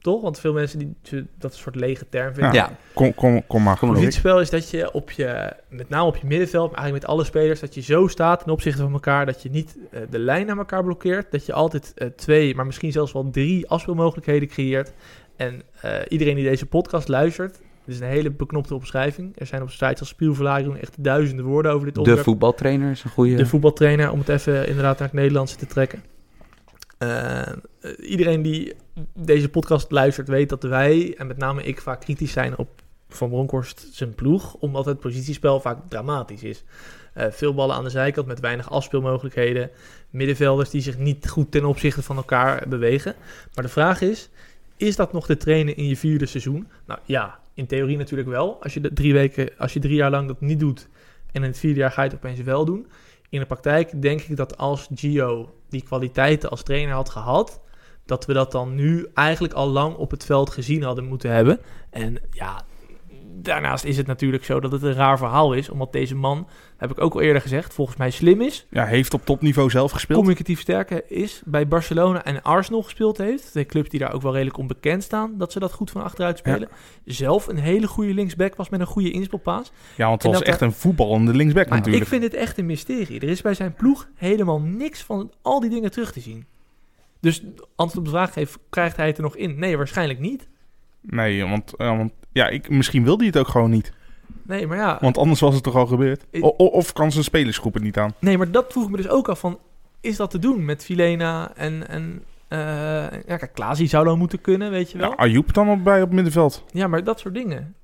S1: Toch? Want veel mensen die, ze- dat is een soort lege term vinden.
S3: Ja,
S2: Kom, kom, kom maar.
S3: Kom maar op.
S1: Positiespel is dat je, op je, met name op je middenveld, maar eigenlijk met alle spelers, dat je zo staat ten opzichte van elkaar dat je niet eh, de lijn naar elkaar blokkeert. Dat je altijd eh, twee, maar misschien zelfs wel drie afspeelmogelijkheden creëert. En eh, iedereen die deze podcast luistert, dit is een hele beknopte omschrijving. Er zijn op sites als Spielverlagering echt duizenden woorden over dit
S3: de
S1: onderwerp
S3: voetbaltrainer is een goede...
S1: de voetbaltrainer, om het even inderdaad naar het Nederlandse te trekken. Eh, eh, iedereen die deze podcast luistert weet dat wij, en met name ik, vaak kritisch zijn op Van Bronckhorst zijn ploeg, omdat het positiespel vaak dramatisch is. Eh, veel ballen aan de zijkant met weinig afspeelmogelijkheden, middenvelders die zich niet goed ten opzichte van elkaar bewegen. Maar de vraag is, is dat nog te trainen in je vierde seizoen? Nou ja, in theorie natuurlijk wel. Als je, de drie weken, als je drie jaar lang dat niet doet en in het vierde jaar ga je het opeens wel doen, in de praktijk denk ik dat als Gio die kwaliteiten als trainer had gehad, dat we dat dan nu eigenlijk al lang op het veld gezien hadden moeten hebben. En ja, daarnaast is het natuurlijk zo dat het een raar verhaal is, omdat deze man, heb ik ook al eerder gezegd, volgens mij slim is,
S2: Ja, heeft op topniveau zelf gespeeld.
S1: communicatief sterker is, bij Barcelona en Arsenal gespeeld heeft, de clubs die daar ook wel redelijk onbekend staan, dat ze dat goed van achteruit spelen, zelf een hele goede linksback was met een goede inspelpaas.
S2: Ja, want
S1: En
S2: het was
S1: dat
S2: echt een voetballende linksback
S1: Maar
S2: natuurlijk.
S1: ik vind het echt een mysterie. Er is bij zijn ploeg helemaal niks van al die dingen terug te zien. Dus antwoord op de vraag geeft, krijgt hij het er nog in? Nee, waarschijnlijk niet.
S2: Nee, want, eh, want ja, ik, misschien wilde hij het ook gewoon niet.
S1: Nee, maar ja.
S2: Want anders was het toch al gebeurd?
S1: Ik-
S2: O- o- of kan zijn spelersgroep het niet aan?
S1: Nee, maar dat vroeg ik me dus ook af van, is dat te doen met Filena en... en eh, ja, kijk, Klaasie zou dan moeten kunnen, weet je wel.
S2: Ja, Ayoub dan al bij op middenveld?
S1: Ja, maar dat soort dingen.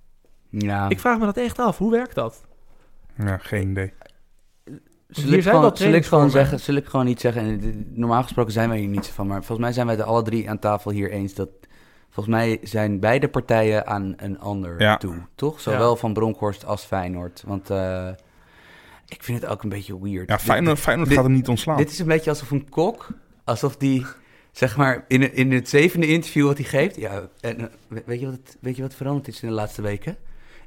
S3: Ja.
S1: Ik vraag me dat echt af. Hoe werkt dat?
S2: Ja, geen idee.
S3: Zal
S1: Hier
S3: ik,
S1: zijn wel
S3: gewoon, zal, ik gewoon
S1: trainingsvormen.
S3: zeggen, zal ik gewoon niet zeggen, en dit- normaal gesproken zijn wij hier niet zo van, maar volgens mij zijn wij het alle drie aan tafel hier eens dat, volgens mij zijn beide partijen aan een ander
S2: Ja.
S3: toe, toch? Zowel van Bronkhorst als Feyenoord, want eh, ik vind het ook een beetje weird.
S2: Ja,
S3: Dit-
S2: Feyenoord, Feyenoord
S3: dit-
S2: gaat hem niet ontslaan.
S3: Dit is een beetje alsof een kok, alsof die, zeg maar, in, in het zevende interview wat hij geeft. Ja, en, eh, we- weet, je wat het, weet je wat veranderd is in de laatste weken?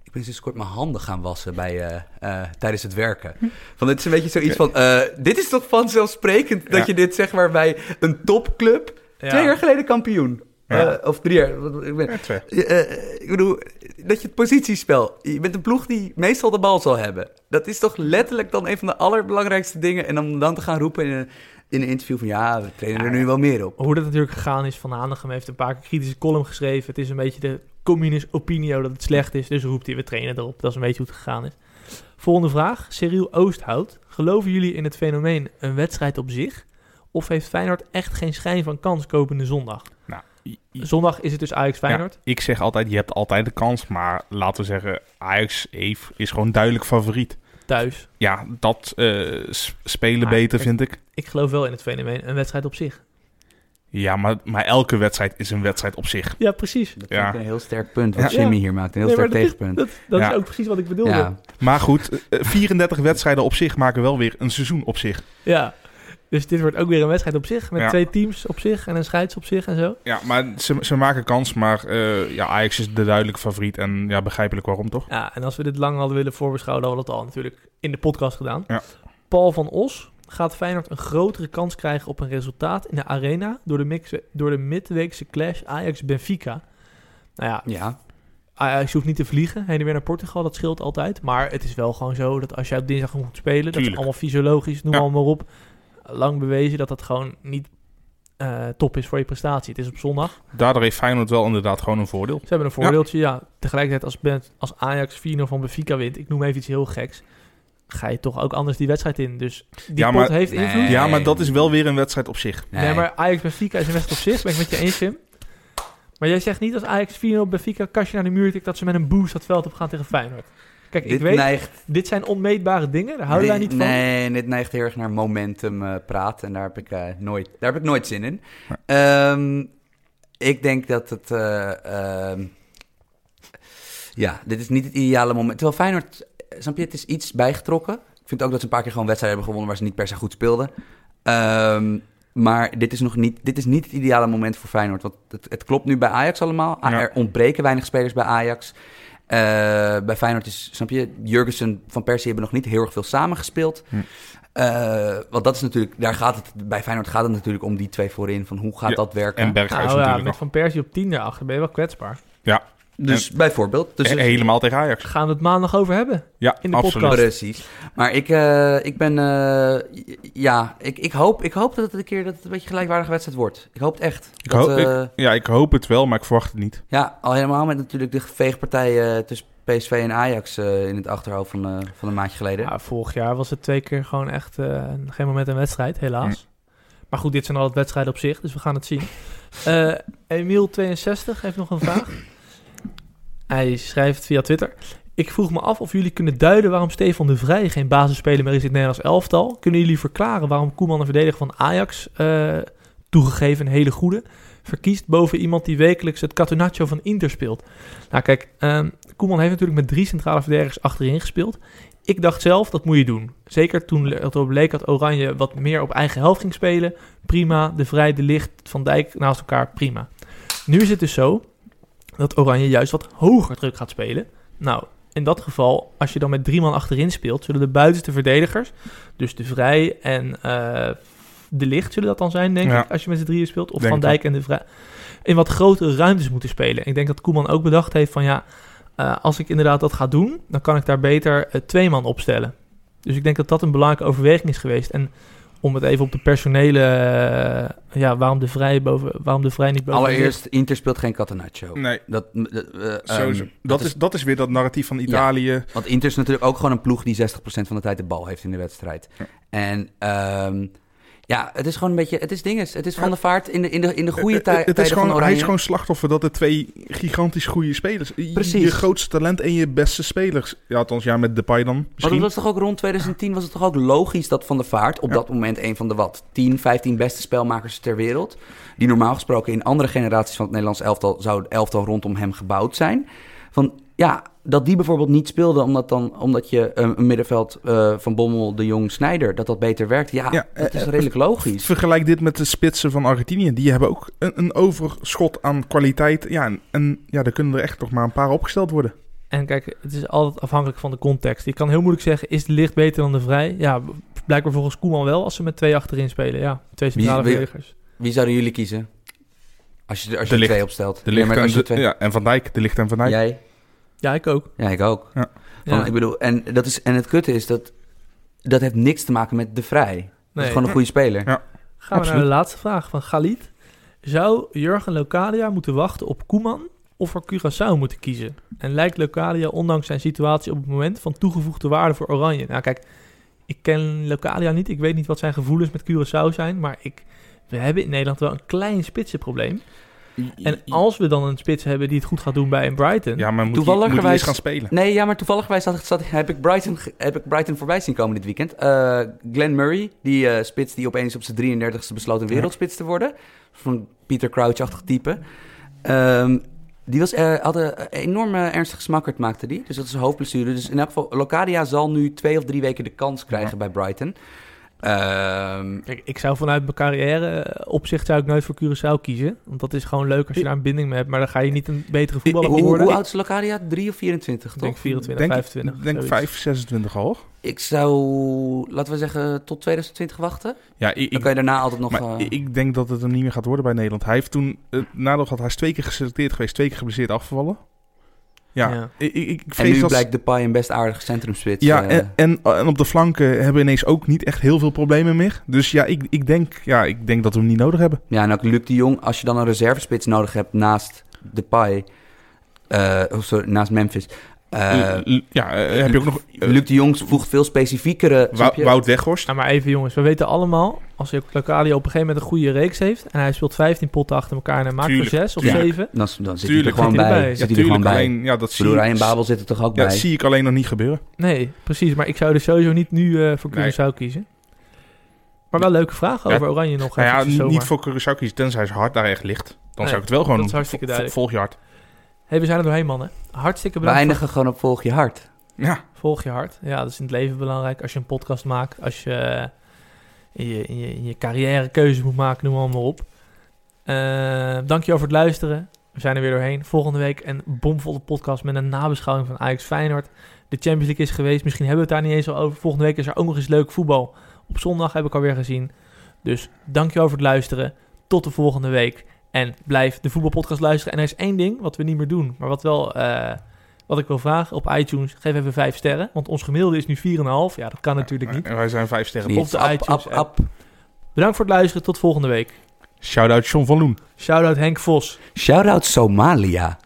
S3: Ik ben sinds kort mijn handen gaan wassen bij, eh, eh, tijdens het werken. Van, het is een beetje zoiets van, eh, dit is toch vanzelfsprekend
S2: Ja.
S3: dat je dit, zeg maar, bij een topclub,
S1: Ja.
S3: twee jaar geleden kampioen.
S2: Ja.
S3: Eh, of drie jaar. wat- Ik, ben,
S2: Ja, twee.
S3: Eh, ik bedoel, dat je het positiespel. Je bent een ploeg die meestal de bal zal hebben. Dat is toch letterlijk dan een van de allerbelangrijkste dingen. En om dan te gaan roepen in een, in een interview van ja, we trainen er nu wel meer op.
S1: Hoe dat natuurlijk gegaan is, Van Hanegem heeft een paar keer kritische column geschreven. Het is een beetje de communist opinio dat het slecht is, dus roept hij, we trainen erop. Dat is een beetje hoe het gegaan is. Volgende vraag, Cyril Oosthout. Geloven jullie in het fenomeen een wedstrijd op zich? Of heeft Feyenoord echt geen schijn van kans komende zondag?
S2: Nou, i- i-
S1: Zondag is het dus Ajax-Feyenoord.
S2: ja, ik zeg altijd, je hebt altijd de kans. Maar laten we zeggen, Ajax Eve is gewoon duidelijk favoriet.
S1: Thuis.
S2: Ja, dat eh, s- spelen
S1: Ah,
S2: beter
S1: ik-
S2: vind ik.
S1: Ik geloof wel in het fenomeen een wedstrijd op zich.
S2: Ja, maar, maar elke wedstrijd is een wedstrijd op zich.
S1: Ja, precies.
S3: Dat
S2: Ja.
S3: vind ik een heel sterk punt wat
S1: Ja.
S3: Jimmy hier maakt. Een heel
S1: Nee, maar
S3: sterk
S1: dat is-
S3: tegenpunt.
S1: Dat, dat
S2: Ja.
S1: is ook precies wat ik bedoelde.
S3: Ja.
S2: Maar goed, eh, eh, 34 wedstrijden op zich maken wel weer een seizoen op zich.
S1: Ja. Dus dit wordt ook weer een wedstrijd op zich, met
S2: Ja.
S1: twee teams op zich en een scheids op zich en zo.
S2: Ja, maar ze, ze maken kans. Maar eh, ja, Ajax is de duidelijke favoriet. En ja, begrijpelijk waarom toch?
S1: Ja, en als we dit lang hadden willen voorbeschouwen, dan hadden we dat al natuurlijk in de podcast gedaan.
S2: Ja.
S1: Paul van Os gaat Feyenoord een grotere kans krijgen op een resultaat in de arena door de, mixe- door de midweekse clash Ajax-Benfica. Nou ja,
S3: ja.
S1: Ajax hoeft niet te vliegen, heen en weer naar Portugal, dat scheelt altijd. Maar het is wel gewoon zo dat als jij op dinsdag moet spelen, dat is
S2: Tuurlijk.
S1: allemaal fysiologisch, noem
S2: Ja.
S1: allemaal maar op. Lang bewezen dat dat gewoon niet eh, top is voor je prestatie. Het is op zondag.
S2: Daardoor heeft Feyenoord wel inderdaad gewoon een voordeel.
S1: Ze hebben een voordeeltje, ja. Tegelijkertijd als, Ben- als Ajax 4-0 van Benfica wint, ik noem even iets heel geks, ga je toch ook anders die wedstrijd in. Dus die
S2: Ja,
S1: pot
S2: maar-
S1: heeft
S3: Nee.
S1: invloed.
S2: Ja, maar dat is wel weer een wedstrijd op zich.
S1: Nee, maar Ajax Benfica is een wedstrijd op zich, ben ik met je eens, Jim. Maar jij zegt niet als Ajax 4-0 Benfica kastje naar de muur tikt dat ze met een boost dat veld op gaan tegen Feyenoord. Kijk, ik
S3: dit
S1: weet,
S3: neigt,
S1: dit zijn onmeetbare dingen, daar houden wij
S3: nee,
S1: niet van.
S3: nee, dit neigt heel erg naar momentum eh praten. En daar heb ik, eh, nooit, daar heb ik nooit zin in. Ehm, ik denk dat het... eh, ehm, ja, dit is niet het ideale moment. Terwijl Feyenoord, eh, snap je, het is iets bijgetrokken. Ik vind ook dat ze een paar keer gewoon wedstrijden hebben gewonnen... waar ze niet per se goed speelden. Ehm, maar dit is, nog niet, dit is niet het ideale moment voor Feyenoord. Want het, het klopt nu bij Ajax allemaal.
S2: Ja.
S3: Er ontbreken weinig spelers bij Ajax. Eh, bij Feyenoord is, snap je, Jurgensen van Persie hebben nog niet heel erg veel samengespeeld.
S2: Hm.
S3: Eh, want dat is natuurlijk, daar gaat het, bij Feyenoord gaat het natuurlijk om die twee voorin. Van hoe gaat
S2: Ja,
S3: dat werken?
S2: En Berghuis
S1: Nou ja,
S2: natuurlijk
S1: met
S2: nog.
S1: Van Persie op 10 daarachter ben je wel kwetsbaar.
S3: dus bijvoorbeeld. Dus
S2: En helemaal tegen Ajax.
S1: Gaan we het maandag over hebben?
S2: Ja,
S1: in de
S2: absoluut.
S1: podcast.
S3: Precies. Maar ik, eh, ik ben, eh, j- ja, ik, ik, hoop, ik hoop dat het een keer dat het een beetje gelijkwaardige wedstrijd wordt. Ik hoop het echt.
S2: Ik
S3: Dat,
S2: hoop, ik-
S3: eh,
S2: ja, ik hoop het wel, maar ik verwacht het niet.
S3: Ja, al helemaal met natuurlijk de veegpartijen tussen PSV en Ajax eh, in het achterhoofd van, eh, van een maandje geleden.
S1: Ja, vorig jaar was het twee keer gewoon echt eh, geen moment een wedstrijd, helaas. Maar goed, dit zijn altijd wedstrijden op zich, dus we gaan het zien. Eh Emiel62 heeft nog een vraag. Hij schrijft via Twitter. Ik vroeg me af of jullie kunnen duiden waarom Stefan de Vrij geen basisspeler meer is in het Nederlands elftal. Kunnen jullie verklaren waarom Koeman een verdediger van Ajax, eh, toegegeven een hele goede, verkiest boven iemand die wekelijks het Catenaccio van Inter speelt? Nou kijk, ehm, Koeman heeft natuurlijk met drie centrale verdedigers achterin gespeeld. Ik dacht zelf, dat moet je doen. Zeker toen het erop leek dat Oranje wat meer op eigen helft ging spelen. Prima, De Vrij, De Licht, Van Dijk naast elkaar, prima. Nu is het dus zo dat Oranje juist wat hoger druk gaat spelen. Nou, in dat geval, als je dan met drie man achterin speelt, zullen de buitenste verdedigers, dus de Vrij en eh, de Licht, zullen dat dan zijn, denk
S2: Ja.
S1: ik, als je met z'n drieën speelt, of
S2: Denk
S1: Van
S2: het
S1: Dijk en de Vrij, in wat grotere ruimtes moeten spelen. Ik denk dat Koeman ook bedacht heeft van ja, eh, als ik inderdaad dat ga doen, dan kan ik daar beter eh, twee man opstellen. Dus ik denk dat dat een belangrijke overweging is geweest. En om het even op de personele, eh, ja, waarom de Vrij boven, waarom de Vrij niet boven
S3: Allereerst, Inter speelt geen Catenaccio.
S2: Nee,
S3: Dat, dat, eh, ehm,
S2: sowieso. dat,
S3: dat
S2: is, dat is weer dat narratief van Italië.
S3: Want Inter is natuurlijk ook gewoon een ploeg die 60% van de tijd de bal heeft in de wedstrijd.
S2: Ja.
S3: En ehm, ja, het is gewoon een beetje... Het is dinges. Het is van de vaart in de, in de, in de goede
S2: Eh, eh,
S3: tij-
S2: het
S3: tijden
S2: is gewoon,
S3: van
S2: Hij is
S3: Oranje.
S2: gewoon slachtoffer dat er twee gigantisch goede spelers... je-
S3: Precies.
S2: Je grootste talent en je beste spelers. Ja, althans, ja, met Depay dan
S3: Maar dat
S2: misschien.
S3: was toch ook rond 2010 was het toch ook logisch dat Van der Vaart op
S2: Ja.
S3: dat moment een van de wat 10, 15 beste spelmakers ter wereld, die normaal gesproken in andere generaties van het Nederlands elftal zou het elftal rondom hem gebouwd zijn. Van ja, dat die bijvoorbeeld niet speelde omdat dan omdat je eh, een middenveld eh, van Bommel, de Jong, Snijder dat dat beter werkt. Ja,
S2: Ja,
S3: dat
S2: eh,
S3: is
S2: eh,
S3: redelijk logisch.
S2: Vergelijk dit met de spitsen van Argentinië. Die hebben ook een, een overschot aan kwaliteit. Ja, en, en ja, er kunnen er echt nog maar een paar opgesteld worden.
S1: En kijk, het is altijd afhankelijk van de context. Ik kan heel moeilijk zeggen, is de licht beter dan de vrij? Ja, b- blijkbaar volgens Koeman wel, als ze met twee achterin spelen. Ja, twee centrale
S3: wie-
S1: verdedigers.
S3: Wie zouden jullie kiezen? Als je, als
S2: De
S3: je
S2: Ligt.
S3: twee opstelt.
S2: De
S3: Nee,
S2: licht
S3: maar als je
S2: en,
S3: twee-
S2: ja, en Van Dijk. De licht en Van Dijk.
S3: Jij?
S1: Ja, ik ook.
S3: Ja, ik ook.
S1: Ja.
S3: Want ik bedoel, en, dat is, en het kutte is dat dat heeft niks te maken met de vrij. Dat
S1: Nee.
S3: is gewoon een goede speler.
S2: Ja.
S1: Gaan we
S2: absoluut.
S1: naar de laatste vraag van Galit. Zou Jurgen Locadia moeten wachten op Koeman of voor Curaçao moeten kiezen? En lijkt Locadia ondanks zijn situatie op het moment van toegevoegde waarde voor Oranje? Nou kijk, ik ken Locadia niet. Ik weet niet wat zijn gevoelens met Curaçao zijn, maar ik... We hebben in Nederland wel een klein spitsenprobleem. En als we dan een spits hebben die het goed gaat doen bij een Brighton...
S2: Ja, maar moet die- moet
S3: Toevalligerwijs-
S2: die eens gaan spelen.
S3: Nee, ja, maar toevallig wij zat, zat, heb, ik Brighton, ge- heb ik Brighton voorbij zien komen dit weekend. Eh Glenn Murray, die eh, spits die opeens op zijn 33ste besloot een wereldspits te worden. Van Peter Crouch-achtig type. Ehm, die was, eh, had een enorm eh, ernstig smakkerd, maakte die. Dus dat is een hoofdblessure. Dus in elk geval, Locadia zal nu twee of drie weken de kans krijgen bij Brighton. Ehm,
S1: Kijk, ik zou vanuit mijn carrière eh, opzicht zou ik nooit voor Curaçao kiezen. Want dat is gewoon leuk als je daar een binding mee hebt. Maar dan ga je niet een betere voetballer
S3: hoe,
S1: worden.
S3: hoe oud is Locadia? 3 of 24,
S1: Ik
S3: toch?
S1: denk 24,
S2: Denk-
S1: 25.
S2: Ik denk
S1: zoiets.
S2: 5, 26 al.
S3: Ik zou, laten we zeggen, tot 2020 wachten.
S2: Ja, ik,
S3: Dan
S2: ik-
S3: kan je daarna altijd nog...
S2: maar
S3: eh,
S2: ik- ik denk dat het hem niet meer gaat worden bij Nederland. Hij heeft toen, het nadeel gehad, hij is twee keer geselecteerd geweest, twee keer geblesseerd afgevallen. Ja,
S1: Ja.
S2: Ik, ik, ik
S3: En
S2: vrees
S3: nu
S2: dat...
S3: blijkt Depay een best aardige centrumspits.
S2: Ja,
S3: eh,
S2: en, en, en op de flanken hebben we ineens ook niet echt heel veel problemen meer. Dus ja, ik, ik, denk, ja, ik denk dat we hem niet nodig hebben.
S3: ja, en ook Luc de Jong, als je dan een reservespits nodig hebt naast Depay... eh oh, sorry, naast Memphis. eh,
S2: L- l- ja, eh, heb je ook nog... eh,
S3: Luc de Jong voegt veel specifiekere... snap
S2: Wou-
S3: je?
S2: Wout Weghorst.
S1: Nou, maar even jongens, we weten allemaal, als Locadio op een gegeven moment een goede reeks heeft en hij speelt 15 potten achter elkaar en hij maakt
S2: Tuurlijk,
S1: er 6 of
S2: tuurlijk.
S1: 7.
S3: Dan, dan zit hij er
S2: Tuurlijk,
S3: gewoon
S1: zit hij
S3: bij.
S1: erbij.
S3: Zit hij er gewoon
S2: tuurlijk,
S3: bij.
S2: alleen, ja, dat
S3: Ik bedoel,
S2: zie,
S3: Ryan Babel zit er toch ook
S2: ja, dat
S3: bij?
S2: zie ik alleen nog niet gebeuren.
S1: Nee, precies. Maar ik zou dus sowieso niet nu eh, voor Curaçao
S2: Nee.
S1: kiezen. Maar wel leuke vraag
S2: Ja.
S1: over Oranje nog.
S2: Nou ja,
S1: eventjes
S2: niet-
S1: zomaar.
S2: niet voor Curaçao kiezen, tenzij zijn hart daar echt ligt. Dan
S1: Nee,
S2: zou ik het wel gewoon
S1: dat
S2: doen.
S1: is hartstikke
S2: Vo- vo-
S1: duidelijk.
S2: Volg je hart.
S1: hey, we zijn er doorheen mannen. Hartstikke
S3: We
S1: bedankt. voor-
S3: eindigen gewoon op volg je hart.
S2: Ja,
S1: Volg je hart. Ja, dat is in het leven belangrijk. Als je een podcast maakt, als je eh, in je, in je, in je carrière keuze moet maken, noem allemaal op. Eh, dankjewel voor het luisteren. We zijn er weer doorheen. Volgende week een bomvolle podcast met een nabeschouwing van Ajax Feyenoord. De Champions League is geweest. Misschien hebben we het daar niet eens al over. Volgende week is er ook nog eens leuk voetbal. Op zondag heb ik alweer gezien. Dus dankjewel voor het luisteren. Tot de volgende week. En blijf de voetbalpodcast luisteren. En er is één ding wat we niet meer doen, maar wat wel... eh, wat ik wil vragen op iTunes, geef even 5 sterren. Want ons gemiddelde is nu 4,5. Ja, dat kan natuurlijk niet.
S2: en wij zijn vijf sterren.
S1: Op de
S3: App,
S1: iTunes
S3: app,
S1: app.
S3: app.
S1: Bedankt voor het luisteren. Tot volgende week.
S2: Shout-out John van Loen.
S1: Shoutout Henk Vos.
S3: Shout-out Somalia.